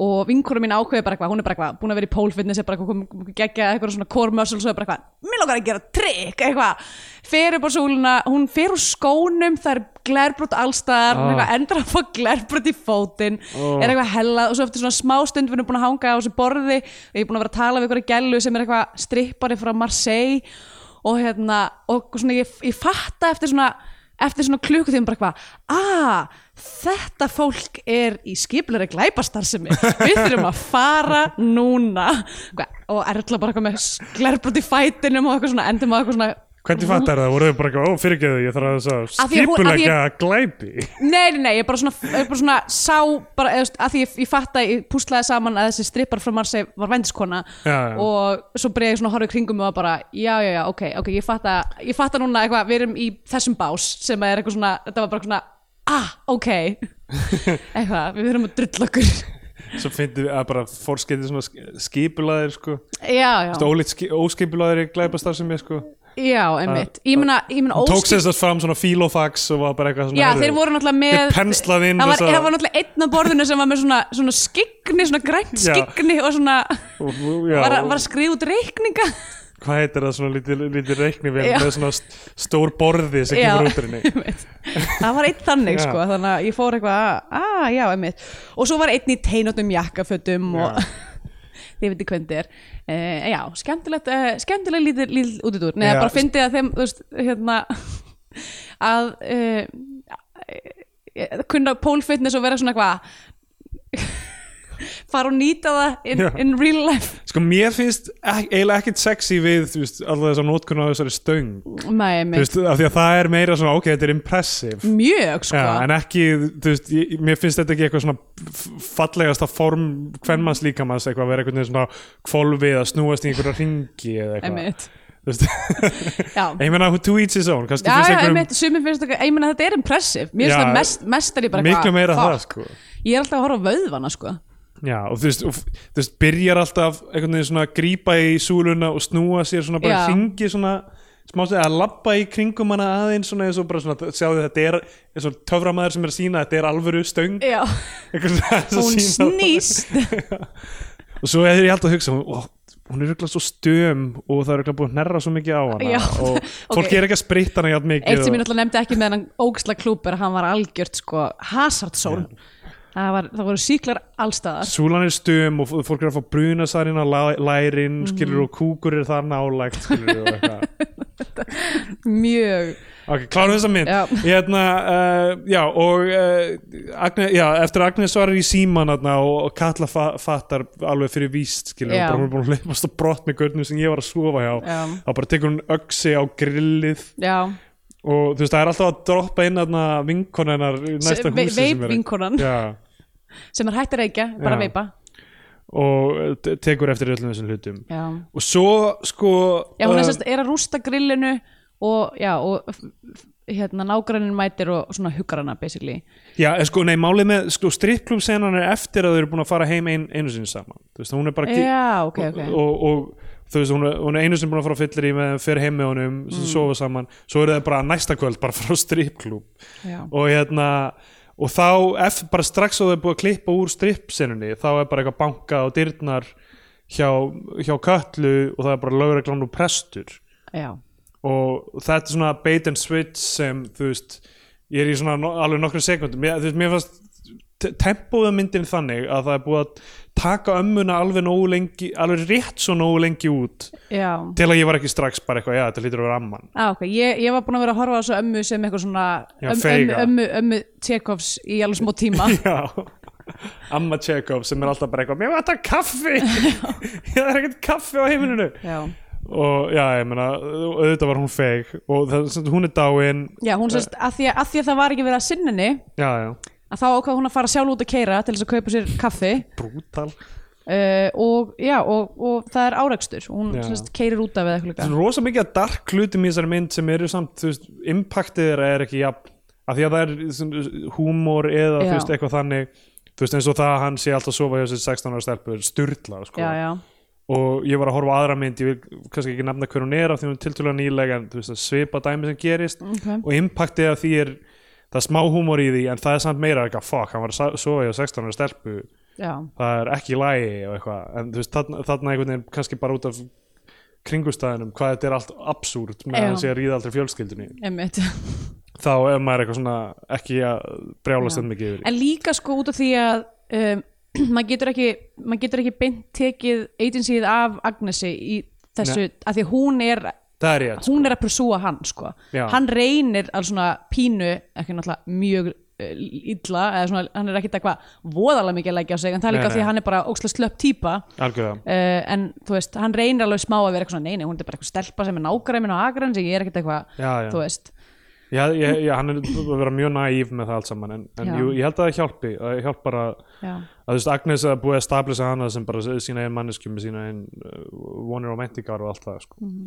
Speaker 3: og vinkurum mín ákveði bara eitthvað, hún er bara eitthvað búin að vera í pole fitness er bara eitthvað kom- geggja eitthvað svona core muscles og er bara eitthvað mér langar að gera trikk, eitthvað fer upp á súluna, hún fer úr skónum það er glerbrot allstaðar hún
Speaker 2: Ah.
Speaker 3: eitthvað endur að fá glerbrot í fótinn er eitthvað hellað og svo eftir svona smástund við erum búin að hanga á þessu borði og ég er búin að vera að tala við eitthvað gælu sem er eitthvað strippari frá Marseille og hérna og svona ég, ég fatta eftir svona eftir svona klukkutíðum bara eitthvað að þetta fólk er í skiplega glæpastarsemi við þurfum að fara núna Eitthvað, og erla bara eitthvað með glerbrot í fætinum og eitthvað svona endum á eitthvað svona
Speaker 2: hvernig fattar það, voru þau bara eitthvað, ó fyrirgeðu ég þarf að
Speaker 3: Af því að hún- af því
Speaker 2: skipulega glæpi
Speaker 3: Nei, nei, nei, ég bara svona, ég bara svona sá bara, eða, þú veist, að því ég, ég fatt að ég púslaði saman að þessi strippar frá Marseille var vændiskona
Speaker 2: Já, já.
Speaker 3: og svo byrjaði ég svona að horfa í kringum og var bara, já, já, já, ok, ok, ég fatt að ég fatt að núna eitthvað, við erum í þessum bás sem er eitthvað svona, þetta var bara svona ah, ok eitthvað, við erum að drull okkur
Speaker 2: svo fyndið að bara fórskeitið svona sk- skipulaðir sko
Speaker 3: Já, já,
Speaker 2: Ólitt ski, óskipulaðir glæpastar sem ég sko
Speaker 3: já, einmitt Ég meina, ég meina
Speaker 2: Hún tók
Speaker 3: óskil
Speaker 2: sér þess fram svona filofax og var bara eitthvað svona
Speaker 3: Já,
Speaker 2: heyrðu,
Speaker 3: þeir voru náttúrulega með
Speaker 2: Þeir penslaði inn
Speaker 3: það var,
Speaker 2: þessa-
Speaker 3: það var náttúrulega einn af borðinu sem var með svona, svona skikni, svona grænt
Speaker 2: Já.
Speaker 3: skikni og svona
Speaker 2: og- og- já,
Speaker 3: var, að- var að skrifa út reikninga
Speaker 2: Hvað heitir það svona lítið, lítið reikni vel
Speaker 3: Já.
Speaker 2: með svona st- stór borði sem
Speaker 3: Já.
Speaker 2: kemur út úr henni
Speaker 3: Einmitt. það var einn þannig
Speaker 2: Já.
Speaker 3: sko þannig að ég fór eitthvað að ah, já, einmitt og svo var einn í teinotnum jakkafötum og þið veitir hvernig þetta er uh, já, skemmtilegt uh, skemmtilegt lítið, lítið út í dúr
Speaker 2: Já.
Speaker 3: neða bara fyndið að þeim, þú veist, hérna að uh, kunna pole fitness og vera svona eitthvað fara og nýta það in,
Speaker 2: Já.
Speaker 3: in real life
Speaker 2: Sko mér finnst ek, eiginlega ekkit sexy við þú veist, alltaf þess að nótkunna á þessari stöng
Speaker 3: Nei,
Speaker 2: þú
Speaker 3: einmitt.
Speaker 2: veist, af því að það er meira svona ok, þetta er impressive
Speaker 3: mjög sko
Speaker 2: Já, en ekki, þú veist, ég, mér finnst þetta ekki eitthvað svona f- fallegasta form hvernmanns líkamanns eitthvað að vera eitthvað svona kvolfið að snúast í einhverja ringi eða eitthvað
Speaker 3: Einmitt.
Speaker 2: þú veist
Speaker 3: já
Speaker 2: Ég meina, to each his own, kannski
Speaker 3: Já,
Speaker 2: finnst
Speaker 3: já,
Speaker 2: einhverjum
Speaker 3: einmitt, sumir finnst þetta, ég meina þetta er impressive Mér
Speaker 2: Já,
Speaker 3: finnst það mest, mest er ég bara
Speaker 2: miklu
Speaker 3: eitthvað,
Speaker 2: meira það,
Speaker 3: fuck.
Speaker 2: sko
Speaker 3: Ég er alltaf að horfa á vöðvana, sko
Speaker 2: Já, og þú veist, og, f- þú veist byrjar alltaf einhvern veginn svona að grípa í súluna og snúa sér svona bara
Speaker 3: Já.
Speaker 2: hringi svona smá sér að labba í kringum hana aðeins svona eins og bara svona, sjáðu þetta er eins og töframæður sem er að sína, þetta er alvöru stöng
Speaker 3: Já,
Speaker 2: einhvern veginn aðeins að
Speaker 3: hún
Speaker 2: sýna það.
Speaker 3: snýst
Speaker 2: og svo er ég alltaf að hugsa ó, hún er röglega svo stöm og það er röglega búið að hnerra svo mikið á hana
Speaker 3: Já,
Speaker 2: og
Speaker 3: ok.
Speaker 2: fólk er ekki að spritta hana játn mikið
Speaker 3: Eitt sem ég
Speaker 2: og-
Speaker 3: náttúrulega nefndi ekki með hann ógisla klúb er að hann var algjört, sko, hasardsón það, var, það voru síklar allstaðar
Speaker 2: Súlan er stum og f- fólk er að fá brunasarinn á lá-
Speaker 3: Mhm.
Speaker 2: lærin, skilur, og kúkur er þar nálægt, skilur, og eitthvað
Speaker 3: Mjög
Speaker 2: Ok, klárum þessa mynd
Speaker 3: Já.
Speaker 2: Hérna, uh, já, og uh, Agne, já, eftir að Agnes svarar í síman þarna, og, og Katla fa fattar alveg fyrir víst, skilur,
Speaker 3: Já.
Speaker 2: og bara hún er búin að hleypast á brott með görnum sem ég var að sofa hjá
Speaker 3: Já.
Speaker 2: þá bara tekur hún öxi á grillið
Speaker 3: Já,
Speaker 2: og þú veist, það er alltaf að droppa inn þarna vinkonennar í næsta
Speaker 3: Ve-
Speaker 2: húsi sem
Speaker 3: veip
Speaker 2: er-
Speaker 3: vinkonan.
Speaker 2: Já,
Speaker 3: sem er hægt að reykja, bara
Speaker 2: Já.
Speaker 3: veipa
Speaker 2: og eh, te- tekur eftir öllum þessum hlutum
Speaker 3: Já,
Speaker 2: og svo sko
Speaker 3: já hún
Speaker 2: eh,
Speaker 3: er, sérst, er að rústa grillinu og, já, og f- f- hérna, nágrannin mætir og, og svona huggar hana, basically
Speaker 2: Já, en sko, nei, málið með sko, strippklub senan er eftir að þau eru búin að fara heim ein, einu sinni saman þú veist, hún er bara ekki-
Speaker 3: Já, ok, ok.
Speaker 2: og, og, og þú veist, hún er, hún er einu sinni búin að fara á fyllir í með þeim, fer heim með honum, mm. sofa saman svo eru þau bara næsta kvöld, bara frá strippklub
Speaker 3: Já,
Speaker 2: og hérna og þá, ef, bara strax og þau er búin að klippa úr strippsenunni, þá er bara eitthvað banka og dyrnar hjá, hjá köllu og það er bara lögreglan og prestur
Speaker 3: já,
Speaker 2: og þetta er svona bait and switch sem þú veist ég er í svona no alveg nokkrum sekundum mér, þú veist, mér fannst te- tempóið á myndin þannig að það er búið að taka ömmuna alveg nógu lengi alveg rétt svo nógu lengi út
Speaker 3: já
Speaker 2: til að ég var ekki strax bara eitthvað, já þetta lítur að vera amman
Speaker 3: Ah, okay. ég, ég var búin að vera að horfa á þessu ömmu sem eitthvað svona
Speaker 2: Já,
Speaker 3: ömmu, ömmu,
Speaker 2: feiga.
Speaker 3: ömmu, ömmu Tjekovs í alveg smó tíma
Speaker 2: já, amma Chekhov sem er alltaf bara eitthvað, mér var þetta kaffi það er ekkert kaffi á heimininu
Speaker 3: Já,
Speaker 2: og já, ég meina auðvitað var hún feig og það, sem sagt, hún er dáin
Speaker 3: já hún sérst að því að, að því að það var ekki verið að sinna henni
Speaker 2: já, já,
Speaker 3: að þá ákvað hún að fara sjálf út að keira til þess að kaupa sér kaffi
Speaker 2: brútal
Speaker 3: uh, og já, og, og það er árekstur hún
Speaker 2: Já.
Speaker 3: sérst keirir út af eða
Speaker 2: Það
Speaker 3: eitthvað líka.
Speaker 2: er rosa mikið að dark hlutum í þessari mynd sem eru samt, þú veist, impactið þeirra er ekki jafn, af því að það er svona, húmor eða,
Speaker 3: Já.
Speaker 2: þú veist, eitthvað þannig þú veist, eins og það að hann sé alltaf að sofa hjá sér 16 ára stelpur, styrla, sko
Speaker 3: Já, já,
Speaker 2: og ég var að horfa á aðra mynd, ég vil kannski ekki nefna hver hún er af því hún er tiltölulega nýlega en þú veist, það svipa dæmi sem gerist
Speaker 3: Ok.
Speaker 2: og impactið af því er, það er smá húmor í því en það er samt meira eitthvað, fuck, hann var að sa- sofa hjá 16 ára stelpu
Speaker 3: já,
Speaker 2: það er ekki í lagi og eitthvað en þú veist, þarna, þarna einhvern veginn kannski bara út af kringustæðinum, hvað þetta er allt absúrt með
Speaker 3: Já.
Speaker 2: að hann sé að ríða aldrei fjölskyldunni
Speaker 3: einmitt
Speaker 2: þá er maður eitthvað svona ekki að brjálast þetta mikið yfir því.
Speaker 3: en líka sko út af því að um, maður getur ekki maður getur ekki beint tekið agencyið af Agnesi í þessu að því að hún er
Speaker 2: það er rétt, sko.
Speaker 3: hún er að pursúa hann sko.
Speaker 2: Já.
Speaker 3: hann reynir alveg svona pínu ekki náttúrulega mjög eh, illa eða svona, hann er ekkit eitthvað voðalega mikið að leggja á sig en það er
Speaker 2: Nei,
Speaker 3: líka af því
Speaker 2: nei.
Speaker 3: að hann er bara ókslega slöpp típa uh,
Speaker 2: algjörða
Speaker 3: en þú veist, hann reynir alveg smá að vera eitthvað svona neini, hún er bara eitthvað stelpa sem er nágræmin og agræn sem ég er ekkit eitthvað,
Speaker 2: já, já.
Speaker 3: þú veist
Speaker 2: Já, ég, ég, hann er að vera mjög naív með það allt saman en, en
Speaker 3: Já.
Speaker 2: jú, ég held að það hjálpi að það hjálpar að,
Speaker 3: já,
Speaker 2: að þú veist, Agnes er búið að stablisa hana sem bara sína einn manneskjum með sína einn uh, vonir og mentingar og allt það sko.
Speaker 3: Mhm.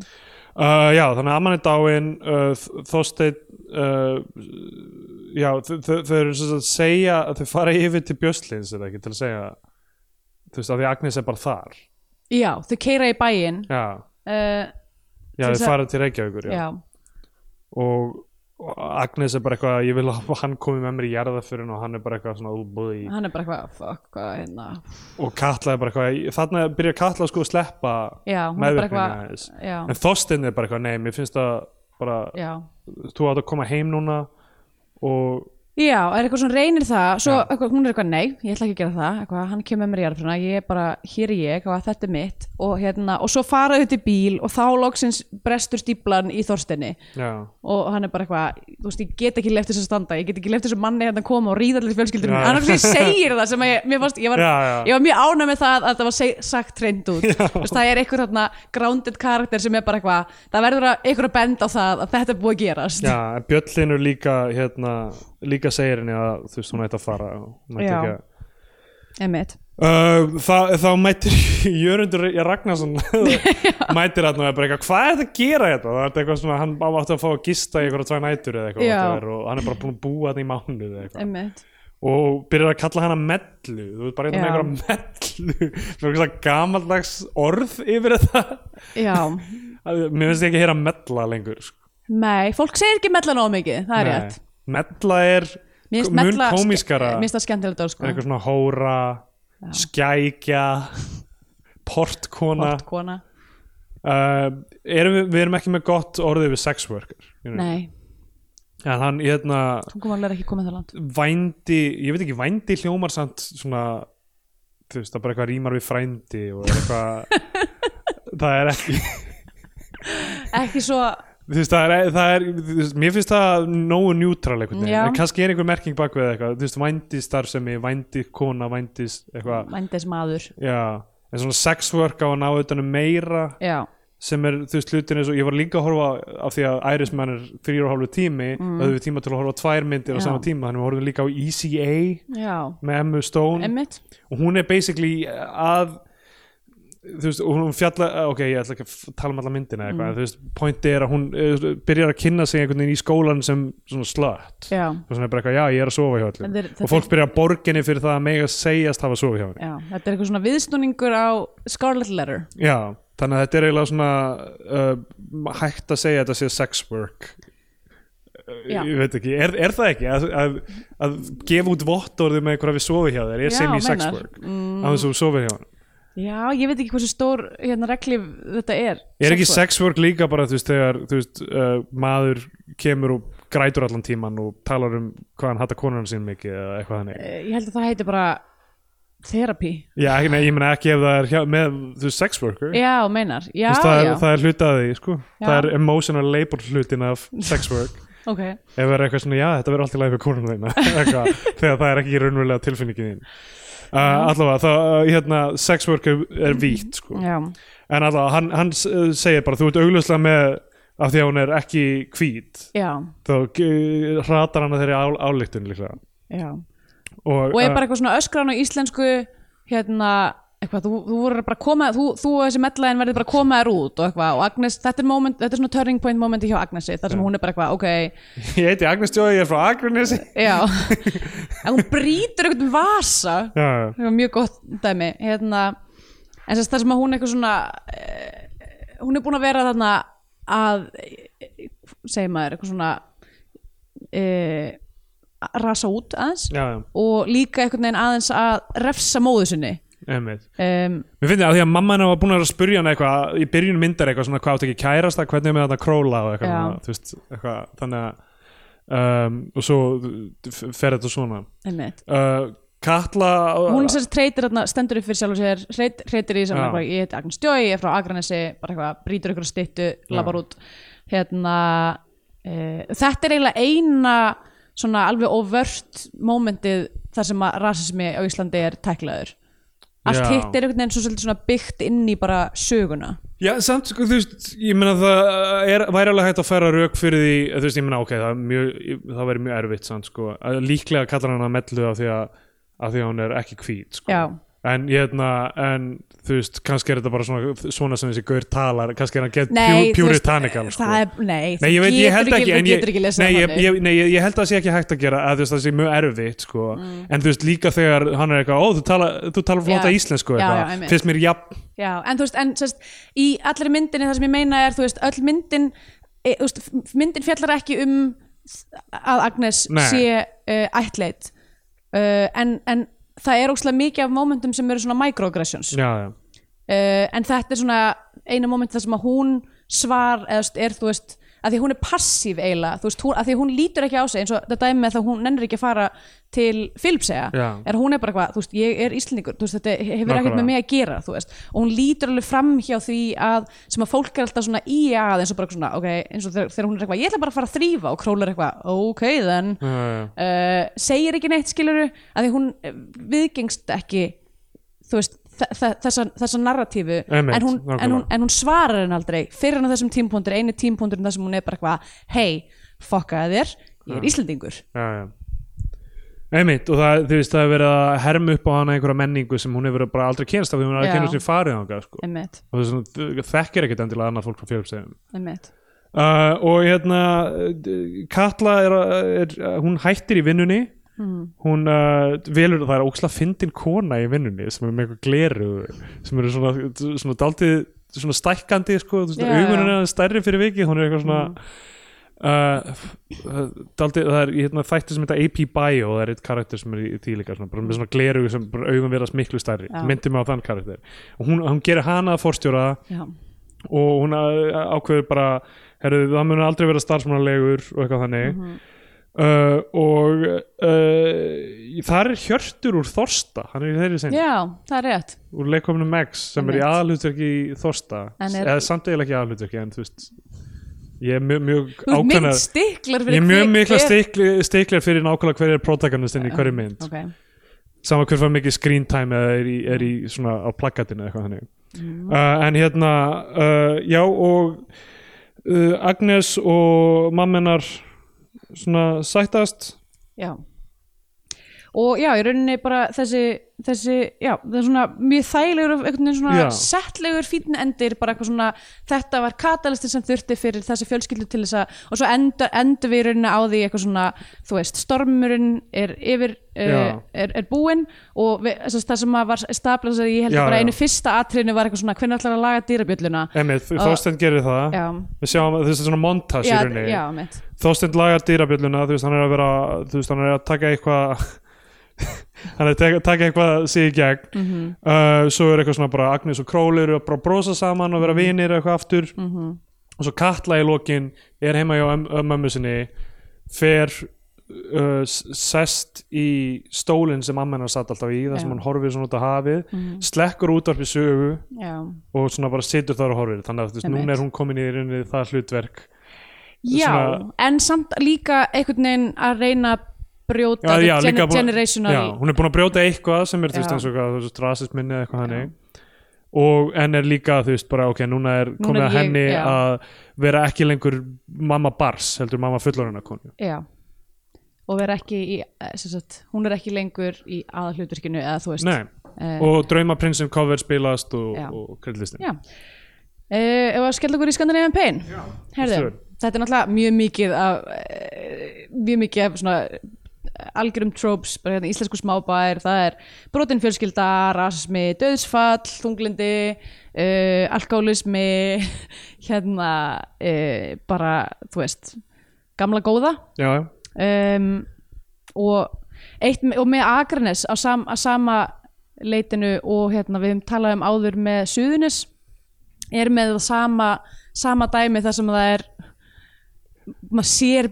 Speaker 2: uh, já, þannig að Aman er dáin uh, Þorsteinn uh, já, þau- þau þau eru sem sagt að segja að þau fara yfir til Bjöstlins eða ekki, til að segja þú veist, af því Agnes er bara þar
Speaker 3: já þau keira í bæinn uh,
Speaker 2: já,
Speaker 3: já,
Speaker 2: já þau
Speaker 3: Til þess að-
Speaker 2: fara til Reykjavíkur já.
Speaker 3: já,
Speaker 2: og og Agnes er bara eitthvað ég vil að hann komi með mér í jarðaförin og hann er bara eitthvað svona úbúi
Speaker 3: hann er bara eitthvað fuck, hvað, hérna
Speaker 2: og Katla er bara eitthvað þarna byrja Katla sko að sleppa
Speaker 3: Já, hún er bara
Speaker 2: meðvirkninni
Speaker 3: eitthvað-
Speaker 2: aðeins
Speaker 3: já.
Speaker 2: en Þorsteinn er bara eitthvað, nei, mér finnst það bara,
Speaker 3: já,
Speaker 2: þú átt að koma heim núna og
Speaker 3: já, er eitthvað svona reynir það svo eitthvað, hún er eitthvað nei, ég ætla ekki að gera það eitthvað, hann kemur með mér í jarðfruna, ég er bara hér er ég, eitthvað, þetta er mitt og, hérna, og svo fara þau til bíl og þá loksins brestur stíplan í þorstinni
Speaker 2: já,
Speaker 3: og hann er bara eitthvað, þú veist, ég get ekki left þess að standa, ég get ekki left þess að manni hérna að koma og ríða allir fjölskyldurinn,
Speaker 2: Já.
Speaker 3: hann er þess að segir það sem að ég, mér fannst, ég var,
Speaker 2: Já, já.
Speaker 3: ég var mjög ánæg með það að það var seg, sagt reynd út, Þú veist, það er einhver þarna grounded karakter sem er bara eitthvað það verður að, einhver að benda á það að þetta er búið að gerast
Speaker 2: já en Bjöllinur líka hérna, líka segir henni að þú veist, hún ætti að fara og hún ætti
Speaker 3: Já.
Speaker 2: ekki að
Speaker 3: Einmitt.
Speaker 2: Uh, þá, þá mætir Jörundur Ragnarsson mætir hann og er bara eitthvað hvað er þetta að gera þetta það er þetta eitthvað svona, hann átti að fá að gista í einhverja tvær nætur eða eitthvað
Speaker 3: Já.
Speaker 2: whatever, og hann er bara búin að búa þetta í mánuð eða eitthvað
Speaker 3: Einmitt.
Speaker 2: og byrjar að kalla hana mellu þú veist bara
Speaker 3: Já.
Speaker 2: eitthvað með einhverja mellu svona eitthvað gamaldags orð yfir þetta
Speaker 3: Já,
Speaker 2: Að- mér finnst ég ekki að heyra mella lengur sko.
Speaker 3: nei, fólk segir ekki mellan of mikið, það er
Speaker 2: Nei.
Speaker 3: rétt
Speaker 2: mella er
Speaker 3: Mér finnst
Speaker 2: mun
Speaker 3: mella-
Speaker 2: kómískara
Speaker 3: Mér finnst það skemmtilegt orð
Speaker 2: er
Speaker 3: sko
Speaker 2: eitthvað svona hóra skækja portkona
Speaker 3: Hortkona,
Speaker 2: uh, erum við, við erum ekki með gott orðið við sex worker you know.
Speaker 3: nei,
Speaker 2: en hann hérna
Speaker 3: tungumáli er ekki komið það land
Speaker 2: vændi, ég veit ekki vændi hljómar samt svona þú veist, það bara eitthvað rýmar við frændi og er eitthvað það er ekki,
Speaker 3: Ekki svo,
Speaker 2: þú veist, það er, það er þú veist, mér finnst það nógu neutral einhvern veginn,
Speaker 3: Já.
Speaker 2: en kannski er einhver merking bak við eitthvað, þú veist, vændi starfsemi vændi kona, vændis eitthvað,
Speaker 3: vændis maður
Speaker 2: já en svona sex work á að ná utanum meira
Speaker 3: Já,
Speaker 2: sem er, þú veist, hlutin eins og ég var líka að horfa á- af því að Irisman er þrýra og hálfu tími mm. og við tíma til að horfa á tvær myndir á
Speaker 3: Já.
Speaker 2: sama tíma, þannig við horfum líka á ECA
Speaker 3: já,
Speaker 2: með Emmu Stone
Speaker 3: emmitt
Speaker 2: og hún er basically að þú veist, og hún fjalla ok, ég ætla ekki að f- tala um alla myndina eða eitthvað,
Speaker 3: Mm.
Speaker 2: en þú veist, pointi er að hún eh, byrjar að kynna sig einhvern veginn í skólan sem svona slött
Speaker 3: Já,
Speaker 2: og svona er bara eitthvað, já, ég er að sofa hjá
Speaker 3: En
Speaker 2: öllum
Speaker 3: þeir- þetta-
Speaker 2: og fólk byrjar að borginni fyrir það að mega segjast hafa sofa hjá henni
Speaker 3: já, þetta er eitthvað svona viðsnúningur á Scarlet Letter
Speaker 2: Já, þannig að þetta er eiginlega svona uh, hægt að segja að þetta sé sex work
Speaker 3: Já.
Speaker 2: ég veit ekki, er, er það ekki að, að, að gefa út vottorði með eitthvað við sofi hjá þér, ég
Speaker 3: Já, Mm.
Speaker 2: sem í sex
Speaker 3: meinar.
Speaker 2: work á þess að þú sofi hjá hann
Speaker 3: Já, ég veit ekki hversu stór hérna reglif þetta er
Speaker 2: Er ekki
Speaker 3: Sexual.
Speaker 2: sex work líka bara þú veist þegar þú veist, uh, maður kemur og grætur allan tíman og talar um hvað hann hattar konan sín mikið eða eitthvað þannig
Speaker 3: Eh, Ég held að það heiti bara therapy
Speaker 2: Já, ekki, nei, ég meina ekki ef það er hjá, með þú veist sex worker
Speaker 3: Já, meinar, já,
Speaker 2: Þú veist, það,
Speaker 3: já,
Speaker 2: er, það er hlutaði, sko
Speaker 3: Já.
Speaker 2: það er emotional labor hlutin af sex work
Speaker 3: ok
Speaker 2: ef það er eitthvað svona, já, þetta verður alltaf læg fyrir konum þeina eitthvað, þegar það er ekki raunverulega tilfinningin þín uh, allavega, þá, uh, hérna, sex work er, er vítt, sko,
Speaker 3: Já,
Speaker 2: en allavega hann, hann s- uh, segir bara, þú ert augljóslega með af því að hún er ekki hvít
Speaker 3: já,
Speaker 2: þá uh, hratar hann að þeirri á, álíktun líklega
Speaker 3: já
Speaker 2: og, uh,
Speaker 3: og er bara eitthvað svona öskran á íslensku hérna, eitthvað, þú, þú voru bara að koma þú, þú og þessi mellaðin verður bara að koma þér út og eitthvað, og Agnes, þetta er, moment, þetta er svona turning point momenti hjá Agnesi, þar sem hún er bara eitthvað ok,
Speaker 2: uh, ég heiti Agnes Jói, ég er frá Agranesi
Speaker 3: já en hún brýtur eitthvað um vasa
Speaker 2: já,
Speaker 3: það var mjög gott dæmi hérna, en þess að það sem að hún eitthvað svona eh, hún er búin að vera þarna að eh, segir maður, eitthvað svona eh, að rasa út aðeins
Speaker 2: já,
Speaker 3: og líka einhvern veginn aðeins að refsa móðu sinni
Speaker 2: emmitt
Speaker 3: um,
Speaker 2: Mér finnst það að því að mamma hennar var búin að vera að spurja hann eitthvað í byrjun myndar eitthvað svona hvað átt ekki kærasta hvernig er með þetta króla og eitthvað,
Speaker 3: Já.
Speaker 2: svona, þú veist, eitthvað þannig að um, og svo f- fer þetta svona
Speaker 3: einmitt.
Speaker 2: uh, Katla
Speaker 3: hún sem treytir þarna, stendur upp fyrir sjálf og sér hreyt- hreytir í sem
Speaker 2: Já.
Speaker 3: bara, ég heiti Agnes Djói, ég er frá Akranesi bara eitthvað, brýtur ykkur styttu, labbar út hérna uh, þetta er eiginlega eina svona alveg overt momentið þar sem að rasismi á Íslandi er tæklaður allt
Speaker 2: Já.
Speaker 3: hitt er einhvern veginn svo svolítið svona byggt inn í bara söguna
Speaker 2: Já, samt, sko, þú veist, ég meina það eh, er, væri alveg hægt að færa rauk fyrir því eh, þú veist, ég meina, ok, það, er mjög, það væri mjög erfitt samt, sko, að líklega kallar hann að mellu af því að, af því að hún er ekki hvít, sko
Speaker 3: Já.
Speaker 2: En ég hefna, en þú veist, kannski er þetta bara svona, svona sem þessi gaur talar, kannski er hann gett
Speaker 3: Nei, þú veist, eh,
Speaker 2: puritanikal, sko.
Speaker 3: það er, nei,
Speaker 2: Nei, ég veit, ég held ekki, en ég,
Speaker 3: þú getur ekki lesið
Speaker 2: nei,
Speaker 3: það
Speaker 2: ég,
Speaker 3: þannig.
Speaker 2: ég, nei, ég, ég held að það sé ekki hægt að gera að þú veist, það sé mjög erfitt, sko en þú veist, líka þegar hann er eitthvað, ó, þú tala, þú tala flóta
Speaker 3: Mm. Já.
Speaker 2: íslensku
Speaker 3: Já,
Speaker 2: eitthvað,
Speaker 3: já, einmitt.
Speaker 2: finnst mér jafn
Speaker 3: Já, en þú veist, en sérst, í allri myndinni það sem ég meina er, þú veist, öll myndin e, þú veist, f- myndin fjallar ekki um að Agnes
Speaker 2: Nei.
Speaker 3: sé uh, ættleit uh, en, en það er ókslega mikið af momentum sem eru svona microaggressions uh,
Speaker 2: já, já,
Speaker 3: Eh, en þetta er svona eina moment þar sem að hún svar eða þú veist, er, þú veist, að því hún er passív eiginlega, þú veist, hún, að því hún lítur ekki á sig eins og þetta dæmi með það hún nennir ekki að fara til Filipsega,
Speaker 2: Já.
Speaker 3: er hún er bara eitthvað, þú veist, ég er íslendingur, þú veist, þetta hefur hefur ekkert
Speaker 2: Nákvæmlega.
Speaker 3: með mig að gera, þú veist og hún lítur alveg fram hjá því að sem að fólk er alltaf svona í að eins og bara svona, ok, eins og þegar, þegar hún er eitthvað ég ætla bara að fara að þrýfa og królar eitthvað, ok then uh,
Speaker 2: já, já.
Speaker 3: segir ekki neitt skiluru, að því hún eh, viðgengst ekki þú veist, þe- þe- þessa, þessa narratífu
Speaker 2: Einmitt,
Speaker 3: en, hún,
Speaker 2: nákvæmlega.
Speaker 3: en, hún, en hún svarar henn aldrei fyrir hann á þessum tímpúndur, eini tímpúndur þar sem hún er bara eitthvað, hei, fokkaði þér ég er Íslendingur
Speaker 2: já, já. Einmitt, og það, þú veist, það er verið að herma upp á hana einhverja menningu sem hún hefur bara aldrei kynst af því hún er
Speaker 3: Já.
Speaker 2: að kynast sem farið þangað sko.
Speaker 3: einmitt,
Speaker 2: og þess vegna þekkir ekkert endilega annað fólk frá fjölpsæðum
Speaker 3: einmitt
Speaker 2: uh, og hérna d- Katla er, að- er, hún hættir í vinnunni
Speaker 3: Mm.
Speaker 2: hún uh, velur það er óksla fyndin kona í vinnunni sem er með eitthvað gleru sem eru svona, svona daldið svona stækkandi sko,
Speaker 3: Já, já.
Speaker 2: augunum er stærri fyrir vikið hún er eitthvað svona
Speaker 3: Hmm.
Speaker 2: mm. uh, daldið, það er í hérna, þætti sem heita AP Bio, það er eitt karakter sem er í því líka, svona, bara með svona gleru sem bara augun verast miklu stærri,
Speaker 3: Já.
Speaker 2: myndi mig á þann karakter og hún, hún gerir hana að forstjóra
Speaker 3: já,
Speaker 2: og hún uh, ákveður bara herru, það mun aldrei vera starfsmannalegur og eitthvað þannig
Speaker 3: Mhm.
Speaker 2: uh, og uh, þar er Hjörtur úr Þorsta hann er í þeirri sinni,
Speaker 3: já, það er rétt
Speaker 2: úr leikofnum Max sem er í
Speaker 3: Einmitt.
Speaker 2: aðalutverki í Þorsta
Speaker 3: En er-
Speaker 2: eða samt eiginlega ekki aðalutverki en þú veist ég er mjög, mjög
Speaker 3: þú ert
Speaker 2: ákveðna
Speaker 3: mynd stiklar
Speaker 2: ég
Speaker 3: fyrir
Speaker 2: er mjög mikla
Speaker 3: hver-
Speaker 2: stikli- stiklar fyrir nákvæmlega hverju er protagonistinn í hverju mynd
Speaker 3: ok,
Speaker 2: sama hver fær mikið screen time eða er í, er í svona á plakatinu eða eitthvað þannig uh, en hérna uh, já og uh, Agnes og mammenar svona sættast
Speaker 3: já og já, í rauninni bara þessi, þessi já, það er svona mjög þægilegur og einhvern veginn svona
Speaker 2: Já.
Speaker 3: settlegur fínn endir, bara eitthvað svona þetta var katalistin sem þurfti fyrir þessi fjölskyldu til þess að, og svo endur, endur við í rauninni á því eitthvað svona, þú veist stormurinn er yfir uh,
Speaker 2: Já.
Speaker 3: er, er búinn og við, þess, það sem að var staplað, ég held
Speaker 2: Já,
Speaker 3: að bara
Speaker 2: já.
Speaker 3: einu fyrsta atriðinu var eitthvað svona, hvernig ætlar að laga dýrabjölluna
Speaker 2: Emið,
Speaker 3: Og-
Speaker 2: Þorstein gerir það
Speaker 3: já,
Speaker 2: við sjáum að þessi svona montage í
Speaker 3: já,
Speaker 2: rauninni
Speaker 3: já, mitt
Speaker 2: Þorstein lagar dýrabjölluna þú veist hann er að vera þú veist hann er að taka eitthvað hann er að taka- taka eitthvað sig í gegn
Speaker 3: Mhm.
Speaker 2: uh, svo er eitthvað svona bara Agnes og Król eru að bara brosa saman og vera
Speaker 3: Mhm.
Speaker 2: vinir eitthvað aftur og svo Katla í lokin er heima hjá öm- ömmu sinni fer uh, s- sest í stólinn sem amma hennar satt alltaf í þar sem
Speaker 3: Já. Mhm.
Speaker 2: hann horfir svona út á hafið slekkur útvarpi sögu
Speaker 3: já,
Speaker 2: og svona bara situr þar og horfir þannig að þú veist,
Speaker 3: Einmitt.
Speaker 2: núna er hún komin í rauninni það hlutverk
Speaker 3: já
Speaker 2: Svona-
Speaker 3: en samt líka einhvern veginn að reyna að brjóta
Speaker 2: já, já,
Speaker 3: gen
Speaker 2: líka búin-
Speaker 3: generational
Speaker 2: já, hún er búin að brjóta eitthvað sem er þú veist
Speaker 3: Já.
Speaker 2: eins og hvað, þú veist, rasisminni eða eitthvað hannig og en er líka þú veist bara ok, núna er
Speaker 3: Núna
Speaker 2: komið
Speaker 3: er
Speaker 2: að
Speaker 3: ég-
Speaker 2: henni
Speaker 3: já.
Speaker 2: að vera ekki lengur mamma bars, heldur mamma fullorina konu
Speaker 3: já. og vera ekki í eh, sem sagt, hún er ekki lengur í aðhlutverkinu eða þú veist
Speaker 2: Nei,
Speaker 3: eh,
Speaker 2: og draumaprinsin cover spilast og,
Speaker 3: Já.
Speaker 2: og kreddlistin
Speaker 3: já Eh, ef að skella okkur í Scandinavian Pain Herðu,
Speaker 2: Sure.
Speaker 3: þetta er náttúrulega mjög mikið af, eh, mjög mikið af svona eh, algjörum tropes, bara hérna íslensku smábær það er brotin fjölskylda, rasismi döðsfall, þunglindi uh, alkoholismi hérna uh, bara, þú veist, gamla góða
Speaker 2: Já, já,
Speaker 3: um, og, eitt, og með Akranes á sam, að sama leitinu og hérna, við höfum talað um áður með Suðunis er með það sama, sama dæmi þar sem það er maður sér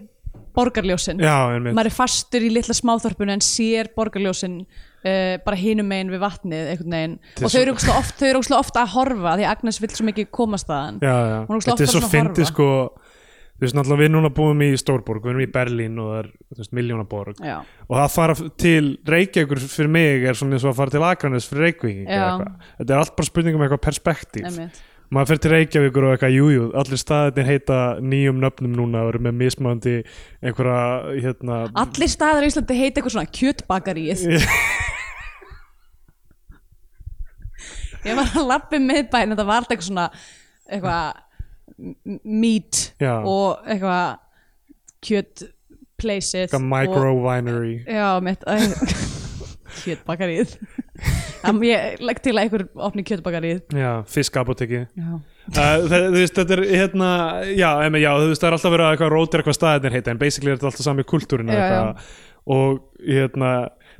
Speaker 3: borgarljósin
Speaker 2: já, einmitt
Speaker 3: maður er fastur í litla smáþorpun en sér borgarljósin uh, bara hinum megin við vatnið einhvern veginn
Speaker 2: Þetta er
Speaker 3: og þau eru
Speaker 2: svo-
Speaker 3: ógeðslega oft, þau eru ógeðslega oft að horfa því Agnes vill svo mikið komast þaðan
Speaker 2: já, já.
Speaker 3: Hún er ógeðslega
Speaker 2: þetta er
Speaker 3: oft
Speaker 2: svo
Speaker 3: bara svona að
Speaker 2: fyndið
Speaker 3: horfa.
Speaker 2: sko þú veist náttúrulega við núna búum í Stórborg við erum í Berlín og það er þú veist, miljónaborg
Speaker 3: Já.
Speaker 2: og það að fara f- til Reykjavíkur fyrir mig er svona eins og að fara til Akranes fyrir Reykjavík
Speaker 3: Já.
Speaker 2: þetta er allt bara spurning um eitthvað perspektíf
Speaker 3: einmitt.
Speaker 2: maður fer til Reykjavíkur og eitthvað jújú jú, allir staðirnir heita nýjum nöfnum núna og eru með mismandi einhverja hérna,
Speaker 3: Allir staðar í Íslandi heita eitthvað svona kjötbakaríið Ég var að lappi miðbæn þetta var alltaf eitthvað svona eitthvað m- meat
Speaker 2: Já.
Speaker 3: og eitthvað kjöt places
Speaker 2: eitthvað micro winery
Speaker 3: og, Já, mitt æ, kjötbakaríið Þannig ég legg til að einhver opni kjötbakaríið
Speaker 2: já, fiskapoteki
Speaker 3: Já,
Speaker 2: Uh, það- þú veist, þetta er hérna já, emi, já, þú veist, það er alltaf verið að eitthvað rótir eitthvað staðirnir heita, en basically er þetta alltaf sami kultúrin
Speaker 3: Já,
Speaker 2: og hérna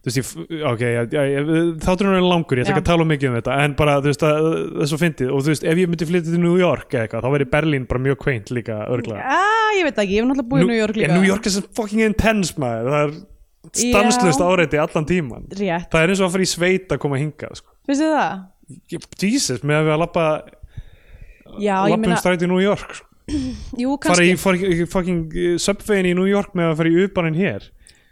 Speaker 2: þú veist, ég, f- ok, já, já, ég, þátturinn er langur, ég ætla ekki að
Speaker 3: Já.
Speaker 2: tala of mikið um þetta en bara, þú veist, að, það er svo fyndið og þú veist, ef ég myndi flytja til New York eða eitthvað, þá væri Berlín bara mjög kveint líka, örglega
Speaker 3: ah, ég veit það ekki, ég hef náttúrulega búið í New York líka
Speaker 2: en New York er sem fucking intense maður, það er stanslust
Speaker 3: Já.
Speaker 2: áreiti allan tíman
Speaker 3: Rétt,
Speaker 2: það er eins og að fara í sveit að koma hingað sko.
Speaker 3: finnst þið það?
Speaker 2: Jesus, með að við að lappa
Speaker 3: Já, ég
Speaker 2: lappum
Speaker 3: meina,
Speaker 2: stræti í New York sko.
Speaker 3: jú,
Speaker 2: fara
Speaker 3: kannski
Speaker 2: í fara í fucking eh, subwayn í New York með að fara í ubanin hér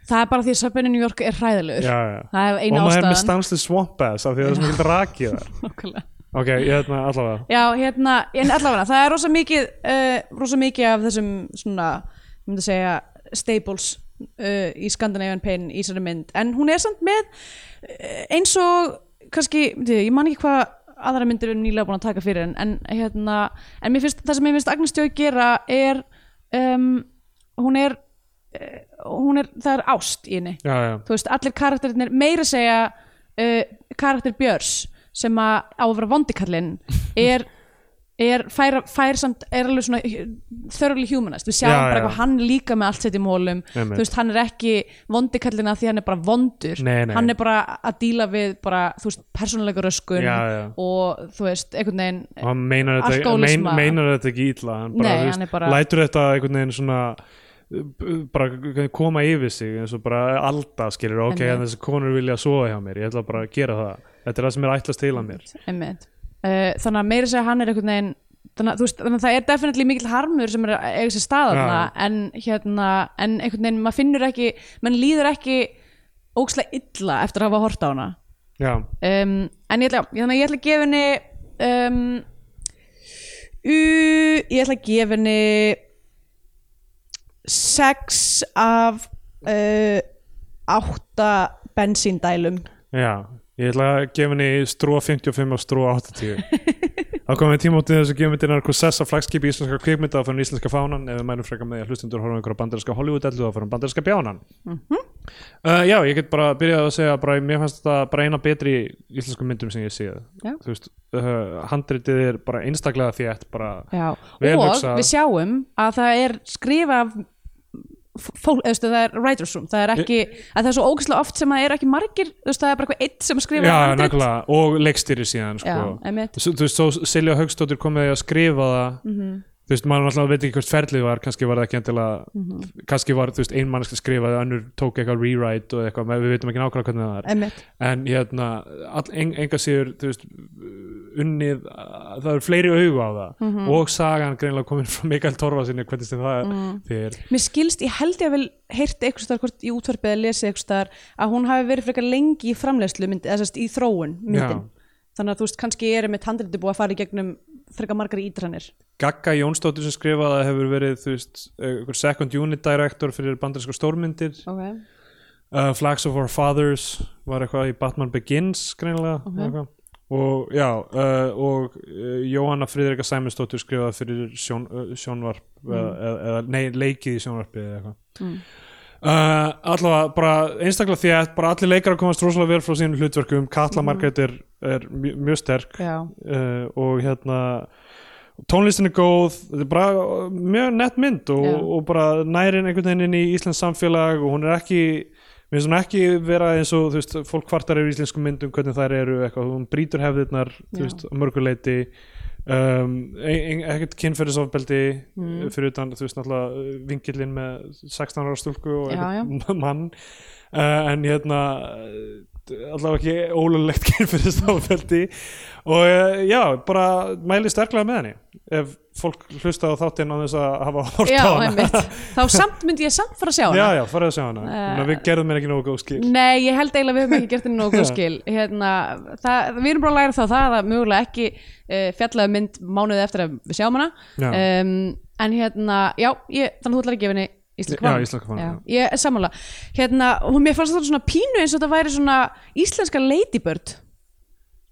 Speaker 3: Það er bara því að söpinn í New York er hræðilegur
Speaker 2: já, já.
Speaker 3: Það er
Speaker 2: og
Speaker 3: eina
Speaker 2: maður er með
Speaker 3: ástæðan
Speaker 2: stansli swamp ass af því að það er svona ekki rakið þar
Speaker 3: Nákvæmlega.
Speaker 2: ok, ég hefna allavega
Speaker 3: Já, hérna, en allavega eh, það er rosa mikið, uh, rosa mikið af þessum svona, ég myndi segja staples uh, í Scandinavian Pain í þessari mynd en hún er samt með uh, eins og kannski, ég man ekki hvað aðra myndir við erum nýlega búin að taka fyrir en, en, hérna, en mér finnst, það sem mér finnst Agnes Stjóð gera er um, hún er uh, hún er, það er ást í henni
Speaker 2: já, já,
Speaker 3: þú veist, allir karakterinir meira segja uh, karakter Björns sem að á að vera vondikallinn er, er fær, fær samt, er alveg svona þörfli humanist, við sjáum
Speaker 2: Já,
Speaker 3: bara
Speaker 2: já.
Speaker 3: hvað hann er líka með allt sitt í mólum,
Speaker 2: Einmitt.
Speaker 3: þú veist, hann er ekki vondikallinn að því hann er bara vondur
Speaker 2: Nei, nei.
Speaker 3: hann er bara að díla við bara, þú veist, persónulega röskun
Speaker 2: Já, já.
Speaker 3: og þú veist, einhvern veginn
Speaker 2: Og hann meinar þetta, mein,
Speaker 3: Alkohólisma.
Speaker 2: meinar þetta ekki ítla hann bara,
Speaker 3: Nei,
Speaker 2: þú
Speaker 3: hann er
Speaker 2: veist,
Speaker 3: bara-
Speaker 2: lætur þetta einhvern veginn svona uh, bara k- koma yfir sig eins og bara alda skilur ok,
Speaker 3: Einmitt.
Speaker 2: en þessi konur vilja sofa hjá mér ég ætla bara að gera það, þetta er það sem er ætlast til að mér
Speaker 3: einmitt uh, þannig að meira segja hann er einhvern veginn þannig að, þú veist, þannig að það er definitely mikil harmur sem er að eiga sér staðarna
Speaker 2: Já.
Speaker 3: en hérna, en einhvern veginn maður finnur ekki, mann líður ekki ókslega illa eftir að hafa hort á hana
Speaker 2: já,
Speaker 3: um, en ég ætla, já, þannig að ég ætla að gefa henni um, u, ég ætla að gefa henni sex af uh, átta bensíndælum
Speaker 2: já ég ætla að gefa henni stró 55 og stró 80 þá komum við tímótið þessu gefmyndin er eitthvað sessa flagskipi íslenska kvikmynda að fyrir íslenska fánan ef við mælum frekar með því að hlustundur horfum einhverja bandarinska Hollywood-ellu að fyrir bandarinska bjánan uh, já, ég get bara byrjað að segja bara, mér fannst þetta bara eina betri íslensku myndum sem ég séð
Speaker 3: Já.
Speaker 2: þú veist, uh, handritið er bara einstaklega þétt bara,
Speaker 3: Já,
Speaker 2: Vel
Speaker 3: og
Speaker 2: hugsað.
Speaker 3: við sjáum að það er skrifa af f- fólk, eða, þú veist, það er writer's room það er ekki, að það er svo ógæslega oft sem að það er ekki margir, þú veist, það er bara eitthvað eitt sem skrifa
Speaker 2: já, nefnilega, og leikstýri síðan sko.
Speaker 3: Já, einmitt. Mhm.
Speaker 2: S- þú veist, svo Silja Haugstóttir komið að skrifa það þú veist, maður náttúrulega veit ekki hvort ferlið var kannski var það ekki endilega
Speaker 3: Mhm.
Speaker 2: kannski var, þú veist, ein mannskja skrifaði önnur tók eitthvað rewrite og eitthvað, við veitum ekki nákvæmlega hvernig það er
Speaker 3: Einmitt.
Speaker 2: en hérna, all, en, enga síður þú veist, unnið að- það eru fleiri augu á það
Speaker 3: Mhm.
Speaker 2: og sagan greinlega komin frá Mikael Torfa sinni hvernig sem það mm.
Speaker 3: Mhm.
Speaker 2: þér
Speaker 3: Mér skilst, ég held ég að vel heyrti eitthvað starf hvort í útvarpið eða lesið eitthvað starf að hún hafi verið frekar lengi í framleiðslu myndi, eða sérst í þróun myndin
Speaker 2: Já.
Speaker 3: þannig að þú veist, kannski er með handriti búið að fara í gegnum frekar margar ítranir
Speaker 2: Gagga Jónsdóttir sem skrifaði hefur verið, þú veist, einhver second unit director fyrir bandarinsko stórmyndir
Speaker 3: okay.
Speaker 2: uh, Flags of Our Fathers var eitthvað í Batman Begins greinilega eitthvað. og já uh, og uh, Jóhanna Friðrika Sæmundsdóttir skrifaði fyrir sjón, uh, sjónvarp eða, eða, nei, leikið í sjónvarpi eða eitthvað Uh, allavega, bara einstaklega því að bara allir leikar að komast rosalega vel frá sínum hlutverkum Katla Margrét er, er mjö- mjög sterk
Speaker 3: Já.
Speaker 2: uh, og hérna tónlistin er góð þetta er bara uh, mjög nett mynd og,
Speaker 3: Já.
Speaker 2: og bara nærin einhvern veginn inn í Íslands samfélag og hún er ekki mér finnst hún ekki vera eins og þú veist, fólk kvartar yfir íslenskum myndum hvernig þær eru eitthvað, hún brýtur hefðirnar þú
Speaker 3: Já.
Speaker 2: veist, að mörguleiti um, ein- ein- ekkert kynferðisofbeldi mm. fyrir utan þú veist náttúrulega vingillin með 16 ára stúlku og
Speaker 3: Já,
Speaker 2: einhvern mann uh, en hérna uh, allavega ekki ólulegt kynferðisofbeldi og uh, já, bara mæli sterklega með henni ef fólk hlusta á þáttinn á þess að hafa hort
Speaker 3: Já,
Speaker 2: á hana
Speaker 3: einmitt. Eh. Þá samt myndi ég samt fara að sjá hana
Speaker 2: já, já, farið að sjá hana uh, við gerðum mér ekki nógu góð skil
Speaker 3: Nei, ég held eiginlega við höfum ekki gert henni nógu góð skil hérna, það, Við erum bara að læra þá það að mögulega ekki uh, fjallaðu mynd mánuði eftir að við sjáum hana
Speaker 2: Já.
Speaker 3: um, En hérna, já, ég, þannig að þú ætlar að gefa henni
Speaker 2: Já,
Speaker 3: Íslenska kvaran.
Speaker 2: Íslenska kvaran,
Speaker 3: Já, Ég er sammála hérna, hún, Mér fannst þetta svona pínu eins og þetta væri svona íslenska ladybird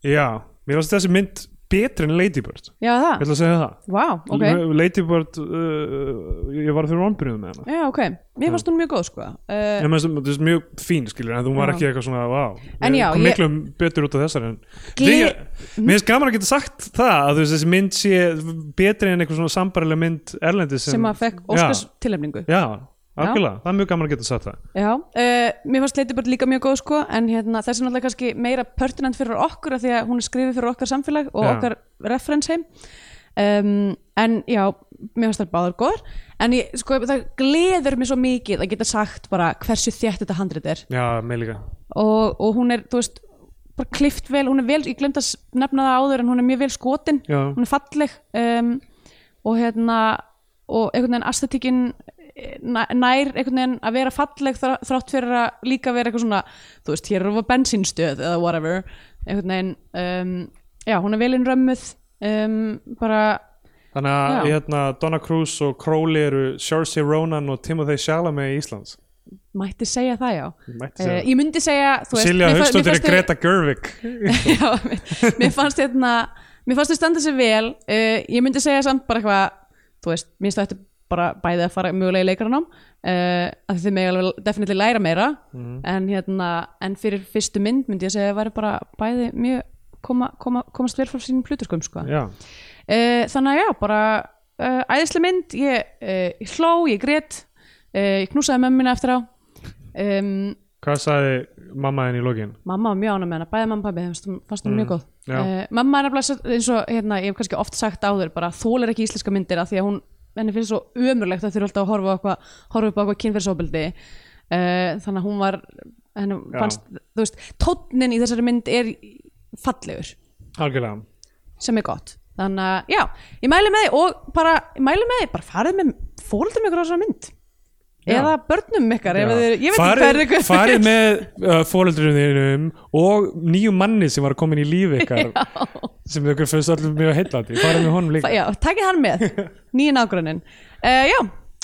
Speaker 2: já, mér finnst þessi mynd betri en Lady Bird ég
Speaker 3: Já, það,
Speaker 2: ætla að segja það
Speaker 3: vá, ok
Speaker 2: L- Lady Bird uh, ég var fyrir vonbyrjuð með hana
Speaker 3: Já, ok, mér fannst hún mjög góð sko uh,
Speaker 2: Ég meðst, það er mjög fín skilur en þú var
Speaker 3: Já.
Speaker 2: ekki eitthvað svona wow,
Speaker 3: En já,
Speaker 2: kom
Speaker 3: ég- Mhm.
Speaker 2: miklu betur út af þessar en
Speaker 3: Gli-
Speaker 2: Ég- mér finnst gaman að geta sagt það að þú veist, þessi mynd sé betri en eitthvað svona sambarileg mynd erlendis
Speaker 3: sem að fekk Óskars tilefningu
Speaker 2: já, já, algjörlega, það er mjög gaman að geta sagt það
Speaker 3: Já, uh, mér fannst Lady Bird líka mjög góð sko en hérna, þessi er náttúrulega kannski meira pertinent fyrir okkur af því að hún er skrifið fyrir okkar samfélag og
Speaker 2: Já.
Speaker 3: okkar referensheim um, en já, mér fannst það báðar góðar en ég, sko, það gleður mér svo mikið að geta sagt bara hversu þétt þetta handrit er
Speaker 2: já, mig líka
Speaker 3: og, og hún er, þú veist bara klift vel, hún er vel, ég glemt að s- nefna það áður en hún er mjög vel skotin
Speaker 2: Já.
Speaker 3: hún er falleg um, og hérna og einhvern veginn astetikinn nær einhvern veginn að vera falleg þrá- þrátt fyrir að líka vera eitthvað svona þú veist, hér eru að bensínstöð eða whatever einhvern veginn, um, já, hún er velinn römmuð um, bara,
Speaker 2: þannig að
Speaker 3: Já.
Speaker 2: hérna, Donna Cruz og Crowley eru Saoirse Ronan og Timothy Chalamet í Íslands
Speaker 3: mætti segja það já
Speaker 2: Mætti
Speaker 3: Uh,
Speaker 2: segja
Speaker 3: ég myndi segja þú veist,
Speaker 2: Silja
Speaker 3: mér fa-
Speaker 2: Haustóttir
Speaker 3: mér
Speaker 2: er
Speaker 3: fannst þau-
Speaker 2: Greta Gerwig
Speaker 3: já, mér- mér fannst hérna mér fannst þau standa sér vel uh, ég myndi segja samt bara eitthvað þú veist, mér stætti bara bæði að fara mögulega í leikaranám uh, að þið mig alveg definitíli læra meira en hérna, en fyrir fyrstu mynd myndi ég segja að væri bara bæði mjög koma, koma, komast vel frá sínum pluturkum sko.
Speaker 2: Já,
Speaker 3: uh, þannig að já, bara uh, æðislega mynd ég, uh, ég hló, ég grét uh, ég knúsaði mömmina eftir á um,
Speaker 2: hvað sagði mamma þinn í lokin?
Speaker 3: mamma var mjög ánæg með hana, bæði mamma og pabbi þeim fannst hún- fannst hún mjög góð
Speaker 2: Mm, já.
Speaker 3: uh, mamma er nefnilega svo- eins og, hérna, ég hef kannski oft sagt áður bara þólar ekki íslenska myndir af því að hún, henni finnst svo ömurlegt að þurfa alltaf að horfa, á eitthvað, horfa upp á eitthvað kynferðsóbildi uh, þannig að hún var henni
Speaker 2: Já.
Speaker 3: fannst, þú veist, tónnin í þessari mynd er fallegur
Speaker 2: Algjörlega
Speaker 3: sem er gott þannig að, já, ég mæli með því og bara, ég mæli með því, bara farið með fóröldum ykkur á þessari mynd
Speaker 2: Já.
Speaker 3: eða börnum ykkar, ef
Speaker 2: Já.
Speaker 3: þið, ég veit
Speaker 2: farið,
Speaker 3: ekki hver
Speaker 2: farið með uh, fóreldurinn þínum og nýju manni sem var komin í lífi ykkar sem þau fyrst allir mjög heillandi farið með honum líka
Speaker 3: Fa- Já, takið hann með, nýja nágrunnin uh, Já,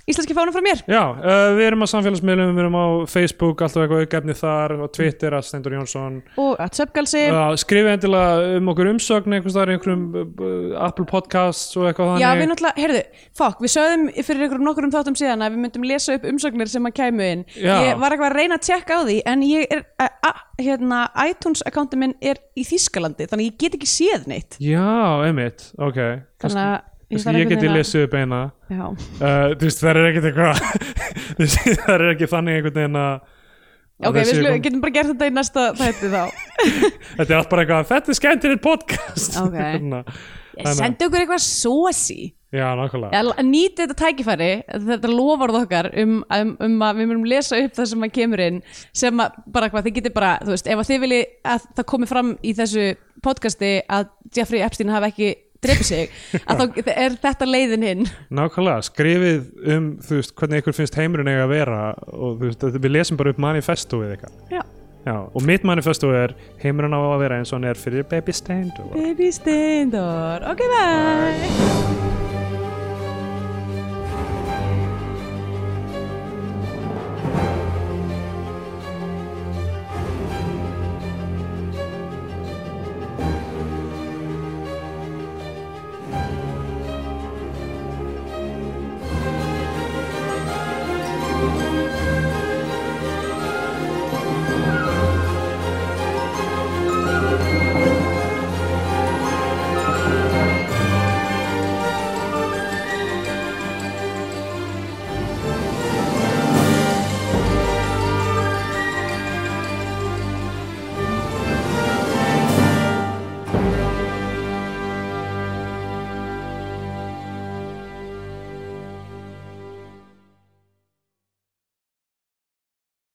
Speaker 3: íslenski fánum frá mér
Speaker 2: Já, uh, við erum á samfélagsmiðlum, við erum á Facebook, alltaf eitthvað aukefni þar og Twitter, að Stendur Jónsson
Speaker 3: og að söpgalsi
Speaker 2: uh, skrifa endilega um okkur umsögn einhvers þar, einhverjum uh, Apple Podcasts og eitthvað
Speaker 3: Já, við
Speaker 2: þannig
Speaker 3: náttúrulega, heyrðu, fokk, við sögðum fyrir ykkur nokkur um þáttum síðan að við myndum lesa upp umsóknir sem að kæmu inn
Speaker 2: Já.
Speaker 3: Ég var eitthvað að reyna að tjekka á því en ég er, a, a, hérna, iTunes akkántum minn er í Þýskalandi þannig að ég get ekki séð neitt
Speaker 2: Já, einmitt, ok
Speaker 3: Þannig
Speaker 2: Kannski
Speaker 3: að
Speaker 2: kannski ég geti lesið upp eina
Speaker 3: Já,
Speaker 2: Uh, þú veist, það er ekkert eitthvað þú veist, það er ekki þannig einhvern veginn að að
Speaker 3: ok,
Speaker 2: það
Speaker 3: við
Speaker 2: sé
Speaker 3: slu,
Speaker 2: eitthvað-
Speaker 3: getum bara gert þetta í næsta þætti þá
Speaker 2: þetta er allt bara eitthvað, þetta er skemmtilegt podcast
Speaker 3: Ok.
Speaker 2: Hérna. Þannig að-
Speaker 3: Sendu ykkur eitthvað sosi
Speaker 2: já, nákvæmlega
Speaker 3: Eða nýti þetta tækifæri, þetta lofarð okkar um, um, um að við munum lesa upp það sem að kemur inn sem að bara hvað þið getur bara, þú veist, ef að þið vilji að það komi fram í þessu podcasti að Jeffrey Epstein hafi ekki dreipið sig, að þá er þetta leiðin hinn.
Speaker 2: nákvæmlega, skrifið um þú veist, hvernig ykkur finnst heimurinn eiga að vera og þú veist, þetta- við lesum bara upp manifestóið eitthvað
Speaker 3: Já,
Speaker 2: já, og mitt manifestóið er heimurinn á að vera eins og hann er fyrir baby stand
Speaker 3: baby steindor, ok bye!